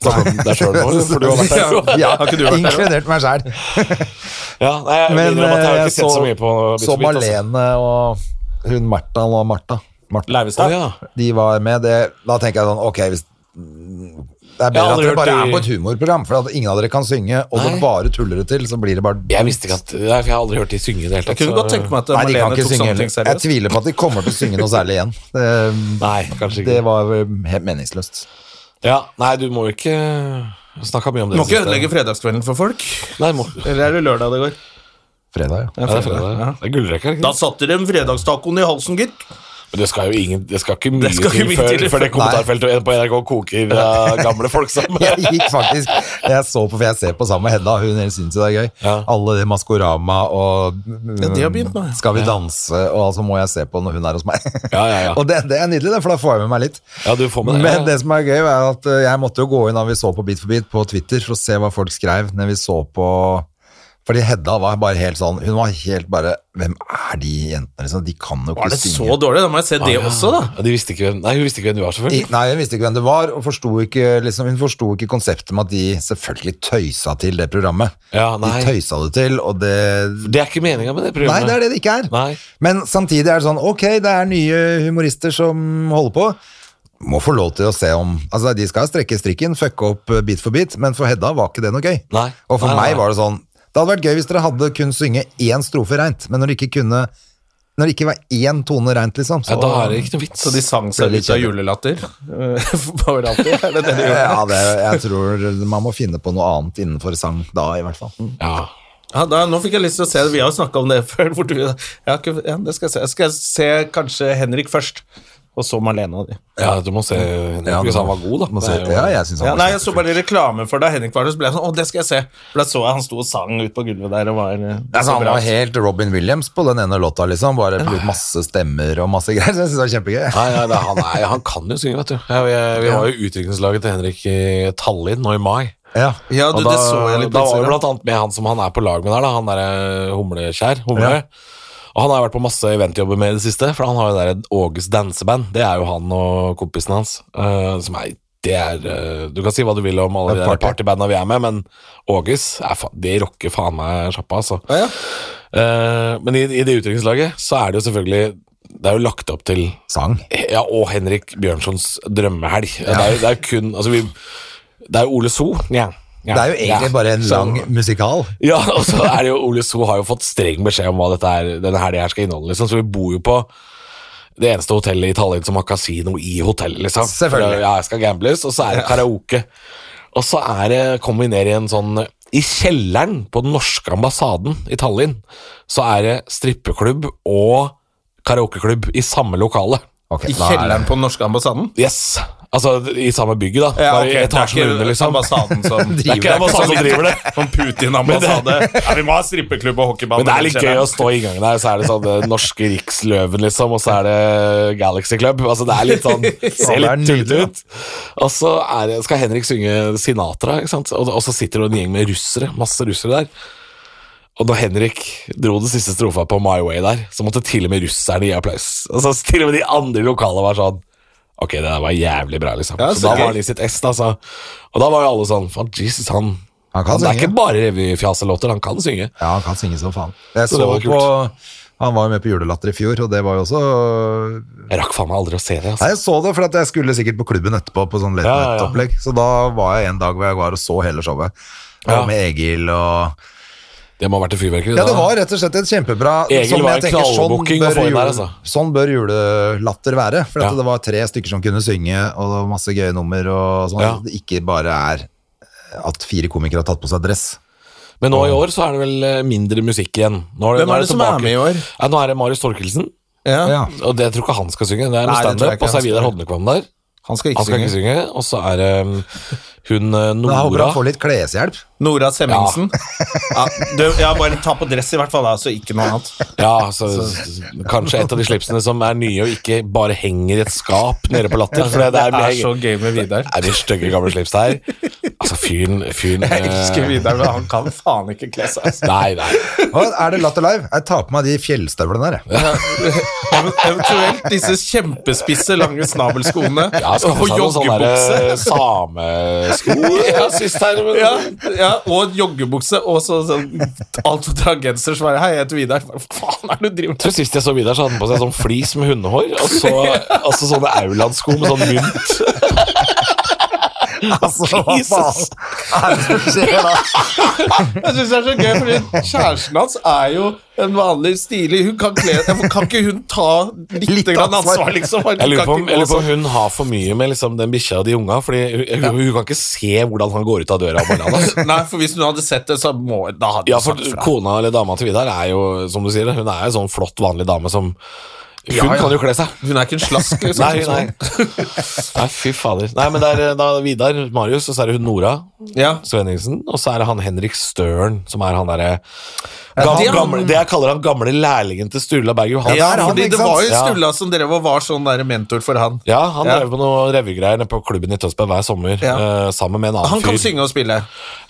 [SPEAKER 3] Der (laughs) ser du den, for du har vært
[SPEAKER 2] (laughs)
[SPEAKER 3] der.
[SPEAKER 2] Ja,
[SPEAKER 1] Har ikke du vært der også?
[SPEAKER 2] inkludert meg sjæl.
[SPEAKER 3] Ja, nei, jeg
[SPEAKER 2] Men
[SPEAKER 3] innrømmer at jeg har
[SPEAKER 2] eh,
[SPEAKER 3] ikke sett så mye på Bit
[SPEAKER 2] så
[SPEAKER 3] for bit, altså.
[SPEAKER 2] Malene og hun Martha og Martha, Martha
[SPEAKER 1] Leivestad.
[SPEAKER 3] Å, ja.
[SPEAKER 2] de var med. Det, da tenker jeg sånn Ok, hvis det er
[SPEAKER 3] Jeg har
[SPEAKER 2] bedre at
[SPEAKER 3] aldri
[SPEAKER 2] dere
[SPEAKER 3] hørt
[SPEAKER 2] bare
[SPEAKER 3] de-
[SPEAKER 2] er på et humorprogram, for at ingen av dere kan synge, og
[SPEAKER 3] Nei.
[SPEAKER 2] det bare tuller det til, så blir det bare
[SPEAKER 3] Jeg visste ikke at Nei, for Jeg har aldri hørt de synge i det
[SPEAKER 1] Jeg
[SPEAKER 3] hele tatt.
[SPEAKER 1] kunne
[SPEAKER 3] så-
[SPEAKER 1] godt tenke meg at
[SPEAKER 2] Nei, de kan
[SPEAKER 1] Marlene
[SPEAKER 2] ikke
[SPEAKER 1] tok
[SPEAKER 2] synge
[SPEAKER 1] sånne ting
[SPEAKER 2] heller. Jeg
[SPEAKER 1] seriøst.
[SPEAKER 2] tviler på at de kommer til å synge noe særlig igjen. Det,
[SPEAKER 3] (laughs) Nei, kanskje
[SPEAKER 2] det
[SPEAKER 3] ikke.
[SPEAKER 2] var eh, helt meningsløst.
[SPEAKER 3] Ja, nei, du må jo ikke snakke mye om
[SPEAKER 1] Du
[SPEAKER 3] det.
[SPEAKER 1] må ikke
[SPEAKER 3] siste.
[SPEAKER 1] ødelegge fredagskvelden for folk.
[SPEAKER 3] Nei, må... ja,
[SPEAKER 1] Eller er det lørdag det går?
[SPEAKER 2] Fredag, ja.
[SPEAKER 3] det er fredag. Det er gullrekka. ikke
[SPEAKER 1] Da
[SPEAKER 3] sant?
[SPEAKER 1] satte de fredagstacoen i halsen, gitt.
[SPEAKER 3] Men det skal jo ingen Det skal ikke mye
[SPEAKER 1] Det skal ikke
[SPEAKER 3] til
[SPEAKER 1] mye
[SPEAKER 3] før,
[SPEAKER 1] til.
[SPEAKER 3] før det kommentarfeltet på NRK koker av gamle
[SPEAKER 2] (laughs)
[SPEAKER 3] folk sammen.
[SPEAKER 2] Jeg gikk faktisk Jeg så på, for jeg ser på sammen med Hedda, hun syns jo det er gøy.
[SPEAKER 3] Ja.
[SPEAKER 2] Alle de Maskorama og
[SPEAKER 1] de har begynt nå, ja.
[SPEAKER 2] Skal vi danse, og altså må jeg se på når hun er hos
[SPEAKER 1] (laughs)
[SPEAKER 2] meg.
[SPEAKER 3] Ja, ja, ja.
[SPEAKER 2] Og det, det er nydelig, det, for da får jeg med meg litt.
[SPEAKER 3] Ja, du får med det.
[SPEAKER 2] Men det som er gøy, er at eh, jeg måtte jo gå inn da vi så på Bit for bit på Twitter for å se hva folk skrev når vi så på Fordi Hedda var bare helt sånn Hun var helt bare Hvem er de jentene, liksom? De kan jo
[SPEAKER 1] Var
[SPEAKER 2] ikke
[SPEAKER 1] det så
[SPEAKER 2] synge.
[SPEAKER 1] dårlig? Da må jeg se
[SPEAKER 2] Ah,
[SPEAKER 1] det
[SPEAKER 3] Ja.
[SPEAKER 1] også, da.
[SPEAKER 3] Ja, de visste ikke hvem Nei, hun visste ikke hvem du var,
[SPEAKER 2] I,
[SPEAKER 3] selvfølgelig.
[SPEAKER 2] nei, hun visste ikke hvem det var, og forsto ikke, liksom, hun forsto ikke konseptet med at de selvfølgelig tøysa til det programmet.
[SPEAKER 3] Ja, nei.
[SPEAKER 2] De tøysa det til, og det
[SPEAKER 3] Det er ikke meninga med det
[SPEAKER 2] Nei,
[SPEAKER 3] programmet.
[SPEAKER 2] det er det det ikke er.
[SPEAKER 3] Nei.
[SPEAKER 2] Men samtidig er det sånn, ok, det er nye humorister som holder på. Må få lov til å se om Altså, de skal strekke strikken, fucke opp eh, bit for bit, men for Hedda var ikke det noe gøy.
[SPEAKER 3] Nei.
[SPEAKER 2] Og for
[SPEAKER 3] Nei, nei,
[SPEAKER 2] meg
[SPEAKER 3] nei.
[SPEAKER 2] var det sånn Det hadde vært gøy hvis dere hadde kun synge én strofe reint, men når det ikke kunne Når det ikke var én tone reint, liksom,
[SPEAKER 3] Ja, da er det ikke noe vits.
[SPEAKER 1] Så de sang seg
[SPEAKER 2] Veldig
[SPEAKER 1] ut av
[SPEAKER 2] kjedelig.
[SPEAKER 1] julelatter. (laughs) Bare alltid. Er det det de gjorde?
[SPEAKER 2] ja, det, (laughs) jeg tror man må finne på noe annet innenfor sang da, i hvert fall.
[SPEAKER 3] Ja.
[SPEAKER 1] Ja, da, nå fikk jeg lyst til å se det. Vi har jo snakka om det (laughs) før. Hvor du, jeg har ikke, ja, det skal jeg se. Jeg skal se kanskje Henrik først, og så Marlene og de.
[SPEAKER 3] ja, du må se ja, Hvis han var god, da.
[SPEAKER 2] Må se-
[SPEAKER 3] Det er jo-
[SPEAKER 2] ja, jeg synes
[SPEAKER 1] Ja,
[SPEAKER 2] han var
[SPEAKER 1] nei, jeg så bare reklame for da Henrik var der, så ble jeg sånn Å, det skal jeg se. For da så jeg han sto og sang ut på gulvet der og var eh,
[SPEAKER 2] Altså,
[SPEAKER 1] så
[SPEAKER 2] han
[SPEAKER 1] bra.
[SPEAKER 2] var helt Robin Williams på den ene låta, liksom. Bare brukt masse stemmer og masse greier. Så jeg synes det var kjempegøy.
[SPEAKER 3] Nei, nei, nei han, er, han kan jo synge, vet du. Ja, vi, vi var jo utviklingslaget til Henrik i Tallinn nå i mai.
[SPEAKER 2] Ja.
[SPEAKER 1] Ja, du,
[SPEAKER 3] Og da,
[SPEAKER 1] det så jeg litt
[SPEAKER 3] da
[SPEAKER 1] på
[SPEAKER 3] var vi
[SPEAKER 1] Instagram.
[SPEAKER 3] blant annet med han som han er på lag med der, da. han derre Humleskjær. Humle. Og han har jo vært på masse eventjobber med i det siste, for han har jo det der Åges danseband. Det er jo han og kompisen hans. eh, som er, det er eh, Du kan si hva du vil om alle
[SPEAKER 2] Det
[SPEAKER 3] de
[SPEAKER 2] er
[SPEAKER 3] der
[SPEAKER 2] party.
[SPEAKER 3] partybanda vi er med, men Åges er fa Det rocker faen meg sjappa, altså.
[SPEAKER 1] Ja, ja.
[SPEAKER 3] Eh, men i, i det utdrikningslaget så er det jo selvfølgelig Det er jo lagt opp til
[SPEAKER 2] Sang.
[SPEAKER 3] ja, og Henrik Bjørnsons drømmehelg. Det, er, jo- det er jo kun altså vi, Det er jo Ole So. Ja. Ja.
[SPEAKER 2] Det er jo egentlig
[SPEAKER 3] Ja.
[SPEAKER 2] bare en
[SPEAKER 3] Så-
[SPEAKER 2] lang musikal.
[SPEAKER 3] Ja, (laughs) og så er det jo Ole So har jo fått streng beskjed om hva dette er, denne helga her skal inneholde, liksom. Så vi bor jo på det eneste hotellet i Tallinn som har kasino i hotellet, liksom.
[SPEAKER 2] Selvfølgelig.
[SPEAKER 3] Ja, jeg skal gambles, og så er det karaoke. Og så er det, kommer vi ned i en sånn I kjelleren på den norske ambassaden i Tallinn så er det strippeklubb og karaokeklubb i samme lokale.
[SPEAKER 2] Ok,
[SPEAKER 1] I
[SPEAKER 2] da er det-
[SPEAKER 1] kjelleren på den norske ambassaden?
[SPEAKER 3] Yes. Altså i samme bygget, da. Bare
[SPEAKER 1] ok,
[SPEAKER 3] i etasjen under, liksom.
[SPEAKER 1] ambassaden som
[SPEAKER 3] Det er ikke ambassaden som driver det.
[SPEAKER 1] Som Putin-ambassade. Ja, vi må ha strippeklubb og hockeybane.
[SPEAKER 3] Men det er litt gøy å stå i gangen der, så er det sånn det norske Riksløven, liksom, og så er det Galaxy Club. Altså, det er litt sånn
[SPEAKER 2] (laughs) Ja,
[SPEAKER 3] Ser
[SPEAKER 2] det er
[SPEAKER 3] litt tullete
[SPEAKER 2] nydelig,
[SPEAKER 3] ut. Og så er det, skal Henrik synge Sinatra, ikke sant, og, og så sitter det en gjeng med russere, masse russere der. Og da Henrik dro den siste strofa på My Way der, så måtte til og med russerne gi applaus. Altså, til og med de andre i lokalet var sånn Ok, det der var jævlig bra, liksom.
[SPEAKER 1] Ja,
[SPEAKER 3] så
[SPEAKER 1] så
[SPEAKER 3] da
[SPEAKER 1] gøy.
[SPEAKER 3] var han i sitt ess, altså. Og da var jo alle sånn Faen, Jesus, han,
[SPEAKER 2] Han kan
[SPEAKER 3] Det er
[SPEAKER 2] synge.
[SPEAKER 3] ikke bare revyfjaselåter, han kan synge.
[SPEAKER 2] Ja, han kan synge som faen. Jeg
[SPEAKER 3] Så
[SPEAKER 2] så,
[SPEAKER 3] det var
[SPEAKER 2] på Han var jo med på Julelatter i fjor, og det var jo også
[SPEAKER 3] Jeg rakk faen meg aldri å se det.
[SPEAKER 2] Nei,
[SPEAKER 3] Altså.
[SPEAKER 2] jeg så det, for at jeg skulle sikkert på klubben etterpå på sånn late
[SPEAKER 3] Ja, ja, ja.
[SPEAKER 2] night-opplegg. Så da var jeg en dag hvor jeg var og så hele showet. Jeg var
[SPEAKER 3] Ja.
[SPEAKER 2] Med Egil og
[SPEAKER 3] Det må ha vært et fyrverkeri.
[SPEAKER 2] Ja, det
[SPEAKER 3] da.
[SPEAKER 2] var rett og slett et kjempebra
[SPEAKER 3] Egil
[SPEAKER 2] som jeg
[SPEAKER 3] var en
[SPEAKER 2] tenker,
[SPEAKER 3] knallbooking å få inn der, altså.
[SPEAKER 2] sånn bør julelatter være. For at
[SPEAKER 3] Ja.
[SPEAKER 2] det var tre stykker som kunne synge, og det var masse gøye nummer og sånn.
[SPEAKER 3] Ja.
[SPEAKER 2] Det ikke bare er at fire komikere har tatt på seg dress.
[SPEAKER 3] Men nå i år så er det vel eh, mindre musikk igjen. Nå
[SPEAKER 1] Hvem
[SPEAKER 3] nå
[SPEAKER 1] er det som er
[SPEAKER 3] tilbake-
[SPEAKER 1] med i år?
[SPEAKER 3] Ja, nå er det Marius Torkelsen.
[SPEAKER 1] Ja.
[SPEAKER 2] Ja.
[SPEAKER 3] Og det jeg tror ikke han skal synge. Det er
[SPEAKER 1] Nei, det
[SPEAKER 3] noe
[SPEAKER 1] tror jeg
[SPEAKER 3] standup,
[SPEAKER 1] ikke
[SPEAKER 3] og
[SPEAKER 1] han
[SPEAKER 3] så er Vidar
[SPEAKER 1] skal.
[SPEAKER 3] Hodnekvam der.
[SPEAKER 1] Han skal ikke
[SPEAKER 3] Han skal
[SPEAKER 1] synge.
[SPEAKER 3] ikke synge. Og så er det um, hun eh,
[SPEAKER 2] Men jeg håper
[SPEAKER 3] Nora
[SPEAKER 2] han får litt kleshjelp.
[SPEAKER 1] Nora Semmingsen. (laughs) Ja. du, ja, bare ta på dress i hvert fall, da, så ikke noe annet.
[SPEAKER 3] Ja, så, s- Kanskje et av de slipsene som er nye og ikke bare henger i et skap nede på latter. For det, det er,
[SPEAKER 1] gøy med
[SPEAKER 3] (laughs)
[SPEAKER 1] Vidar.
[SPEAKER 3] er de stygge gamle slips her. Altså, fyren fyren
[SPEAKER 1] Jeg
[SPEAKER 3] eh,
[SPEAKER 1] elsker Vidar, men han kan faen ikke kle seg. altså.
[SPEAKER 3] Nei, nei.
[SPEAKER 2] Og er det Latter Live? Jeg tar på meg de fjellstøvlene der, jeg.
[SPEAKER 1] Ev- Eventuelt disse kjempespisse, lange snabelskoene
[SPEAKER 3] Ja, skal
[SPEAKER 1] og
[SPEAKER 3] få seg noen sånne
[SPEAKER 1] joggebukse.
[SPEAKER 3] der, eh, samesko ja, sist her. Men,
[SPEAKER 1] Ja, ja, og joggebukse og så, sånn altfor trang genser som bare Hei, jeg heter Vidar. Hva faen er det du driver
[SPEAKER 3] Jeg tror Sist jeg så Vidar, så hadde han på seg sånn flis med hundehår, og så, og så sånne Aurland-sko med sånn mynt.
[SPEAKER 2] (laughs) Altså, hva faen
[SPEAKER 3] Jesus.
[SPEAKER 2] er det som skjer da?
[SPEAKER 1] Jeg synes det er så gøy, fordi Kjæresten hans er jo en vanlig stilig Hun Kan, kle, kan ikke hun ta litt,
[SPEAKER 2] Litt
[SPEAKER 1] grann
[SPEAKER 2] ansvar.
[SPEAKER 1] ansvar, liksom? Hun
[SPEAKER 3] Jeg lurer
[SPEAKER 1] kan
[SPEAKER 3] på
[SPEAKER 1] ikke
[SPEAKER 3] om,
[SPEAKER 1] gå
[SPEAKER 3] jeg lurer på om
[SPEAKER 1] sånn.
[SPEAKER 3] hun har for mye med liksom, den bikkja og de unga, Fordi hun, hun, hun kan ikke se hvordan han går ut av døra om
[SPEAKER 1] (laughs)
[SPEAKER 3] morgenen. altså.
[SPEAKER 1] sånn. Nei, for hvis hun hadde sett det, så må, da hadde hun
[SPEAKER 3] Ja, for
[SPEAKER 1] sagt fra.
[SPEAKER 3] kona eller dama til Vidar er jo, som du sier, hun er en sånn flott, vanlig dame som Hun
[SPEAKER 2] Ja, ja.
[SPEAKER 3] kan jo kle seg.
[SPEAKER 1] Hun er ikke en slask, liksom.
[SPEAKER 3] Nei, nei. (laughs) nei, fy fader. Nei, men det er eh, da Vidar Marius, og så er det hun Nora
[SPEAKER 1] Ja.
[SPEAKER 3] Svenningsen, og så er det han Henrik Støren, som er han derre
[SPEAKER 2] det er
[SPEAKER 3] gamle,
[SPEAKER 2] han-
[SPEAKER 3] gamle, Det jeg kaller han gamle lærlingen til Sturla Berg Johansen.
[SPEAKER 1] Ja,
[SPEAKER 2] han,
[SPEAKER 1] fordi
[SPEAKER 2] ikke
[SPEAKER 1] det var jo
[SPEAKER 3] sant? Ja.
[SPEAKER 1] Sturla som drev og var sånn der mentor for han.
[SPEAKER 3] Ja, han
[SPEAKER 1] Ja.
[SPEAKER 3] drev på noe revygreier nede på klubben i Tønsberg hver sommer.
[SPEAKER 1] Ja.
[SPEAKER 3] eh, sammen med en annen
[SPEAKER 1] Han kan
[SPEAKER 3] fyr.
[SPEAKER 1] synge og spille.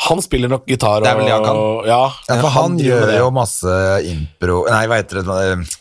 [SPEAKER 3] Han spiller nok gitar og
[SPEAKER 1] Det er vel det han kan.
[SPEAKER 3] Ja,
[SPEAKER 2] Ja, for han
[SPEAKER 3] driver
[SPEAKER 2] gjør
[SPEAKER 3] med det.
[SPEAKER 2] jo masse impro Nei, hva heter det?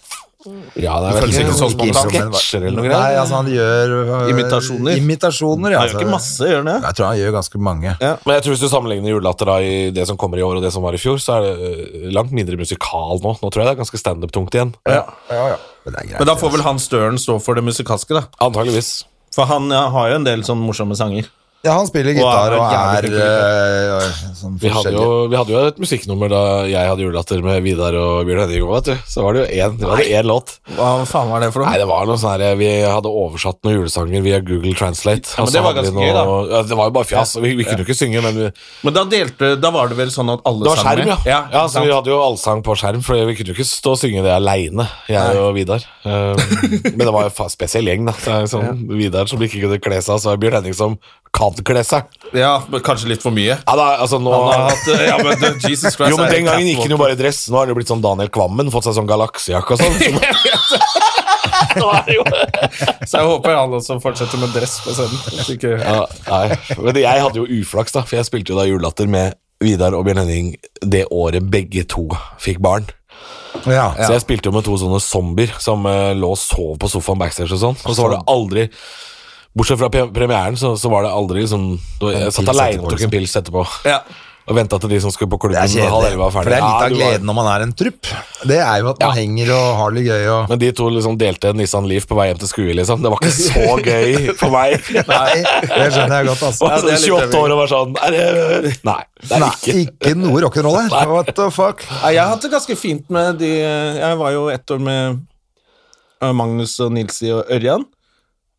[SPEAKER 3] Ja, det er
[SPEAKER 1] føles
[SPEAKER 3] vel
[SPEAKER 1] ikke sånn
[SPEAKER 3] ikke
[SPEAKER 1] spontant.
[SPEAKER 3] sketsjer eller noe
[SPEAKER 2] Nei,
[SPEAKER 3] greier.
[SPEAKER 2] altså han gjør øh,
[SPEAKER 1] Imitasjoner.
[SPEAKER 2] Imitasjoner, ja.
[SPEAKER 1] Han gjør
[SPEAKER 2] altså.
[SPEAKER 1] ikke masse, gjør han det?
[SPEAKER 2] Jeg tror han gjør ganske mange.
[SPEAKER 3] Men jeg tror hvis du sammenligner julelatter da i det som kommer i år og det som var i fjor, så er det øh, langt mindre musikal nå. Nå tror jeg det er ganske standup-tungt igjen.
[SPEAKER 2] Ja, ja. Men det er greit.
[SPEAKER 1] Men da får vel han Støren stå for det musikalske, da.
[SPEAKER 3] Antageligvis.
[SPEAKER 1] For han ja, har jo en del sånn morsomme sanger.
[SPEAKER 2] Ja, han spiller gitar og
[SPEAKER 1] Og er
[SPEAKER 2] er
[SPEAKER 1] jævlig
[SPEAKER 2] øh, sånn
[SPEAKER 3] Vi hadde,
[SPEAKER 2] forskjellig.
[SPEAKER 3] jo, vi hadde jo et musikknummer da jeg hadde julelatter med Vidar og Bjørn Henning. også, vet du. Så var det jo én, det var det én låt.
[SPEAKER 1] Hva faen var det for
[SPEAKER 3] Nei, det var noe sånn her Vi hadde oversatt noen julesanger via Google Translate.
[SPEAKER 1] men
[SPEAKER 3] og så
[SPEAKER 1] det var
[SPEAKER 3] hadde vi
[SPEAKER 1] ganske gøy,
[SPEAKER 3] noe- Ja, det var jo bare fjas. og Vi, vi kunne jo ikke synge, men vi,
[SPEAKER 1] Men da delte, da var det vel sånn at alle
[SPEAKER 3] Det var
[SPEAKER 1] sang
[SPEAKER 3] skjerm, ja.
[SPEAKER 1] med?
[SPEAKER 3] ja,
[SPEAKER 1] ikke
[SPEAKER 3] så
[SPEAKER 1] sant?
[SPEAKER 3] Vi hadde jo allsang på skjerm, for vi kunne jo ikke stå og synge det aleine, jeg og Vidar. (laughs) Um, men det var jo en spesiell gjeng, da. Så det er sånn, Vidar som ikke kunne kle seg, og så er Bjørn Henning som kan kle seg.
[SPEAKER 1] ja, men kanskje litt for mye.
[SPEAKER 3] Ja, da, altså nå...
[SPEAKER 1] Han har hatt, eh, ja, men det- Jesus Christ
[SPEAKER 3] Jo, men
[SPEAKER 1] er
[SPEAKER 3] Den gangen gikk han jo
[SPEAKER 1] catwalk.
[SPEAKER 3] bare i dress. Nå har det jo blitt sånn Daniel Kvammen, fått seg sånn galaksejakke
[SPEAKER 1] (laughs)
[SPEAKER 3] og sånn. som- Nå er det jo
[SPEAKER 1] Så jeg håper han også fortsetter med dress på scenen. Hvis ikke,
[SPEAKER 3] ja, nei. Men jeg hadde jo uflaks, da, for jeg spilte jo da Julelatter med Vidar og Bjørn Henning det året begge to fikk barn.
[SPEAKER 2] Ja,
[SPEAKER 3] Så jeg spilte jo med to sånne zombier som eh, lå og sov på sofaen backstage og sånn. Og så var det aldri Bortsett fra pre- premieren, så, så var det aldri liksom det var- Jeg satt
[SPEAKER 2] pils
[SPEAKER 3] aleine
[SPEAKER 2] etterpå, liksom.
[SPEAKER 3] og tok en pils etterpå.
[SPEAKER 1] Ja.
[SPEAKER 3] Og venta til de som skulle på klubben
[SPEAKER 2] Det er
[SPEAKER 3] halv
[SPEAKER 2] kjedelig.
[SPEAKER 3] elleve var
[SPEAKER 2] For
[SPEAKER 3] ferdig.
[SPEAKER 2] det er litt av
[SPEAKER 3] Ja, du var-
[SPEAKER 2] gleden når man er en trupp. Det er jo at man
[SPEAKER 3] Ja.
[SPEAKER 2] henger og har det gøy og
[SPEAKER 3] Men de to liksom delte en Nissan Leaf på vei hjem til skue, liksom. Det var ikke så
[SPEAKER 2] (laughs)
[SPEAKER 3] gøy for meg.
[SPEAKER 2] Nei, det skjønner jeg godt,
[SPEAKER 1] (laughs)
[SPEAKER 2] altså.
[SPEAKER 3] Og så
[SPEAKER 1] det er litt
[SPEAKER 3] 28 år og var sånn er det, Nei, det er
[SPEAKER 2] Nei,
[SPEAKER 3] ikke
[SPEAKER 2] ikke noe rock'n'roll her. What the fuck?
[SPEAKER 1] Nei, Jeg har hatt det ganske fint med de eh, Jeg var jo ett år med eh, Magnus og Nilsi og Ørjan.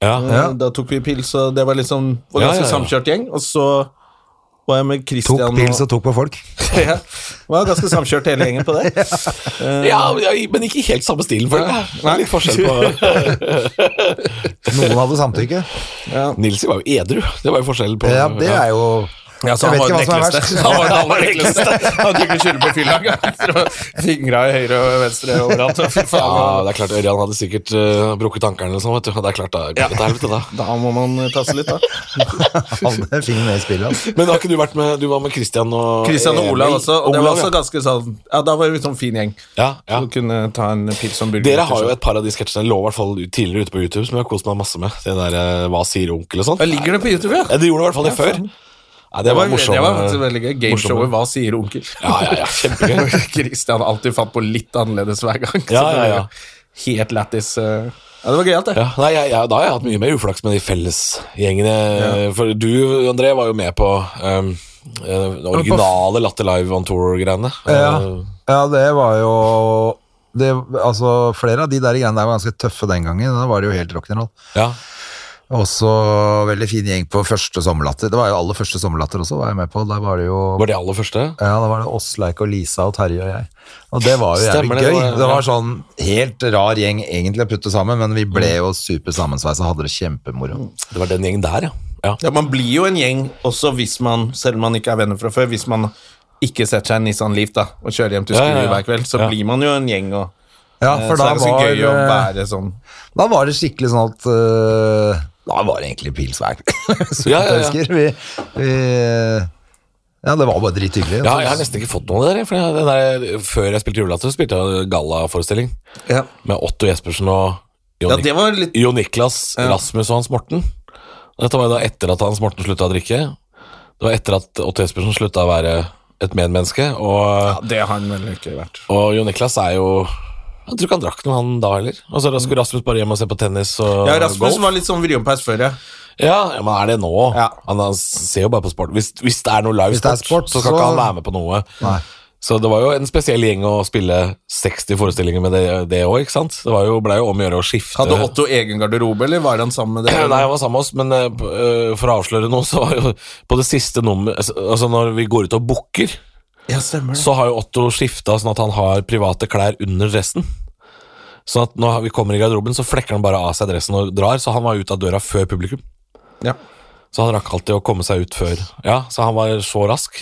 [SPEAKER 3] ja.
[SPEAKER 2] Ja.
[SPEAKER 1] Eh, Da tok vi pils, og det var liksom var
[SPEAKER 3] Ja,
[SPEAKER 1] ganske
[SPEAKER 3] ja, ja.
[SPEAKER 1] samkjørt gjeng. Og så var jeg med Christian
[SPEAKER 2] Tok pils
[SPEAKER 1] og
[SPEAKER 2] og tok på folk.
[SPEAKER 1] (laughs) ja, Var ganske samkjørt hele gjengen på (laughs) det.
[SPEAKER 3] ja, men ikke helt samme stilen, for det
[SPEAKER 1] Nei.
[SPEAKER 3] er litt forskjell
[SPEAKER 2] (laughs)
[SPEAKER 1] (laughs)
[SPEAKER 3] på
[SPEAKER 2] Noen hadde samtykke.
[SPEAKER 3] Nilsi var jo edru. Det var jo forskjell på
[SPEAKER 2] Ja, det er jo
[SPEAKER 1] Ja, så
[SPEAKER 2] Jeg vet
[SPEAKER 1] han var
[SPEAKER 2] ikke hva som er
[SPEAKER 1] den ekleste.
[SPEAKER 2] verst.
[SPEAKER 1] Han var den aller ekleste. Han kunne ikke skylde på (laughs) fylla. Fingra i høyre og venstre overalt. Fy
[SPEAKER 3] (laughs) Ja,
[SPEAKER 1] faen.
[SPEAKER 3] det er klart Ørjan hadde sikkert eh, brukket ankelen eller sånn, vet du. Det er klart da, går det til helvete da.
[SPEAKER 1] Da må man eh, passe litt, da.
[SPEAKER 2] Hadde fingeren med i spillet. altså.
[SPEAKER 3] Men har ikke du vært med Du var med Christian
[SPEAKER 1] (laughs)
[SPEAKER 3] og
[SPEAKER 1] Christian og
[SPEAKER 3] Emil.
[SPEAKER 1] Eh, Olav også. Og det
[SPEAKER 3] Olav,
[SPEAKER 1] var også ganske sånn Ja, da var vi sånn fin gjeng.
[SPEAKER 3] ja. Ja,
[SPEAKER 1] Som
[SPEAKER 3] ja.
[SPEAKER 1] kunne ta en pils og en burger.
[SPEAKER 3] Dere har jo et par av de sketsjene lå i hvert fall tidligere ute på YouTube, som jeg har kost meg masse med. Det der eh, Hva sier onkel og sånn.
[SPEAKER 1] Ja, Ligger det på YouTube, ja?
[SPEAKER 3] Ja, det gjorde i hvert fall det før. Nei, det
[SPEAKER 1] Det
[SPEAKER 3] var
[SPEAKER 1] var,
[SPEAKER 3] morsomt.
[SPEAKER 1] det var faktisk veldig gøy. Gameshowet Hva sier onkel?
[SPEAKER 3] Ja, ja, ja, kjempegøy.
[SPEAKER 1] (laughs) Christian alltid fant på litt annerledes hver gang. så
[SPEAKER 3] Ja,
[SPEAKER 1] det
[SPEAKER 3] ja,
[SPEAKER 1] var
[SPEAKER 3] ja.
[SPEAKER 1] Helt lættis. eh. Ja, det var gøyalt, det.
[SPEAKER 3] Ja, nei, jeg, jeg, da har jeg hatt mye mer uflaks med de fellesgjengene. For du, André, var jo med på um, eh, det originale Latter Live on Tour-greiene.
[SPEAKER 2] Ja,
[SPEAKER 3] Eh,
[SPEAKER 2] ja det var jo det, altså, Flere av de der greiene der var ganske tøffe den gangen. Da var det jo helt rock'n'roll.
[SPEAKER 3] ja.
[SPEAKER 2] Også veldig fin gjeng på første sommerlatter. Det var jo aller første sommerlatter også, var jeg med på. Der var det jo
[SPEAKER 3] Var det aller første?
[SPEAKER 2] ja, da var det Åsleik og Lisa og Terje og jeg. Og det var jo
[SPEAKER 3] Stemmer
[SPEAKER 2] jævlig
[SPEAKER 3] det, det
[SPEAKER 2] gøy.
[SPEAKER 3] var-
[SPEAKER 2] Det var sånn helt rar gjeng egentlig å putte sammen, men vi ble
[SPEAKER 1] Mm.
[SPEAKER 2] jo super sammensveisa og hadde det kjempemoro.
[SPEAKER 3] Det var den gjengen der, ja. ja.
[SPEAKER 1] Ja, Man blir jo en gjeng også hvis man, selv om man ikke er venner fra før, hvis man ikke setter seg en Nissan Leaf da, og kjører hjem til
[SPEAKER 3] Ja,
[SPEAKER 1] Skru
[SPEAKER 3] ja, ja.
[SPEAKER 1] hver kveld, så
[SPEAKER 3] Ja.
[SPEAKER 1] blir man jo en gjeng. Og,
[SPEAKER 2] Ja,
[SPEAKER 1] eh,
[SPEAKER 2] for
[SPEAKER 1] så
[SPEAKER 2] da
[SPEAKER 1] er det så
[SPEAKER 2] var
[SPEAKER 1] gøy å
[SPEAKER 2] eh,
[SPEAKER 1] være sånn
[SPEAKER 2] Da var det skikkelig sånn at øh, Da var det egentlig pils hver kveld. (laughs) Så
[SPEAKER 3] Ja, ja, ja.
[SPEAKER 2] jeg husker, Vi, vi, ja, det var bare drithyggelig.
[SPEAKER 3] Ja, jeg har nesten ikke fått noe der, jeg, for jeg, den der, Før jeg spilte julelatter, så spilte jeg gallaforestilling
[SPEAKER 1] ja.
[SPEAKER 3] med Otto Jespersen og Jo, Nik
[SPEAKER 1] det var litt
[SPEAKER 3] jo Niklas, Rasmus og Hans Morten. Dette var jo da etter at Hans Morten slutta å drikke. Det var etter at Otto Jespersen slutta å være et medmenneske. Og
[SPEAKER 1] ja, Det har han vel ikke vært.
[SPEAKER 3] Og Jon Niklas er jo Jeg tror ikke han drakk noe han da heller. Og så skulle Rasmus bare hjem og se på tennis og
[SPEAKER 1] Ja, Rasmus
[SPEAKER 3] golf.
[SPEAKER 1] var litt sånn vrionpeis før, ja.
[SPEAKER 3] Ja, ja, Men er det nå?
[SPEAKER 1] Ja.
[SPEAKER 3] Han, han ser jo bare på sport. Hvis, hvis det er noe live
[SPEAKER 2] Hvis det er sport,
[SPEAKER 3] sport, så skal
[SPEAKER 2] så-
[SPEAKER 3] ikke han være med på noe.
[SPEAKER 2] Nei.
[SPEAKER 3] Så det var jo en spesiell gjeng å spille 60 forestillinger med det, det òg, ikke sant? Det var jo, ble jo om å gjøre å skifte
[SPEAKER 1] Hadde Otto egen garderobe, eller var han sammen med dere?
[SPEAKER 3] (clears throat) Nei, han var sammen med oss, men eh, p- eh, for å avsløre noe, så var jo på det siste nummer Altså når vi går ut og booker,
[SPEAKER 1] Ja, stemmer det.
[SPEAKER 3] så har jo Otto skifta sånn at han har private klær under dressen. Sånn at når vi kommer i garderoben, så flekker han bare av seg dressen og drar. Så han var ute av døra før publikum.
[SPEAKER 1] Ja.
[SPEAKER 3] Så han rakk alltid å komme seg ut før. Ja, Så han var så rask.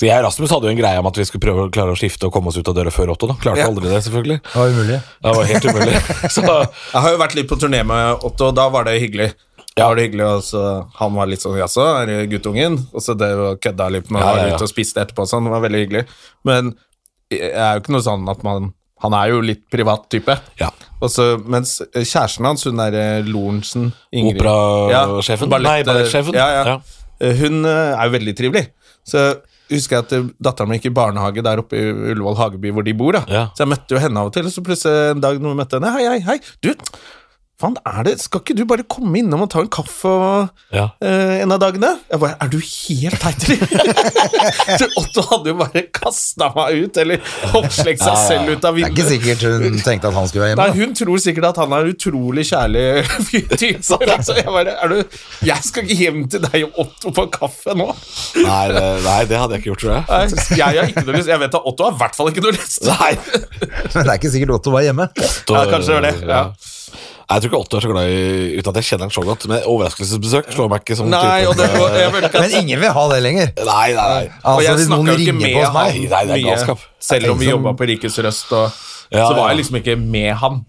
[SPEAKER 3] Så jeg og Rasmus hadde jo en greie om at vi skulle prøve å klare å skifte og komme oss ut av døra før Otto. da Klarte
[SPEAKER 1] Ja.
[SPEAKER 3] aldri det, selvfølgelig.
[SPEAKER 2] Det var umulig.
[SPEAKER 3] Det var
[SPEAKER 1] (laughs)
[SPEAKER 3] helt umulig. Så
[SPEAKER 1] Jeg har jo vært litt på turné med Otto, og da var det hyggelig. Da var det hyggelig, og så Han var litt sånn jaså, er det guttungen? Og så det var kødda litt med
[SPEAKER 3] Ja,
[SPEAKER 1] han
[SPEAKER 3] ja,
[SPEAKER 1] var
[SPEAKER 3] ja.
[SPEAKER 1] ute og spiste etterpå og sånn. Det var veldig hyggelig. Men jeg er jo ikke noe sånn at man Han er jo litt privat type.
[SPEAKER 3] Ja.
[SPEAKER 1] Og så, mens kjæresten hans, hun derre Lorentzen Ingrid-
[SPEAKER 3] Operasjefen?
[SPEAKER 1] ballett-
[SPEAKER 3] Nei, ballettsjefen.
[SPEAKER 1] eh, Ja, ja.
[SPEAKER 3] Ja.
[SPEAKER 1] Hun eh, er jo veldig trivelig. Så husker jeg at eh, datteren min gikk i barnehage der oppe i Ullevål Hageby, hvor de bor. da.
[SPEAKER 3] Ja.
[SPEAKER 1] Så jeg møtte jo henne av og til, og så plutselig en dag når vi møtte henne Hei, hei, hei, du, faen, er det, skal ikke du bare komme innom og ta en kaffe og,
[SPEAKER 3] Ja.
[SPEAKER 1] eh, en av dagene? Jeg bare, er du helt teit, eller? (laughs) Så Otto hadde jo bare kasta meg ut,
[SPEAKER 3] (laughs)
[SPEAKER 1] eller oppslekt seg selv ut av
[SPEAKER 2] Det er ikke
[SPEAKER 1] vinduet.
[SPEAKER 2] sikkert hun tenkte at han skulle være
[SPEAKER 1] Nei,
[SPEAKER 2] hjemme.
[SPEAKER 1] Hun tror sikkert at han er en utrolig kjærlig fyr.
[SPEAKER 3] (laughs)
[SPEAKER 1] type,
[SPEAKER 3] Sånn,
[SPEAKER 1] Altså, jeg, bare, er du, jeg skal ikke hjem til deg og Otto på kaffe nå.
[SPEAKER 3] Nei, det, nei, det hadde jeg ikke gjort, tror jeg.
[SPEAKER 1] Nei, Jeg, har ikke noe lyst. jeg vet at Otto har i hvert fall ikke noe lyst.
[SPEAKER 3] Nei.
[SPEAKER 2] da. Men det er ikke sikkert Otto var hjemme.
[SPEAKER 1] Ja, kanskje det var det. Ja.
[SPEAKER 3] Jeg tror ikke Otto er så glad i Uten at jeg kjenner han så godt, men overraskelsesbesøk slår meg ikke som
[SPEAKER 1] (laughs) Nei,
[SPEAKER 3] typen.
[SPEAKER 1] og, det, og jeg føler ikke
[SPEAKER 2] Men
[SPEAKER 1] at
[SPEAKER 2] ingen vil ha det lenger.
[SPEAKER 3] Nei, nei, nei.
[SPEAKER 1] og
[SPEAKER 2] Altså,
[SPEAKER 1] jeg
[SPEAKER 2] hvis noen
[SPEAKER 1] snakket jo ikke
[SPEAKER 2] ringer
[SPEAKER 1] med
[SPEAKER 2] på hos meg
[SPEAKER 3] Nei, nei, det er
[SPEAKER 1] mye,
[SPEAKER 3] galskap.
[SPEAKER 1] Selv om vi
[SPEAKER 2] Liksom-
[SPEAKER 1] jobba på Rikets Røst, og,
[SPEAKER 3] Ja,
[SPEAKER 1] så var
[SPEAKER 3] ja.
[SPEAKER 1] jeg liksom ikke med han.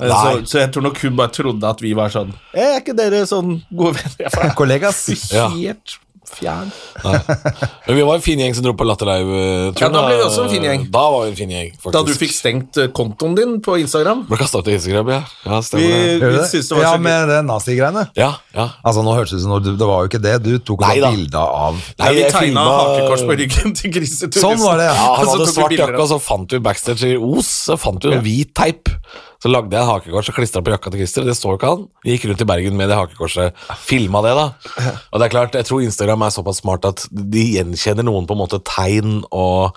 [SPEAKER 1] Eh, Så,
[SPEAKER 3] Nei.
[SPEAKER 1] så jeg tror nok hun bare trodde at vi var sånn «Eh, Er ikke dere sånn gode venner? Jeg var
[SPEAKER 2] Kollegas.
[SPEAKER 3] Ja.
[SPEAKER 1] helt fjern.
[SPEAKER 3] Men vi var en fin gjeng som dro på Latter Live-turen.
[SPEAKER 1] Ja, da ble vi også en fin gjeng.
[SPEAKER 3] Da var vi en fin gjeng, faktisk.
[SPEAKER 1] Da du fikk stengt eh, kontoen din på Instagram
[SPEAKER 3] Ble kasta ut av Instagram, ja. Ja,
[SPEAKER 1] Vi,
[SPEAKER 3] stemmer det.
[SPEAKER 2] Gjør du
[SPEAKER 1] vi
[SPEAKER 2] det?
[SPEAKER 1] syntes det var
[SPEAKER 2] Ja,
[SPEAKER 1] så gøy.
[SPEAKER 2] med det nazigreiene.
[SPEAKER 3] Ja, ja.
[SPEAKER 2] Altså, nå hørtes det ut som du- det var jo ikke det. Du tok
[SPEAKER 3] Nei da.
[SPEAKER 2] bare bilde av
[SPEAKER 1] Nei, vi
[SPEAKER 3] jeg
[SPEAKER 1] tegna
[SPEAKER 3] filma-
[SPEAKER 1] hakekors på ryggen til griseturisten.
[SPEAKER 2] Sånn var det,
[SPEAKER 3] Ja,
[SPEAKER 1] Og så
[SPEAKER 3] han
[SPEAKER 1] tok
[SPEAKER 3] hadde
[SPEAKER 1] vi
[SPEAKER 3] svart
[SPEAKER 1] bilder av-
[SPEAKER 3] jakke, og så fant vi backstage i Os Så fant vi en hvit teip. Så lagde jeg en hakekors og klistra på jakka til Christer. Det så jo ikke han. Vi gikk rundt i Bergen med det hakekorset. Filma det, da. Og det er klart, jeg tror Instagram er såpass smart at de gjenkjenner noen på en måte tegn og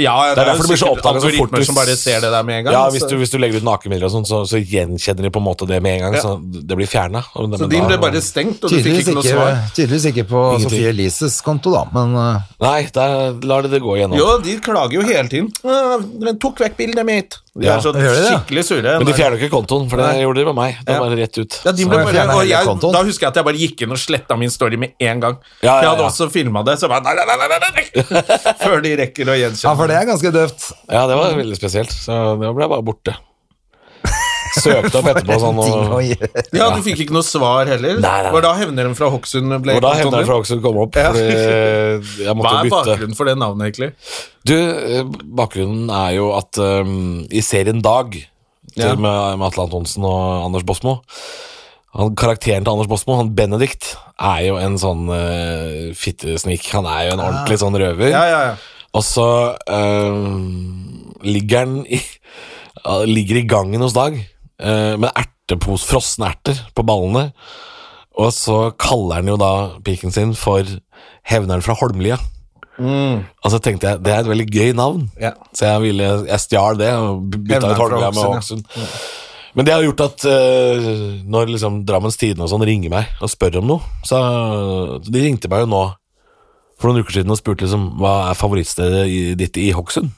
[SPEAKER 1] Ja,
[SPEAKER 3] Det er
[SPEAKER 1] jo
[SPEAKER 3] derfor det blir så
[SPEAKER 1] sikkert
[SPEAKER 3] oppdaget så fort.
[SPEAKER 1] algoritmer som bare ser det der med en gang. altså.
[SPEAKER 3] Ja, hvis
[SPEAKER 1] så-
[SPEAKER 3] du, hvis du legger ut nakenbilder og sånn, så, så gjenkjenner de på en måte det med en gang.
[SPEAKER 1] Ja.
[SPEAKER 3] Så det blir fjerna.
[SPEAKER 1] så din ble bare stengt, og du fikk
[SPEAKER 2] Tydeligvis
[SPEAKER 1] ikke noe
[SPEAKER 2] ikke,
[SPEAKER 1] svar.
[SPEAKER 2] tydeligvis ikke på
[SPEAKER 3] Ingenting.
[SPEAKER 2] Sofie Elises konto, da, men øh,
[SPEAKER 3] Nei, der lar de det gå igjennom.
[SPEAKER 1] Jo, de klager jo hele tiden. «Ah, Den tok vekk bildet mitt. De
[SPEAKER 3] Ja,
[SPEAKER 1] er så
[SPEAKER 2] gjør de det?
[SPEAKER 1] skikkelig sure.
[SPEAKER 3] Men de fjerner jo ikke kontoen, for det gjorde de med meg. Det
[SPEAKER 1] Ja.
[SPEAKER 3] var rett ut.
[SPEAKER 1] ja, de
[SPEAKER 2] Så
[SPEAKER 1] ble
[SPEAKER 2] jeg fjernet
[SPEAKER 1] bare, og
[SPEAKER 2] hele
[SPEAKER 1] jeg,
[SPEAKER 2] kontoen.
[SPEAKER 1] da husker jeg at jeg bare gikk inn og sletta min story med en gang.
[SPEAKER 3] Ja, ja,
[SPEAKER 1] For jeg hadde
[SPEAKER 3] ja.
[SPEAKER 1] også filma det, så jeg bare nei, nei, nei, nei,
[SPEAKER 3] (laughs)
[SPEAKER 1] nei, nei. Før de rekker å
[SPEAKER 2] Ja,
[SPEAKER 1] gjenkjenne.
[SPEAKER 2] for det er ganske døvt.
[SPEAKER 3] Ja, det
[SPEAKER 1] Mm.
[SPEAKER 3] var veldig spesielt. Så det ble jeg bare borte. Søkte opp etterpå
[SPEAKER 1] (laughs)
[SPEAKER 3] sånn
[SPEAKER 2] Ting å
[SPEAKER 3] og
[SPEAKER 2] gjøre.
[SPEAKER 1] Ja, du fikk ikke noe svar heller.
[SPEAKER 3] Nei, nei, nei.
[SPEAKER 1] Var da hevneren fra Hokksund ble
[SPEAKER 3] og da hevna
[SPEAKER 1] kontoen
[SPEAKER 3] jeg fra
[SPEAKER 1] din?
[SPEAKER 3] Oksund kom opp,
[SPEAKER 1] Ja.
[SPEAKER 3] fordi jeg
[SPEAKER 1] Hva
[SPEAKER 3] måtte
[SPEAKER 1] er
[SPEAKER 3] bytte.
[SPEAKER 1] bakgrunnen for det navnet, egentlig?
[SPEAKER 3] Du, eh, bakgrunnen er jo at um, i serien Dag, til
[SPEAKER 1] Ja.
[SPEAKER 3] og med, med Atle Antonsen og Anders Bosmo han, Karakteren til Anders Bosmo, han Benedikt, er jo en sånn eh, fittesnik. Han er jo en ordentlig sånn røver.
[SPEAKER 1] Ah. Ja, ja, ja.
[SPEAKER 3] Og så eh, ligger han i, ja, ligger i gangen hos Dag eh, med ertepos, frosne erter på ballene. Og så kaller han jo da piken sin for Hevneren fra Holmlia. Og så tenkte jeg det er et veldig gøy navn,
[SPEAKER 1] Mm. Ja.
[SPEAKER 3] så jeg, ville, jeg stjal det og bytta
[SPEAKER 1] Hevneren
[SPEAKER 3] ut
[SPEAKER 1] fra
[SPEAKER 3] Holmlia med
[SPEAKER 1] Hokksund,
[SPEAKER 3] Hokksund. Men det har gjort at eh, når liksom Drammens Tidende og sånn ringer meg og spør om noe Så De ringte meg jo nå for noen uker siden og spurte liksom hva er favorittstedet i- ditt i Hokksund.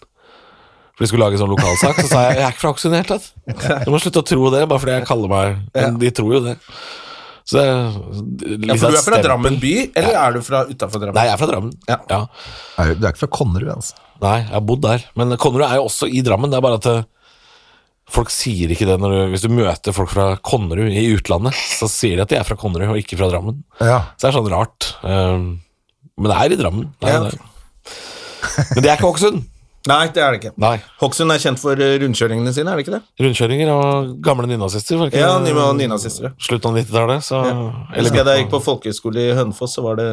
[SPEAKER 3] For de skulle lage sånn lokalsak, så sa jeg jeg er ikke fra Hokksund i det hele tatt. Du må slutte å tro det, bare fordi jeg kaller meg Men de tror jo det. Så det er
[SPEAKER 1] Ja,
[SPEAKER 3] litt
[SPEAKER 1] for du
[SPEAKER 3] av et
[SPEAKER 1] er fra
[SPEAKER 3] stempel.
[SPEAKER 1] Drammen by, eller er du fra utafor Drammen?
[SPEAKER 3] Nei, jeg er fra Drammen.
[SPEAKER 1] Ja.
[SPEAKER 3] ja.
[SPEAKER 2] Er du- Du er ikke fra Konnerud, altså.
[SPEAKER 3] Nei, jeg har bodd der. Men Konnerud er jo også i Drammen. Det er bare at eh, folk sier ikke det når du, hvis du møter folk fra Konnerud i utlandet. Så sier de at de er fra Konnerud og ikke fra Drammen.
[SPEAKER 2] Ja.
[SPEAKER 3] Så det er sånn rart. Um, men det er i Drammen. Det er
[SPEAKER 1] Ja,
[SPEAKER 3] jo det. Men det er ikke Hokksund.
[SPEAKER 1] Nei, det er det ikke.
[SPEAKER 3] Nei.
[SPEAKER 1] Hokksund er kjent for eh, rundkjøringene sine, er det ikke det?
[SPEAKER 3] Rundkjøringer og gamle nynazister. var ikke
[SPEAKER 1] Ja,
[SPEAKER 3] det?
[SPEAKER 1] Nyma og Nynazistere.
[SPEAKER 3] Slutten av 90-tallet. Så
[SPEAKER 1] Jeg husker jeg da jeg gikk på folkehøyskole i Hønefoss, så var det,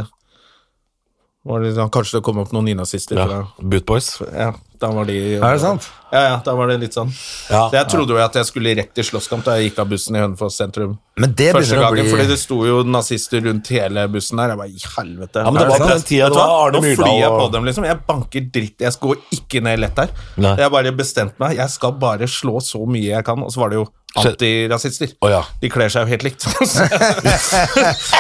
[SPEAKER 1] var det sånn, Kanskje det kom opp noen nynazister
[SPEAKER 3] ja.
[SPEAKER 1] fra
[SPEAKER 3] Bootboys.
[SPEAKER 1] Ja, da var de
[SPEAKER 2] Er det sant?
[SPEAKER 1] Ja, ja, da var det litt sånn.
[SPEAKER 3] Ja.
[SPEAKER 1] Så jeg trodde jo at jeg skulle rett i slåsskamp da jeg gikk av bussen i Hønefoss sentrum.
[SPEAKER 2] Men det
[SPEAKER 1] Første
[SPEAKER 2] begynner å
[SPEAKER 1] gangen,
[SPEAKER 2] bli
[SPEAKER 1] fordi det sto jo nazister rundt hele bussen der. Jeg bare, i helvete.
[SPEAKER 3] Ja, men det
[SPEAKER 1] Er
[SPEAKER 3] var på
[SPEAKER 1] sant?
[SPEAKER 3] den tida
[SPEAKER 1] Vet du
[SPEAKER 3] det var
[SPEAKER 1] hva?
[SPEAKER 3] Arne
[SPEAKER 1] Nå
[SPEAKER 3] Myrdal
[SPEAKER 1] flyr jeg på
[SPEAKER 3] og-
[SPEAKER 1] dem, liksom. Jeg banker dritt. Jeg går ikke ned lett her.
[SPEAKER 3] Nei.
[SPEAKER 1] Jeg bare bestemte meg. Jeg skal bare slå så mye jeg kan. Og så var det jo antirasister.
[SPEAKER 3] Å ja.
[SPEAKER 1] De kler seg jo helt
[SPEAKER 3] (laughs)
[SPEAKER 1] likt. (laughs) så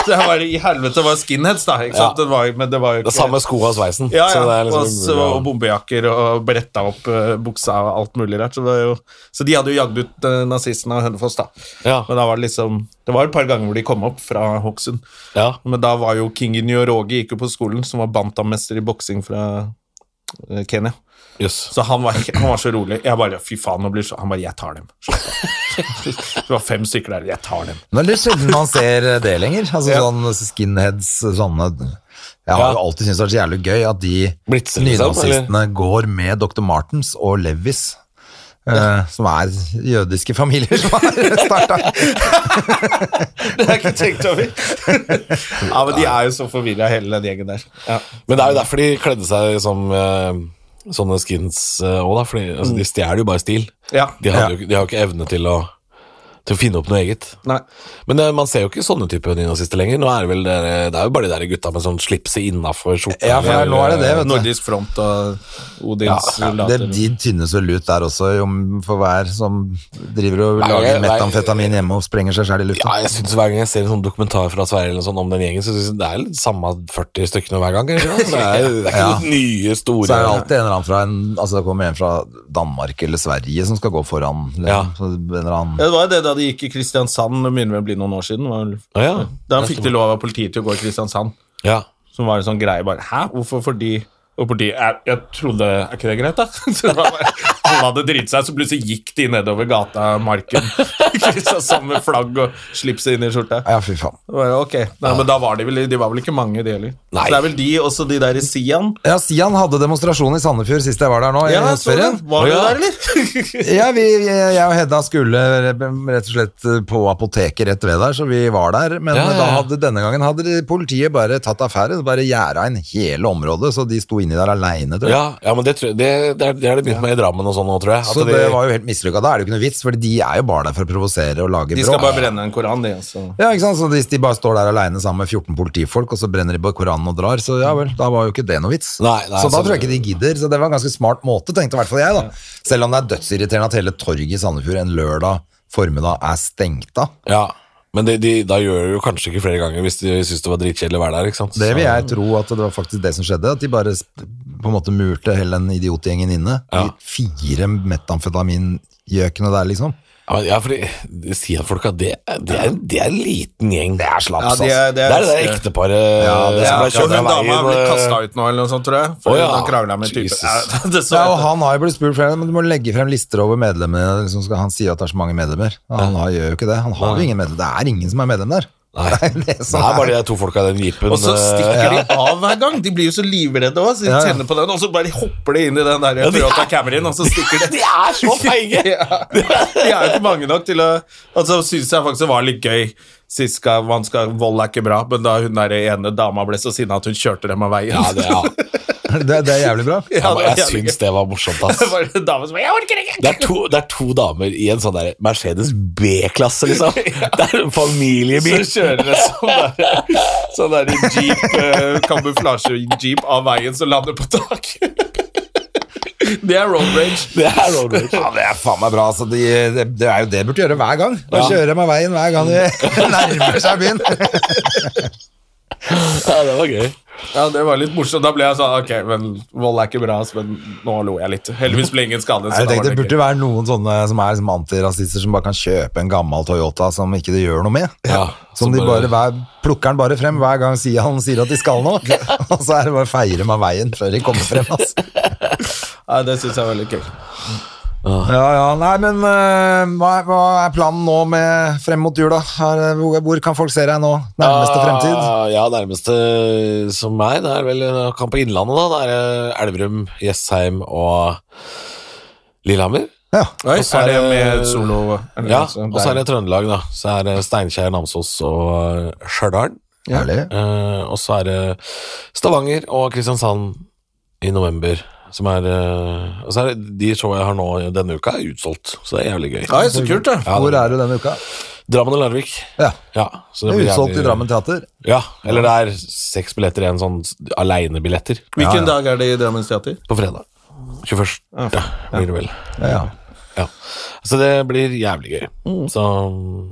[SPEAKER 1] jeg bare, i helvete, det var skinheads, da. Ikke sant?
[SPEAKER 3] Ja.
[SPEAKER 1] Det var, men det var jo
[SPEAKER 3] Det er samme sko og sveisen.
[SPEAKER 1] ja,
[SPEAKER 3] Så det
[SPEAKER 1] ja.
[SPEAKER 3] er liksom
[SPEAKER 1] og, så,
[SPEAKER 3] umulig å-
[SPEAKER 1] og bombejakker og bretta opp eh, buksa og alt mulig rart. Så, det var jo, så de hadde jo jagd ut eh, nazistene av Hønefoss, da.
[SPEAKER 3] Ja.
[SPEAKER 1] Men da var det liksom Det var et par ganger hvor de kom opp fra Hokksund.
[SPEAKER 3] ja.
[SPEAKER 1] Men da var jo King Nyoroghi gikk jo på skolen, som var bantammester i boksing fra eh, Kenya.
[SPEAKER 3] Jøss.
[SPEAKER 1] Så han var, han var så rolig. Jeg bare Fy faen, nå blir det så Han bare Jeg tar dem. Slapp av. Det var fem stykker der. Jeg tar dem.
[SPEAKER 2] Nå er det sjelden man ser det lenger. Altså
[SPEAKER 1] Ja.
[SPEAKER 2] sånn skinheads, eh, sånne Jeg har
[SPEAKER 3] Ja.
[SPEAKER 2] jo alltid syntes det har vært så jævlig gøy at de
[SPEAKER 3] Blitzer, liksom,
[SPEAKER 2] nynazistene går med Dr. Martens og Levis. eh, som er jødiske familier som har (laughs) starta
[SPEAKER 1] (laughs) Det har jeg ikke tenkt over. (laughs) ja, men de er jo så forvirra, hele den gjengen der. Ja.
[SPEAKER 3] Men det er jo derfor de kledde seg som eh, sånne skins òg, da. Fordi altså, de stjeler jo bare stil.
[SPEAKER 1] Mm. ja.
[SPEAKER 3] De, hadde jo, ikke- de har jo ikke evne til å, til å finne opp noe eget.
[SPEAKER 1] Nei.
[SPEAKER 3] Men eh, man ser jo ikke sånne type nynazister lenger. Nå er det, vel dere, det er jo bare de der gutta med sånn slipset innafor skjorta.
[SPEAKER 2] Ja, for
[SPEAKER 3] eller-
[SPEAKER 2] nå er det det, vet du.
[SPEAKER 1] Nordisk front og Odins
[SPEAKER 2] Det,
[SPEAKER 1] soldater.
[SPEAKER 2] de tynnes vel ut der også, om- for hver som driver og
[SPEAKER 3] Nei,
[SPEAKER 2] lager
[SPEAKER 3] nei.
[SPEAKER 2] metamfetamin hjemme og sprenger seg sjæl i lufta.
[SPEAKER 3] Ja, jeg synes Hver gang jeg ser en sånn dokumentar fra Sverige eller sånn om den gjengen, så synes jeg det er litt samme 40 stykkene hver gang. Ikke? sant? Det, er, det er ikke
[SPEAKER 2] Ja.
[SPEAKER 3] noen nye, store
[SPEAKER 2] Så er det alltid en eller annen fra en, altså det kommer en fra Danmark eller Sverige som skal gå foran. liksom.
[SPEAKER 3] Ja.
[SPEAKER 2] Så En eller annen
[SPEAKER 1] Ja, det var jo det da de gikk i Kristiansand, det begynner vel å bli noen år siden. Var, vel-
[SPEAKER 3] Å, ja.
[SPEAKER 1] Da fikk de lov av politiet til å gå i Kristiansand,
[SPEAKER 3] Ja.
[SPEAKER 1] som var en sånn greie bare Hæ? Hvorfor fordi og politiet jeg, jeg trodde Er ikke det greit, da? (laughs) Så det var bare, alle hadde driti seg, så plutselig gikk de nedover gata, marken, (laughs) i Kristiansand med flagg og slipset inn i skjorta.
[SPEAKER 2] Ja, fy faen.
[SPEAKER 1] Det var jo ok. Nei, Men da var de vel De var vel ikke mange, de heller.
[SPEAKER 3] Nei.
[SPEAKER 1] Så det er vel de, også de der i Sian.
[SPEAKER 2] Ja, Sian hadde demonstrasjon i Sandefjord sist jeg var der nå. i
[SPEAKER 1] Ja, jeg så det.
[SPEAKER 2] høstferien.
[SPEAKER 1] Var du
[SPEAKER 3] Å, ja.
[SPEAKER 2] (laughs)
[SPEAKER 1] der, eller?
[SPEAKER 2] Ja, vi, jeg og Hedda skulle rett og slett eh, på apoteket rett ved der, så vi var der. Men
[SPEAKER 3] Ja, ja, ja.
[SPEAKER 2] da hadde denne gangen hadde de- politiet bare tatt affære, bare gjerda inn hele området, så de sto inni der aleine, tror jeg.
[SPEAKER 3] Ja, ja, men det, tror jeg- det, det, er, det er det begynt med i Drammen og sånn nå, tror jeg. At
[SPEAKER 2] Så
[SPEAKER 3] de-
[SPEAKER 2] det var jo helt mislykka. Da er det jo ikke noe vits, for de er jo bare der for å provosere og lage
[SPEAKER 1] De skal bare brenne en koran, de. Altså.
[SPEAKER 2] Ja, ikke sant? Så Hvis de bare står der aleine sammen med 14 politifolk, og så brenner de på Koranen og drar, så ja vel, da var jo ikke det noe vits.
[SPEAKER 3] Nei, altså, nei,
[SPEAKER 2] så da
[SPEAKER 3] så-
[SPEAKER 2] tror jeg ikke de gidder. Så det var en ganske smart måte, tenkte i hvert fall jeg, da. Selv om det er dødsirriterende at hele torget i Sandefjord en lørdag formiddag er stengt av.
[SPEAKER 3] Ja, men de, de, da gjør de jo kanskje ikke flere ganger hvis de syns det var dritkjedelig å være der. ikke sant?
[SPEAKER 2] Det
[SPEAKER 3] Så-
[SPEAKER 2] vil jeg tro at det var faktisk det som skjedde, at de bare sp- på en måte murte hele den idiotgjengen inne.
[SPEAKER 3] Ja.
[SPEAKER 2] De fire metamfetamingjøkene der, liksom.
[SPEAKER 3] Ja, men- ja fordi de sier folk at det, det, er, det er en liten gjeng. Det er slaps,
[SPEAKER 1] Ja, de er-
[SPEAKER 3] det
[SPEAKER 1] det er-
[SPEAKER 3] er det der ekteparet
[SPEAKER 2] Ja, det er
[SPEAKER 3] som
[SPEAKER 1] Ja,
[SPEAKER 3] ble kjørt
[SPEAKER 1] hun
[SPEAKER 3] av
[SPEAKER 1] dama
[SPEAKER 3] veien.
[SPEAKER 1] ble
[SPEAKER 3] eh,
[SPEAKER 1] kasta ut nå, eller noe sånt, tror jeg. For
[SPEAKER 3] Å, ja.
[SPEAKER 1] hun krangla med en type.
[SPEAKER 3] Jesus.
[SPEAKER 1] Ja, (laughs) det så
[SPEAKER 2] Ja, og
[SPEAKER 1] jeg.
[SPEAKER 2] han har jo blitt spurt flere ganger, men du må legge frem lister over medlemmene dine. Liksom skal han si at (laughs) det er så mange medlemmer? Ja, Han har, gjør jo ikke det. Han har jo ingen medlemmer. Det er ingen som er medlem der.
[SPEAKER 3] Nei. Det er bare de der to folka i den jeepen.
[SPEAKER 1] Og så
[SPEAKER 3] eh,
[SPEAKER 1] stikker de av hver gang. De blir jo så livredde òg, så de
[SPEAKER 2] Ja, ja.
[SPEAKER 1] tenner på den, og så bare hopper de inn i den der
[SPEAKER 3] de er-
[SPEAKER 1] Toyota Camerien, og så stikker de.
[SPEAKER 3] (laughs) De er så feige!
[SPEAKER 1] (laughs) Ja. De er jo ikke mange nok til å Og så syns jeg faktisk det var litt gøy sist gang man skal Vold er ikke bra, men da hun der ene dama ble så sinna at hun kjørte dem av veien. (laughs)
[SPEAKER 3] Ja, det, ja.
[SPEAKER 2] Det, det er jævlig bra.
[SPEAKER 3] Ja, men jeg
[SPEAKER 1] jævlig
[SPEAKER 3] syns
[SPEAKER 1] gøy.
[SPEAKER 3] det var morsomt, ass.
[SPEAKER 1] (laughs) Det var en dame som bare, Jeg orker ikke!
[SPEAKER 3] Det er, to, det er to damer i en sånn der Mercedes B-klasse,
[SPEAKER 1] (laughs)
[SPEAKER 3] liksom. (laughs) Det er
[SPEAKER 1] Så
[SPEAKER 3] en familiebil.
[SPEAKER 1] kjører det sånn der, sånn der jeep, eh, kamuflasje-jeep av veien som lander på taket. Det er road rage.
[SPEAKER 3] Det er road rage.
[SPEAKER 2] Ja, det er faen meg bra. Altså, de, det, det er jo det de burde gjøre hver gang. Å
[SPEAKER 3] Ja.
[SPEAKER 2] kjøre meg veien hver gang de (laughs) nærmer seg byen.
[SPEAKER 3] Ja, det var gøy.
[SPEAKER 1] Ja, det var litt morsomt. Da ble jeg sånn Ok, men vold er ikke bra, ass, men nå lo jeg litt. Heldigvis ble ingen skadet. så
[SPEAKER 2] Jeg
[SPEAKER 1] da var
[SPEAKER 2] tenkte, det
[SPEAKER 1] det
[SPEAKER 2] burde være noen sånne som er liksom antirasister, som bare kan kjøpe en gammel Toyota som ikke det gjør noe med.
[SPEAKER 3] Ja,
[SPEAKER 2] som de
[SPEAKER 3] så
[SPEAKER 2] bare
[SPEAKER 3] bare-
[SPEAKER 2] hver, plukker den bare frem hver gang sier han sier at de skal (laughs) noe. Og så er det bare å feire meg veien før de kommer frem. altså. ass.
[SPEAKER 1] gøy. Ja, det syns jeg var litt gøy.
[SPEAKER 2] Ja, ja, nei, men øh, hva, er- hva er planen nå med frem mot jula? Her, øh, Hvor, hvor kan folk se deg nå? Nærmeste fremtid?
[SPEAKER 3] Ah, Ja, nærmeste som meg, det er vel eh, Kamp på Innlandet, da. Det er eh, Elverum, Jessheim og Lillehammer.
[SPEAKER 2] Ja.
[SPEAKER 1] Oi,
[SPEAKER 3] Og så
[SPEAKER 1] er det
[SPEAKER 3] er det-
[SPEAKER 1] med solo eller
[SPEAKER 3] Ja,
[SPEAKER 1] sånn
[SPEAKER 3] og så er
[SPEAKER 1] der?
[SPEAKER 3] det Trøndelag, da. Så er det Steinkjer, Namsos og eh, Stjørdal.
[SPEAKER 2] Herlig.
[SPEAKER 3] Eh, og så er det Stavanger og Kristiansand i november. Som er, eh, og så er det de showene jeg har nå denne uka, er utsolgt. Så det er jævlig gøy.
[SPEAKER 1] Oi, så kult, da.
[SPEAKER 3] Ja,
[SPEAKER 2] Hvor
[SPEAKER 3] det-
[SPEAKER 2] er du denne uka?
[SPEAKER 3] Drammen og Larvik.
[SPEAKER 2] Ja,
[SPEAKER 3] Ja, så
[SPEAKER 2] det
[SPEAKER 3] blir
[SPEAKER 2] er utsolgt
[SPEAKER 3] jævlig-
[SPEAKER 2] i Drammen Teater.
[SPEAKER 3] Ja, eller det er seks billetter igjen, sånn aleinebilletter,
[SPEAKER 1] Hvilken dag er det i Drammens Teater?
[SPEAKER 3] på fredag. 21. Ja, blir det vel.
[SPEAKER 2] (laughs) Ja.
[SPEAKER 3] Ja. Så det blir jævlig gøy. Så,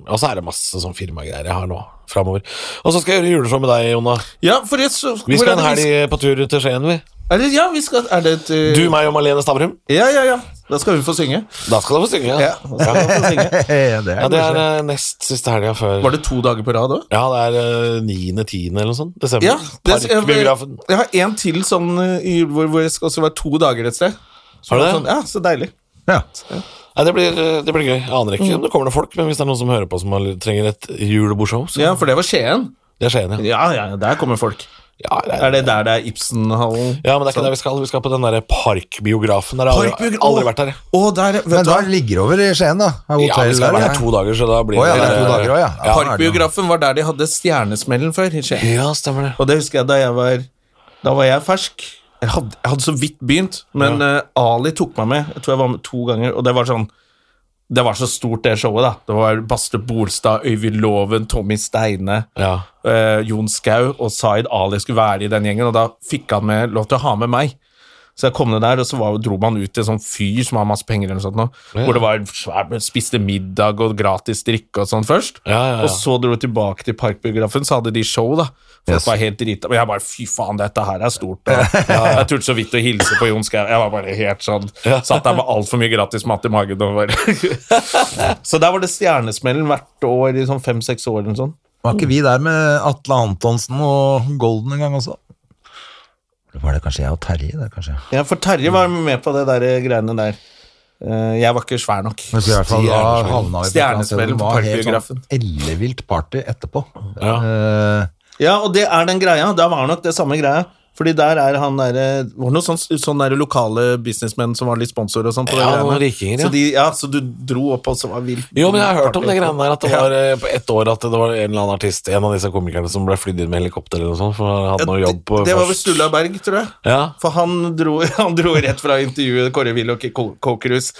[SPEAKER 3] og så er det masse sånn firmagreier jeg har nå framover. Og så skal jeg gjøre juleshow med deg, Jonna.
[SPEAKER 1] Ja, for jeg så,
[SPEAKER 3] Vi
[SPEAKER 1] hvor
[SPEAKER 3] skal en
[SPEAKER 1] er det vi
[SPEAKER 3] helg på tur til Skien, vi.
[SPEAKER 1] sk- er det, Ja, vi skal Er det et eh,
[SPEAKER 3] Du, meg og Malene Stavrum.
[SPEAKER 1] Ja, ja, ja. Da skal hun få synge.
[SPEAKER 3] Da skal du få synge.
[SPEAKER 1] (laughs) Ja, da skal hun få synge.
[SPEAKER 2] Ja, det
[SPEAKER 3] Ja,
[SPEAKER 2] er
[SPEAKER 3] det er
[SPEAKER 2] koselig.
[SPEAKER 3] eh, nest siste helga før
[SPEAKER 1] Var det to dager på rad òg?
[SPEAKER 3] Ja, det er niende-tiende eller noe sånt. Desember.
[SPEAKER 1] Ja. Det, jeg,
[SPEAKER 3] Parkbiografen.
[SPEAKER 1] jeg har en til sånn eh, i, hvor, hvor jeg skal også være to dager et sted. Så
[SPEAKER 3] Har
[SPEAKER 1] var
[SPEAKER 3] du det?
[SPEAKER 1] Sånn, ja, så deilig.
[SPEAKER 2] Ja.
[SPEAKER 3] Nei, det blir, eh, det blir gøy. Jeg aner ikke om det kommer noen folk, men hvis det er noen som hører på som har- trenger et julebordshow, så
[SPEAKER 1] Ja, for det var Skien.
[SPEAKER 3] det er Skien, ja.
[SPEAKER 1] Ja, ja, der kommer folk.
[SPEAKER 3] Ja, det
[SPEAKER 1] Er det der det er Ibsenhallen?
[SPEAKER 3] ja, men det er ikke der vi skal. Vi skal på den derre Parkbiografen. Der har jeg aldri,
[SPEAKER 1] Parkbiografen.
[SPEAKER 3] aldri vært der. jeg.
[SPEAKER 1] Å, der, vet
[SPEAKER 2] Men
[SPEAKER 1] du
[SPEAKER 2] da
[SPEAKER 1] hva?
[SPEAKER 2] ligger det over i Skien, da. Er
[SPEAKER 3] Ja, vi
[SPEAKER 2] hotell
[SPEAKER 3] skal
[SPEAKER 2] der,
[SPEAKER 3] være
[SPEAKER 2] ja.
[SPEAKER 3] der to dager, så da blir
[SPEAKER 2] Å ja, det er to
[SPEAKER 3] eh,
[SPEAKER 2] dager òg, ja. Ja, da er det noe.
[SPEAKER 1] Parkbiografen var der de hadde Stjernesmellen før. i Skien.
[SPEAKER 3] Ja, stemmer det.
[SPEAKER 1] Og det husker jeg da jeg var Da var jeg fersk. Jeg hadde, jeg hadde så vidt begynt, men eh, Ali tok meg med. Jeg tror jeg var med to ganger, og det var sånn Det var så stort, det showet, da. Det var Baste Bolstad, Øyvind Loven, Tommy Steine,
[SPEAKER 3] Ja.
[SPEAKER 1] eh, Jon Skau og Zaid Ali skulle være i den gjengen, og da fikk han med lov til å ha med meg. Så jeg kom ned der, og så var, dro man ut til en sånn fyr som har masse penger, eller noe sånt, nå, hvor det var svær, spiste middag og gratis drikke og sånn først.
[SPEAKER 3] Ja, ja, ja.
[SPEAKER 1] Og så dro vi tilbake til Parkbiografen, så hadde de show, da. Folk
[SPEAKER 2] Yes.
[SPEAKER 1] var helt drita. Men jeg bare fy faen, dette her er stort.
[SPEAKER 3] (laughs)
[SPEAKER 1] Og Jeg turte så vidt å hilse på Jon Skau. Jeg var bare helt sånn Satt der med altfor mye gratis mat i magen. Og
[SPEAKER 3] (laughs)
[SPEAKER 1] bare. (laughs) så der var det Stjernesmellen hvert år i sånn fem-seks år eller noe sånt.
[SPEAKER 2] Var ikke vi der med Atle Antonsen og Golden en gang også? Var det kanskje jeg og Terje der, kanskje?
[SPEAKER 1] Ja, for Terje var med på det der greiene der. Eh, Jeg var ikke svær nok.
[SPEAKER 2] Men så i hvert fall da havna
[SPEAKER 3] Stjernesmellen.
[SPEAKER 2] vi et eller annet sted hvor det
[SPEAKER 1] Stjernesmellen på
[SPEAKER 2] var helt
[SPEAKER 1] Parkbiografen.
[SPEAKER 2] sånn Ellevilt party etterpå.
[SPEAKER 3] Ja.
[SPEAKER 2] Eh,
[SPEAKER 1] Ja, og det er den greia. Da var nok det samme greia. Fordi der er han der, var det noen sånne, sånne der lokale businessmenn som var litt sponsor og sånn. på det
[SPEAKER 3] Ja,
[SPEAKER 1] greiene.
[SPEAKER 3] noen rikinger, ja.
[SPEAKER 1] Så, de, ja, så du dro opp og så var vilt.
[SPEAKER 3] Jo, men jeg har hørt om det
[SPEAKER 1] party.
[SPEAKER 3] greiene der at det var eh, på ett år at det var en eller annen artist, en av disse komikerne, som ble flydd inn med helikopter eller noe sånt, for han hadde noe
[SPEAKER 1] Ja,
[SPEAKER 3] jobb på
[SPEAKER 1] det, det var vel
[SPEAKER 3] først.
[SPEAKER 1] Sturla Berg, tror jeg.
[SPEAKER 3] Ja.
[SPEAKER 1] For han dro, (laughs) han dro rett fra intervjuet Kåre Willoch i Ko- Kokerhus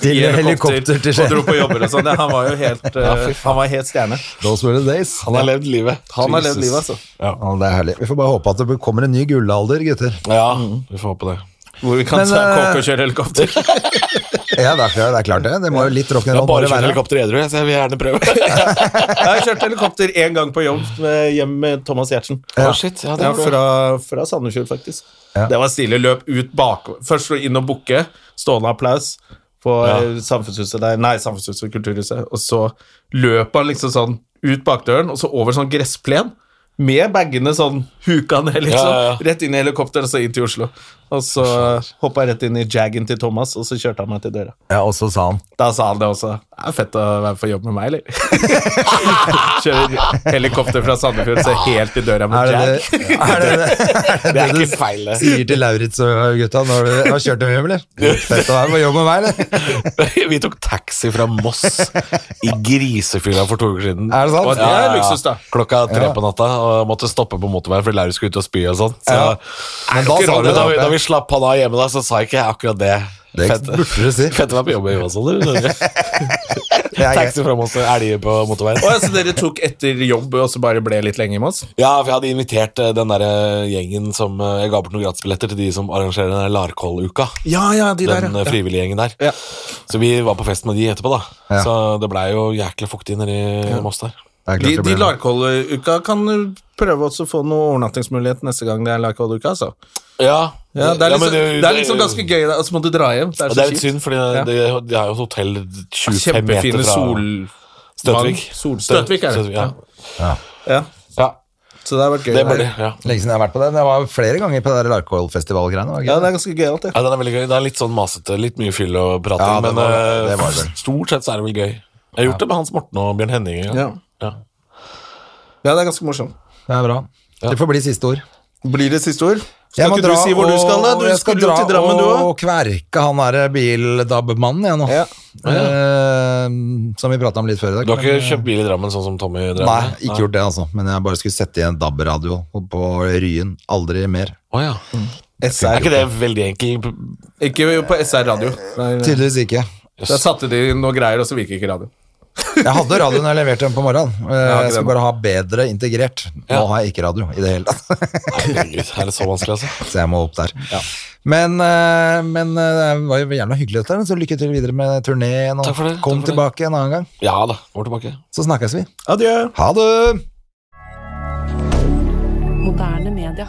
[SPEAKER 2] Til
[SPEAKER 1] i
[SPEAKER 2] helikopter til Skien.
[SPEAKER 1] Og dro på jobber og sånn. Ja, han var jo helt, eh, han var helt stjerne.
[SPEAKER 2] Those were the days.
[SPEAKER 3] Han har levd livet.
[SPEAKER 1] Han har levd livet, altså.
[SPEAKER 3] Ja,
[SPEAKER 2] Ja, det er herlig. Vi får bare håpe at det kommer en ny gullalder, gutter.
[SPEAKER 3] ja vi får håpe det.
[SPEAKER 1] Hvor vi kan
[SPEAKER 2] Men,
[SPEAKER 1] ta
[SPEAKER 2] eh,
[SPEAKER 1] kåke og kjøre helikopter.
[SPEAKER 2] Ja, det er klart det. Er klart det. det må jo litt
[SPEAKER 3] Jeg har
[SPEAKER 2] rock'n'roll
[SPEAKER 3] bare
[SPEAKER 2] bare
[SPEAKER 3] kjørt
[SPEAKER 2] være.
[SPEAKER 3] helikopter edru, jeg, så jeg vil gjerne prøve.
[SPEAKER 1] (laughs) Jeg har kjørt helikopter én gang på jobb med, hjem med Thomas Giertsen.
[SPEAKER 3] Ja, shit, ja, det
[SPEAKER 1] Ja,
[SPEAKER 3] var bra.
[SPEAKER 1] fra, fra Sandefjord, faktisk. Det var stilig. Løp ut bak Først inn og bukke. Stående applaus på eh, Samfunnshuset der. Nei, Samfunnshuset Kulturhuset. Og så løp han liksom sånn ut bakdøren, og så over sånn gressplen. Med bagene sånn huka ned, liksom.
[SPEAKER 3] Ja, ja, ja.
[SPEAKER 1] Rett inn i helikopteret og så inn til Oslo. Og så hoppa jeg rett inn i Jaggen til Thomas, og så kjørte han meg til døra.
[SPEAKER 2] Ja, og så sa han
[SPEAKER 1] Da sa han det også. Det er fett å være på jobb med meg, eller? (laughs) Kjører helikopter fra Sandefjord, ser helt til døra med
[SPEAKER 2] Er det
[SPEAKER 1] (laughs) Jack.
[SPEAKER 2] det, er det, det, er
[SPEAKER 3] (laughs) Det
[SPEAKER 2] det
[SPEAKER 3] er
[SPEAKER 2] du
[SPEAKER 3] ikke feil,
[SPEAKER 2] (laughs)
[SPEAKER 3] det.
[SPEAKER 2] sier til Lauritz og gutta når du har kjørt dem hjem, eller? Fett å være på jobb med meg, eller?
[SPEAKER 3] Vi tok taxi fra Moss i grisefylla for to uker siden.
[SPEAKER 2] Er det sant?
[SPEAKER 1] Og det er luksus, da.
[SPEAKER 3] Klokka tre på natta, og måtte stoppe på motorveien fordi Lauritz skulle ut og spy og sånn. Så,
[SPEAKER 2] Ja. Men da
[SPEAKER 3] da,
[SPEAKER 2] sa du
[SPEAKER 3] da, vi,
[SPEAKER 2] det.
[SPEAKER 3] da vi slapp han av hjemme, da, så sa ikke jeg akkurat det.
[SPEAKER 2] Det
[SPEAKER 3] Fett-
[SPEAKER 2] burde du si.
[SPEAKER 3] (laughs) Fett å være på jobb med Johansson.
[SPEAKER 2] Det er greit.
[SPEAKER 3] Taxi fra Moss og elger på motorveien.
[SPEAKER 1] Å, ja, så dere tok etter jobb og så bare ble litt lenge i Moss?
[SPEAKER 3] Ja, for jeg hadde invitert eh, den der eh, gjengen som eh, Jeg ga bort noen gratisbilletter til de som arrangerer den der Larkoll-uka.
[SPEAKER 1] Ja, ja, de
[SPEAKER 3] Den eh, frivillige gjengen der.
[SPEAKER 1] Ja.
[SPEAKER 3] Så vi var på fest med de etterpå, da.
[SPEAKER 2] Ja.
[SPEAKER 3] Så det blei jo jækla fuktig nedi Moss der.
[SPEAKER 2] Det er klart
[SPEAKER 1] De,
[SPEAKER 2] det
[SPEAKER 1] de
[SPEAKER 2] blir-
[SPEAKER 1] Larkoll-uka kan uh, prøve også å få noe overnattingsmulighet neste gang det er Larkoll-uka, altså.
[SPEAKER 3] Ja,
[SPEAKER 1] Ja, det, er
[SPEAKER 3] men
[SPEAKER 1] liksom, det er liksom ganske gøy, da, og så må du dra hjem. Det er
[SPEAKER 3] Ja, Det
[SPEAKER 1] så
[SPEAKER 3] er litt
[SPEAKER 1] kjipt.
[SPEAKER 3] synd, for de,
[SPEAKER 1] Ja.
[SPEAKER 3] de har jo et hotell 25 meter
[SPEAKER 1] Kjempefine
[SPEAKER 3] fra
[SPEAKER 1] sol...
[SPEAKER 3] Støtvik.
[SPEAKER 1] Sol, Støtvik er det.
[SPEAKER 3] Støtvik, ja.
[SPEAKER 1] Ja.
[SPEAKER 3] Ja,
[SPEAKER 1] Så det har vært gøy.
[SPEAKER 3] det bør de. Ja.
[SPEAKER 2] Lenge siden jeg har vært på den. Jeg var flere ganger på det der Larkoil-festivalgreiene. var det ikke
[SPEAKER 1] Ja, det
[SPEAKER 2] det?
[SPEAKER 1] er ganske gøyalt, det.
[SPEAKER 3] Ja, den er veldig gøy. Det er litt sånn masete, litt mye fyll og prating,
[SPEAKER 2] Ja, det
[SPEAKER 3] men
[SPEAKER 2] var det.
[SPEAKER 3] eh,
[SPEAKER 2] Det var det vel.
[SPEAKER 3] stort sett så er det vel gøy. Jeg har gjort det med Hans Morten og Bjørn Henning en gang.
[SPEAKER 1] Ja.
[SPEAKER 3] Ja.
[SPEAKER 1] ja, det er ganske morsomt.
[SPEAKER 2] Det er bra. Det får bli siste ord.
[SPEAKER 1] Blir det siste ord?
[SPEAKER 2] Jeg
[SPEAKER 1] Skal
[SPEAKER 2] må
[SPEAKER 1] ikke du
[SPEAKER 2] dra
[SPEAKER 1] si hvor du
[SPEAKER 2] og-
[SPEAKER 1] skal, da? Du
[SPEAKER 2] jeg
[SPEAKER 1] skulle jo
[SPEAKER 2] dra
[SPEAKER 1] til Drammen, du òg.
[SPEAKER 2] Og kverke han derre bildab-mannen, jeg nå.
[SPEAKER 1] Ja.
[SPEAKER 2] Eh, som vi prata om litt før i dag.
[SPEAKER 3] Du har
[SPEAKER 2] men- eh,
[SPEAKER 3] ikke kjøpt bil i Drammen sånn som Tommy drev
[SPEAKER 2] Nei,
[SPEAKER 3] med?
[SPEAKER 2] ikke gjort det, altså. Men jeg bare skulle sette i en DAB-radio på Ryen. Aldri mer.
[SPEAKER 3] Å, ja.
[SPEAKER 2] Mm.
[SPEAKER 3] Er
[SPEAKER 1] SR.
[SPEAKER 3] ikke det veldig enkel
[SPEAKER 1] Ikke jo på SR radio. Der,
[SPEAKER 2] Tydeligvis ikke.
[SPEAKER 1] der satte de inn noe greier, og så virker ikke radioen.
[SPEAKER 2] Jeg hadde radio når jeg leverte den på morgenen. Eh,
[SPEAKER 1] ikke
[SPEAKER 2] Jeg
[SPEAKER 1] det
[SPEAKER 2] skulle
[SPEAKER 1] nå.
[SPEAKER 2] bare ha bedre integrert. Nå
[SPEAKER 3] Ja.
[SPEAKER 2] har jeg ikke radio i det hele tatt.
[SPEAKER 3] Herregud, er det så vanskelig, altså?
[SPEAKER 2] Så jeg må opp der. Men, eh, men eh, det var jo jævla hyggelig, dette. her, Så lykke til videre med turneen.
[SPEAKER 3] Takk for det,
[SPEAKER 2] Og
[SPEAKER 3] takk
[SPEAKER 2] kom
[SPEAKER 3] for det.
[SPEAKER 2] tilbake en annen gang,
[SPEAKER 3] Ja da, går tilbake.
[SPEAKER 2] så snakkes vi.
[SPEAKER 1] Adjø.
[SPEAKER 2] Ha det!
[SPEAKER 4] Moderne media.